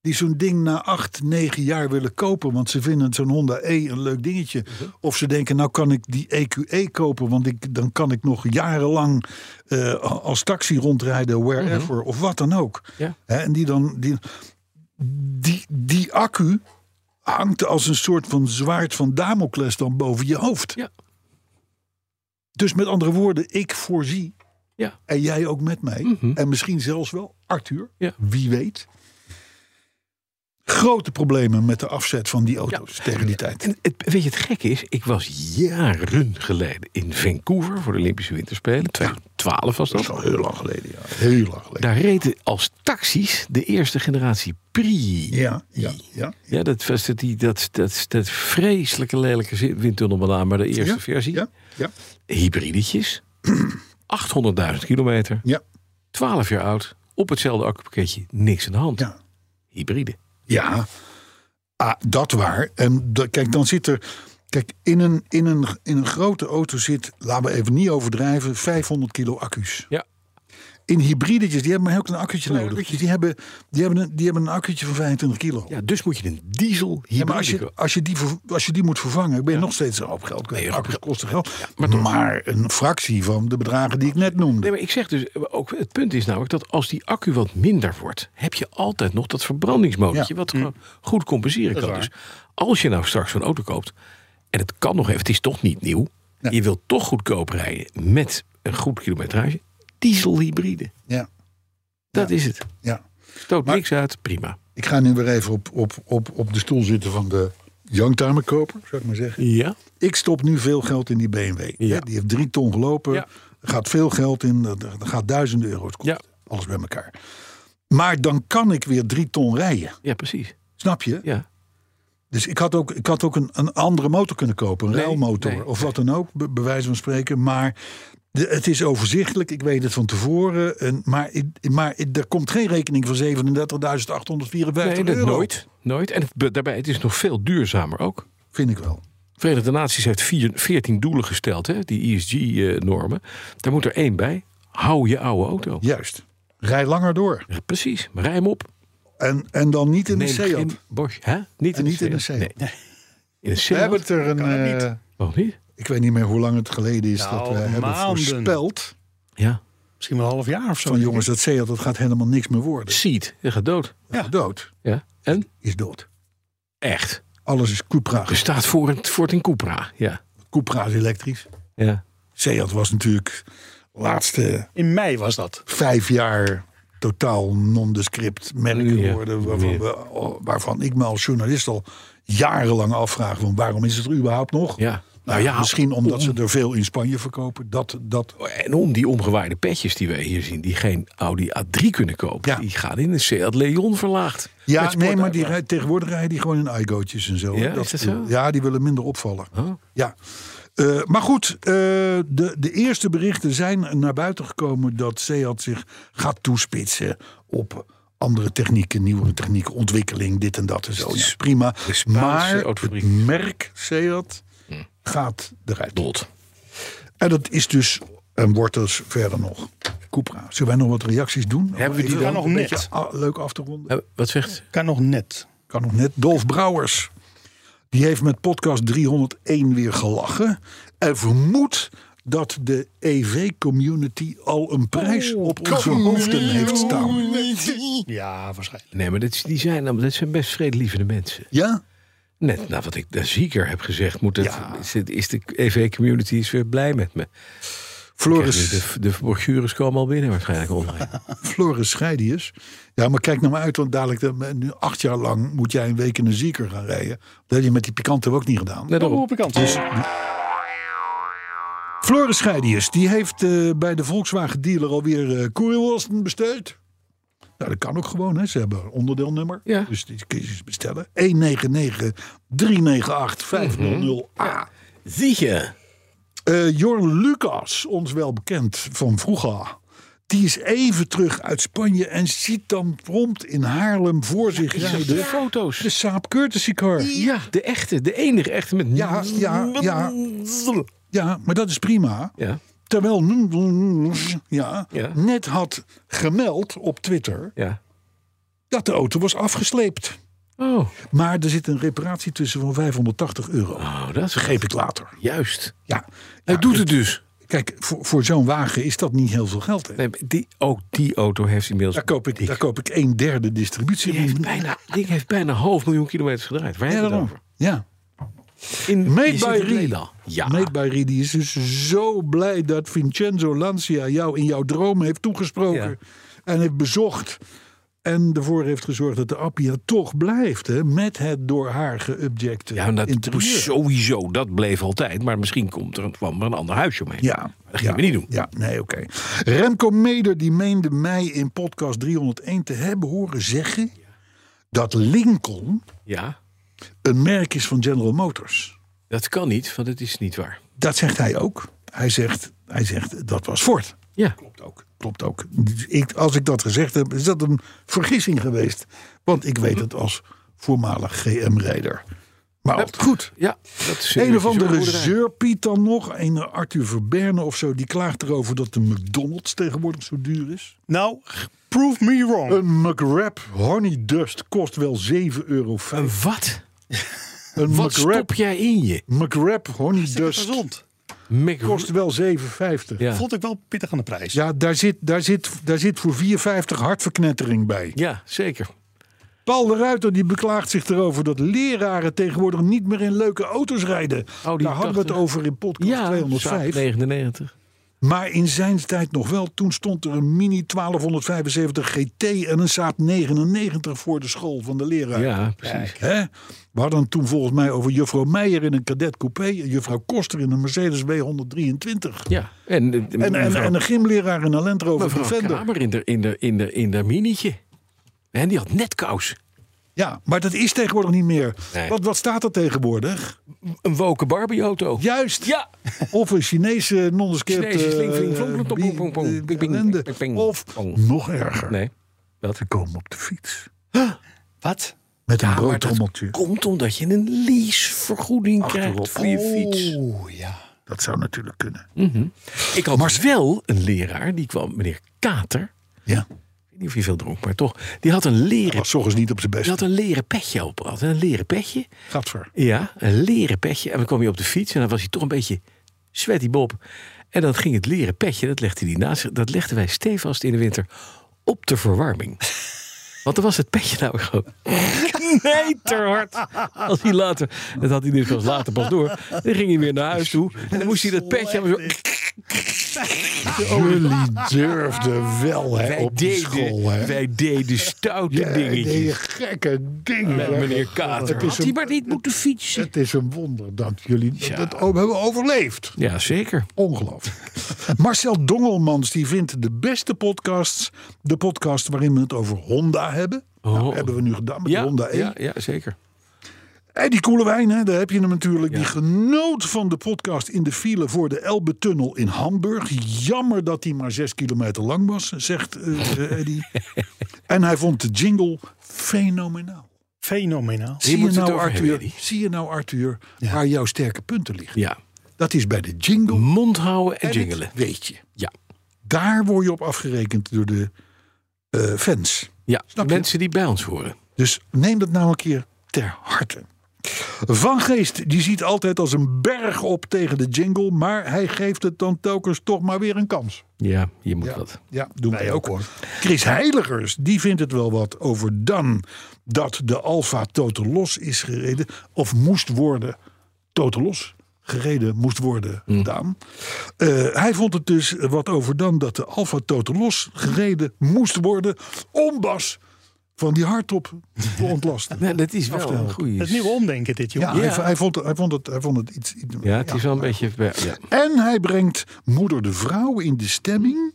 Speaker 3: die zo'n ding na 8, 9 jaar willen kopen. want ze vinden zo'n Honda E een leuk dingetje. of ze denken, nou kan ik die EQE kopen. want ik, dan kan ik nog jarenlang. eh, als taxi rondrijden, wherever of wat dan ook.
Speaker 6: Ja.
Speaker 3: Hè, en die dan. Die, die, die accu hangt als een soort van zwaard van Damocles dan boven je hoofd.
Speaker 6: Ja.
Speaker 3: Dus met andere woorden, ik voorzie,
Speaker 6: Ja. Mhm.
Speaker 3: en jij ook met mij, en misschien zelfs wel Arthur,
Speaker 6: Ja.
Speaker 3: wie weet, grote problemen met de afzet van die auto's tegen die tijd.
Speaker 6: En het, weet je, het gekke is, ik was jaren geleden in Vancouver voor de Olympische Winterspelen. 2012 was
Speaker 3: Dat is
Speaker 6: dat.
Speaker 3: al heel lang geleden, ja. Heel lang geleden.
Speaker 6: Daar reden als taxis de eerste generatie Pri.
Speaker 3: Ja, ja, ja.
Speaker 6: Ja, dat was dat, die, dat, dat, dat vreselijke lelijke zi- windtunnelbanaan, maar de eerste
Speaker 3: Ja,
Speaker 6: versie.
Speaker 3: Ja, ja, *clears throat*
Speaker 6: Hybridetjes. 800.000 kilometer,
Speaker 3: ja,
Speaker 6: 12 jaar oud, op hetzelfde accupakketje, niks aan de hand.
Speaker 3: ja.
Speaker 6: Hybride.
Speaker 3: Ja, ah, dat waar. En da- kijk, dan zit er. Kijk, in een, in, een, in een grote auto zit, laten we even niet overdrijven, 500 kilo accu's.
Speaker 6: Ja, Oh,
Speaker 3: in hybridetjes, die hebben maar een heel klein akkertje nodig. Dus die hebben, die, hebben een, die hebben een akkertje van 25 kilo.
Speaker 6: Ja, dus moet je een diesel hier
Speaker 3: Ja, maar als je, als, je die, ver- als je die moet vervangen, ben je nog steeds een hoop geld kwijt. Akkers kosten geld. maar, een fractie van de bedragen die ik net noemde.
Speaker 6: Nee, maar ik zeg dus, eh, ook het punt is namelijk dat als die accu wat minder wordt, heb je altijd nog dat verbrandingsmotortje
Speaker 3: Ja.
Speaker 6: wat gewoon goed compenseren kan. Dus als je nou straks zo'n auto koopt, en het kan nog even, het is toch niet nieuw, je wilt toch goedkoop rijden met een goed kilometrage, dieselhybride.
Speaker 3: Ja,
Speaker 6: Dat is het.
Speaker 3: ja.
Speaker 6: Stoot
Speaker 3: Maar-
Speaker 6: niks uit, prima.
Speaker 3: Ik ga nu weer even op, op, op, op de stoel zitten van de youngtimerkoper, zou ik maar zeggen.
Speaker 6: Ja.
Speaker 3: ik stop nu veel geld in die BMW.
Speaker 6: Ja.
Speaker 3: Hè, Die heeft drie ton gelopen.
Speaker 6: Ja.
Speaker 3: Er gaat veel geld in. Er er gaat duizenden euro's kosten.
Speaker 6: Ja.
Speaker 3: Alles bij elkaar. Maar dan kan ik weer drie ton rijden.
Speaker 6: Ja, precies.
Speaker 3: Snap je?
Speaker 6: Ja.
Speaker 3: Dus ik had ook, ik had ook een, een andere motor kunnen kopen. Een
Speaker 6: Nee,
Speaker 3: ruilmotor
Speaker 6: nee,
Speaker 3: of wat dan ook. Be, bij wijze van spreken. Maar de- het is overzichtelijk. Ik weet het van tevoren. En, maar ik- maar ik- er komt geen rekening van 37.854
Speaker 6: Nee, dat
Speaker 3: euro.
Speaker 6: nooit. Nooit. En het, be- daarbij, het is nog veel duurzamer ook.
Speaker 3: Vind ik wel.
Speaker 6: Verenigde Naties heeft vier, 14 doelen gesteld, hè, die E ESG-normen. eh, Daar moet er één bij. Hou je oude auto.
Speaker 3: Juist. Rij langer door.
Speaker 6: Ja, Precies, rij hem op.
Speaker 3: En, en dan niet in de
Speaker 6: Neem
Speaker 3: Seat.
Speaker 6: geen Bosch. Hè? Niet,
Speaker 3: En
Speaker 6: in,
Speaker 3: niet
Speaker 6: de
Speaker 3: in een
Speaker 6: Seat.
Speaker 3: Seat.
Speaker 6: Nee. In een
Speaker 3: We
Speaker 6: Seat?
Speaker 3: hebben het er een.
Speaker 4: Kan het
Speaker 3: eh,
Speaker 6: Waarom niet?
Speaker 3: ik weet niet meer hoe lang het geleden is
Speaker 4: Nou,
Speaker 3: dat we hebben
Speaker 4: maanden.
Speaker 3: voorspeld.
Speaker 6: Ja.
Speaker 4: Misschien wel een half jaar of zo.
Speaker 3: Van jongens, dat Seat dat gaat helemaal niks meer worden.
Speaker 6: Seat, je gaat dood.
Speaker 4: Ja.
Speaker 3: Dood
Speaker 6: Ja. En?
Speaker 3: is dood.
Speaker 6: Echt.
Speaker 3: Alles is Cupra.
Speaker 6: Er staat voor het, voor het in Cupra. Ja.
Speaker 3: Cupra is elektrisch.
Speaker 6: ja.
Speaker 3: Seat was natuurlijk de laatste
Speaker 4: In mei was dat.
Speaker 3: vijf jaar totaal nondescript merk
Speaker 6: Ja,
Speaker 3: geworden. Waarvan,
Speaker 6: meer.
Speaker 3: we- waarvan ik me als journalist al jarenlang afvraag... van waarom is het er überhaupt nog?
Speaker 6: ja.
Speaker 3: Nou, ja, misschien omdat ze er veel in Spanje verkopen. Dat, dat,
Speaker 6: En om die omgewaaide petjes die wij hier zien, die geen Audi A3 kunnen kopen,
Speaker 3: Ja.
Speaker 6: die gaan in een Seat Leon verlaagd.
Speaker 3: Ja,
Speaker 6: Met sport-
Speaker 3: nee, maar die rijden, tegenwoordig rijden die gewoon in eigootjes en zo.
Speaker 6: Ja, is dat zo?
Speaker 3: Ja, die willen minder opvallen.
Speaker 6: Oh.
Speaker 3: Ja. Eh, maar goed, eh, de, de eerste berichten zijn naar buiten gekomen dat Seat zich gaat toespitsen op andere technieken, nieuwe technieken, ontwikkeling, dit en dat en zo. Ja, prima.
Speaker 6: dus Spaanse Hm.
Speaker 3: Maar het
Speaker 6: autofabriek.
Speaker 3: merk Seat gaat eruit.
Speaker 6: Dood.
Speaker 3: En dat is dus, en wordt dus verder nog, Cupra. Zullen wij nog wat reacties doen?
Speaker 6: Hebben we die
Speaker 3: Even
Speaker 6: dan?
Speaker 3: om
Speaker 4: Nog
Speaker 3: een
Speaker 4: net.
Speaker 3: beetje a- Leuk af te ronden.
Speaker 6: Eh, Wat zegt?
Speaker 4: Kan nog net.
Speaker 3: kan nog net. Dolf Brouwers. Die heeft met podcast 301 weer gelachen. En vermoedt dat de EV-community al een prijs op onze hoofden heeft staan.
Speaker 4: Ja, waarschijnlijk.
Speaker 6: Nee, maar dit, die zijn, namelijk- dit zijn best vredelievende mensen.
Speaker 3: Ja?
Speaker 6: Net na wat ik daar zieker heb gezegd, moet het, is, het- is de EV-community is weer blij met me. Krijg je
Speaker 3: Floris,
Speaker 6: De, de brochures komen al binnen waarschijnlijk online.
Speaker 3: Floris Scheidius. Ja, maar kijk nou maar uit, want dadelijk, eh, nu acht jaar lang moet jij een week in een zieker gaan rijden. Dat heb je met die pikante ook niet gedaan. Dus-
Speaker 6: Let
Speaker 4: Hoe
Speaker 6: op.
Speaker 4: op ik kant.
Speaker 3: Floris Scheidius, die heeft eh, bij de Volkswagen dealer alweer eh koelwassen besteld. Nou, dat kan ook gewoon, hè. ze hebben een onderdeelnummer.
Speaker 6: Ja.
Speaker 3: Dus die kun je eens bestellen. 199 398 500 a
Speaker 6: Zie je?
Speaker 3: Eh, Jorn Lucas, ons wel bekend van vroeger. Die is even terug uit Spanje en ziet dan prompt in Haarlem voor zich
Speaker 6: De
Speaker 3: rijden. De
Speaker 6: foto's.
Speaker 3: Saab Courtesy Car.
Speaker 6: Ja, de echte, de enige echte met.
Speaker 3: Ja, ja, ja. Ja, maar dat is prima.
Speaker 6: Ja,
Speaker 3: Terwijl ja,
Speaker 6: Ja.
Speaker 3: net had gemeld op Twitter
Speaker 6: ja.
Speaker 3: dat de auto was afgesleept.
Speaker 6: Oh,
Speaker 3: Maar er zit een reparatie tussen van 580 euro.
Speaker 6: oh dat is
Speaker 3: Begreep ik later.
Speaker 6: Juist.
Speaker 3: Ja.
Speaker 6: Hij
Speaker 3: Ja,
Speaker 6: doet het dus.
Speaker 3: Kijk, voor, voor zo'n wagen is dat niet heel veel geld. Hè?
Speaker 6: Nee, maar die, ook die auto heeft inmiddels.
Speaker 3: Daar, koop ik, daar koop ik een derde distributie.
Speaker 6: Die heeft bijna, die heeft bijna een half miljoen kilometers gedraaid. Waar
Speaker 3: ja,
Speaker 6: hebben we het
Speaker 3: daarom.
Speaker 6: over?
Speaker 3: Ja.
Speaker 6: In,
Speaker 3: Made
Speaker 6: je zit
Speaker 3: by
Speaker 6: in
Speaker 3: Rie.
Speaker 6: Nederland. Ja.
Speaker 3: Made by Reed, die is dus zo blij dat Vincenzo Lancia jou in jouw droom heeft toegesproken. En heeft bezocht. En ervoor heeft gezorgd dat de Appia toch blijft. Hè, met het door haar geobjecte
Speaker 6: Ja, dat
Speaker 3: interieur.
Speaker 6: sowieso, dat bleef altijd. Maar misschien komt er, een- kwam er een ander huisje omheen.
Speaker 3: Ja.
Speaker 6: Dat gaan
Speaker 3: ja,
Speaker 6: we niet doen.
Speaker 3: Ja, nee, oké. Remco Meder die meende mij in podcast 301 te hebben horen zeggen... dat Lincoln
Speaker 6: Ja,
Speaker 3: een merk is van General Motors.
Speaker 6: dat kan niet, want het is niet waar.
Speaker 3: Dat zegt hij ook. Hij zegt, hij zegt dat was Ford.
Speaker 6: Ja,
Speaker 3: Klopt ook. Klopt ook. Dus Ik, als ik dat gezegd heb, is dat een vergissing geweest. Want ik weet het als voormalig GM-rijder. Maar altijd goed.
Speaker 6: Ja, dat is
Speaker 3: Een of
Speaker 6: serieus
Speaker 3: andere
Speaker 6: boerderij.
Speaker 3: zeurpiet dan nog. Een Arthur Verberne of zo. Die klaagt erover dat de McDonald's tegenwoordig zo duur is.
Speaker 4: Nou, prove me wrong.
Speaker 3: Een McWrap Honey Dust kost wel 7,50 euro.
Speaker 6: Een wat?
Speaker 3: Een
Speaker 6: Wat
Speaker 3: McWrap,
Speaker 6: stop jij in je?
Speaker 3: McWrap Honey
Speaker 4: Zeker
Speaker 3: Dust
Speaker 4: gezond.
Speaker 6: Mick
Speaker 3: kost wel 7,50.
Speaker 6: Ja.
Speaker 4: Vond ik wel pittig aan de prijs.
Speaker 3: Ja, daar zit, daar zit, daar zit voor 4,50 hartverknettering bij.
Speaker 6: ja, zeker.
Speaker 3: Paul de Ruiter die beklaagt zich erover dat leraren tegenwoordig niet meer in leuke auto's rijden.
Speaker 6: Oh, die
Speaker 3: daar hadden we het
Speaker 6: 80.
Speaker 3: over in podcast
Speaker 6: Ja,
Speaker 3: 205.
Speaker 6: 99.
Speaker 3: Maar in zijn tijd nog wel. Toen stond er een Mini 1275 GT en een Saab 99 voor de school van de leraar.
Speaker 6: Ja, precies.
Speaker 3: Hè? We hadden het toen volgens mij over juffrouw Meijer in een cadet coupé. en Juffrouw Koster in een Mercedes W123.
Speaker 6: Ja. En, eh,
Speaker 3: En, en,
Speaker 6: mevrouw-
Speaker 3: en een gymleraar in een Land Rover
Speaker 6: mevrouw
Speaker 3: Defender.
Speaker 6: Kramer in de, in de, in de, in de minietje. En die had net kous.
Speaker 3: Ja, maar dat is tegenwoordig niet meer.
Speaker 6: Nee.
Speaker 3: Wat, wat staat er tegenwoordig?
Speaker 6: Een woken Barbie-auto.
Speaker 3: Juist.
Speaker 6: Ja.
Speaker 3: Of een Chinese non-escape.
Speaker 6: Chinese
Speaker 3: eh,
Speaker 6: sling, fling, flong, flong,
Speaker 3: eh,
Speaker 6: pong, pong, pong,
Speaker 3: eh,
Speaker 6: ping, ping,
Speaker 3: ellende.
Speaker 6: ping, ping,
Speaker 3: Of
Speaker 6: pong.
Speaker 3: nog erger.
Speaker 6: Nee. Wat?
Speaker 3: Ze komen op de fiets.
Speaker 4: Wat?
Speaker 3: Met een
Speaker 6: maar dat
Speaker 3: broodtrommeltje. Dat,
Speaker 6: komt omdat je een leasevergoeding
Speaker 3: Achterop.
Speaker 6: krijgt voor je fiets.
Speaker 4: Oeh, ja.
Speaker 3: zou natuurlijk kunnen.
Speaker 6: Ik had maar wel een leraar, die kwam, meneer Kater.
Speaker 3: Ja.
Speaker 6: Ik weet niet of hij veel dronk, maar toch. Die had een leren,
Speaker 3: Was ochtends niet op zijn
Speaker 6: die
Speaker 3: best.
Speaker 6: had een leren petje op. Had een leren petje.
Speaker 3: Gaat ver.
Speaker 6: Ja, een leren petje. En dan kwam hij op de fiets en dan was hij toch een beetje sweaty Bob. En dan ging het leren petje, dat legde hij naast zich, dat legden wij stevast in de winter op de verwarming. Want dan was het petje nou gewoon knijterhard. Als hij later, dat had hij dus pas later pas door. Dan ging hij weer naar huis toe. En dan moest hij dat petje... Zo,
Speaker 3: Jullie durfden wel hè,
Speaker 6: wij,
Speaker 3: op die school. Hè.
Speaker 6: deden, wij deden stoute
Speaker 3: Ja, die
Speaker 6: dingetjes.
Speaker 3: gekke dingen.
Speaker 6: Met
Speaker 3: hè.
Speaker 6: meneer Kater.
Speaker 3: Het is
Speaker 6: Had hij
Speaker 3: een-
Speaker 6: maar niet moeten fietsen.
Speaker 3: Het is een wonder dat jullie dat ook hebben overleefd.
Speaker 6: Ja, zeker.
Speaker 3: Ongelooflijk. Marcel Dongelmans die vindt de beste podcasts. De podcast waarin we het over Honda hebben. Nou,
Speaker 6: Oh.
Speaker 3: hebben we nu gedaan met de
Speaker 6: Ja,
Speaker 3: Honda E.
Speaker 6: ja, ja, zeker.
Speaker 3: En die Koelewijn, hè, daar heb je hem natuurlijk. Die genoot van de podcast in de file voor de Elbe-tunnel in Hamburg. Jammer dat die maar zes kilometer lang was, zegt eh, eh,
Speaker 6: *laughs*
Speaker 3: Eddy. en hij vond de jingle fenomenaal.
Speaker 4: Fenomenaal.
Speaker 3: Zie je,
Speaker 6: moet het
Speaker 3: nou,
Speaker 6: over hebben,
Speaker 3: Arthur,
Speaker 6: Eddy.
Speaker 3: zie je nou, Arthur, waar jouw sterke punten liggen?
Speaker 6: Ja.
Speaker 3: Dat is bij de jingle
Speaker 6: Mond houden en
Speaker 3: en het
Speaker 6: jingelen.
Speaker 3: weet je.
Speaker 6: Ja.
Speaker 3: Daar word je op afgerekend door de eh, fans.
Speaker 6: Ja,
Speaker 3: Snap je?
Speaker 6: mensen die bij ons horen.
Speaker 3: Dus neem dat nou een keer ter harte. Van Geest die ziet altijd als een berg op tegen de jingle, maar hij geeft het dan telkens toch maar weer een kans.
Speaker 6: Ja, je moet wat.
Speaker 3: Ja, doen wij ook hoor. Chris Heiligers, die vindt het wel wat over dan dat de Alfa Total Los is gereden. Of moest worden, Total Los gereden moest worden, Daan. Eh, hij vond het dus wat over dan dat de Alfa Total Los gereden moest worden. Om Bas van die hardtop te ontlasten.
Speaker 6: Nee, Nou, dat is wel
Speaker 3: Aftel.
Speaker 6: een goede.
Speaker 4: Het nieuwe omdenken dit,
Speaker 3: Ja,
Speaker 4: jongen.
Speaker 3: Hij, hij vond, hij, vond het, hij vond het iets... iets-
Speaker 6: Ja, het is wel een beetje. Ja,
Speaker 3: En hij brengt moeder de vrouw in de stemming.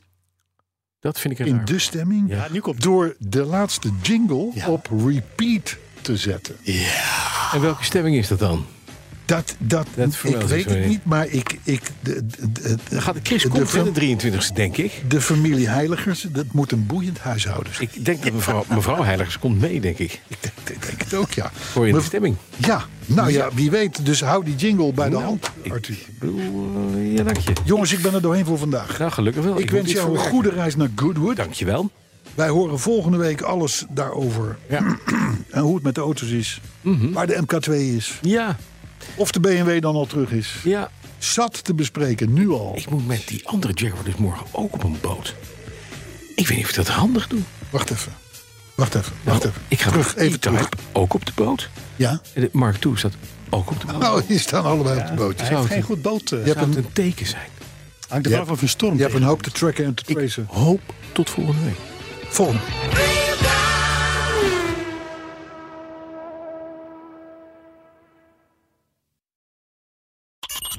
Speaker 6: dat vind ik
Speaker 3: In
Speaker 6: raar.
Speaker 3: de stemming.
Speaker 4: Ja, nu komt
Speaker 3: door de laatste jingle op repeat te zetten.
Speaker 6: En welke stemming is dat dan?
Speaker 3: Dat, dat,
Speaker 6: Dat
Speaker 3: ik
Speaker 6: vermeldt
Speaker 3: weet
Speaker 6: hij
Speaker 3: het
Speaker 6: zo
Speaker 3: niet, maar ik... ik de, de, de-
Speaker 6: Dan gaat de Chris
Speaker 3: de
Speaker 6: komt
Speaker 3: fam-
Speaker 6: in de 23e, denk ik.
Speaker 3: de familie Heiligers, dat moet een boeiend huishouden zijn.
Speaker 6: Ik denk dat mevrouw, mevrouw Heiligers komt mee, denk ik.
Speaker 3: Ik denk, ik denk het ook, ja.
Speaker 6: Voor je in de
Speaker 3: Mev-
Speaker 6: stemming.
Speaker 3: Ja, nou ja, wie weet. Dus hou die jingle bij de hand,
Speaker 6: Nou, ik-
Speaker 3: Arthur.
Speaker 6: Ik bedoel, eh, ja, dank je.
Speaker 3: Jongens, ik ben er doorheen voor vandaag.
Speaker 6: Nou, gelukkig wel.
Speaker 3: ik,
Speaker 6: moet
Speaker 3: wens
Speaker 6: iets
Speaker 3: jou een
Speaker 6: verwerken.
Speaker 3: goede reis naar Goodwood.
Speaker 6: Dank je wel.
Speaker 3: Wij horen volgende week alles daarover. *clears throat* en hoe het met de auto's is.
Speaker 6: Mhm.
Speaker 3: Waar de MK2 is.
Speaker 6: Ja,
Speaker 3: Of de BMW dan al terug is.
Speaker 6: ja.
Speaker 3: Zat te bespreken, nu al.
Speaker 6: Ik moet met die andere Jaguar dus morgen ook op een boot. Ik weet niet of ik dat handig doe.
Speaker 3: Wacht even. Wacht even. Wacht
Speaker 6: Nou,
Speaker 3: even.
Speaker 6: Ik ga
Speaker 3: terug.
Speaker 6: met
Speaker 3: Even
Speaker 6: E-Type
Speaker 3: terug.
Speaker 6: Ook op de boot.
Speaker 3: Ja.
Speaker 6: En de Mark II staat ook op de boot.
Speaker 3: Nou, hier staan allebei op de boot.
Speaker 4: Hij
Speaker 6: Zou
Speaker 4: heeft
Speaker 6: het-
Speaker 4: geen goed boot. eh,
Speaker 3: Je hebt
Speaker 6: Zou
Speaker 3: een,
Speaker 6: het een teken zijn?
Speaker 4: hangt er vanaf of een storm
Speaker 3: je hebt
Speaker 4: tegen.
Speaker 3: een hoop te tracken en te tracen.
Speaker 6: Hoop tot volgende week.
Speaker 3: Volgende.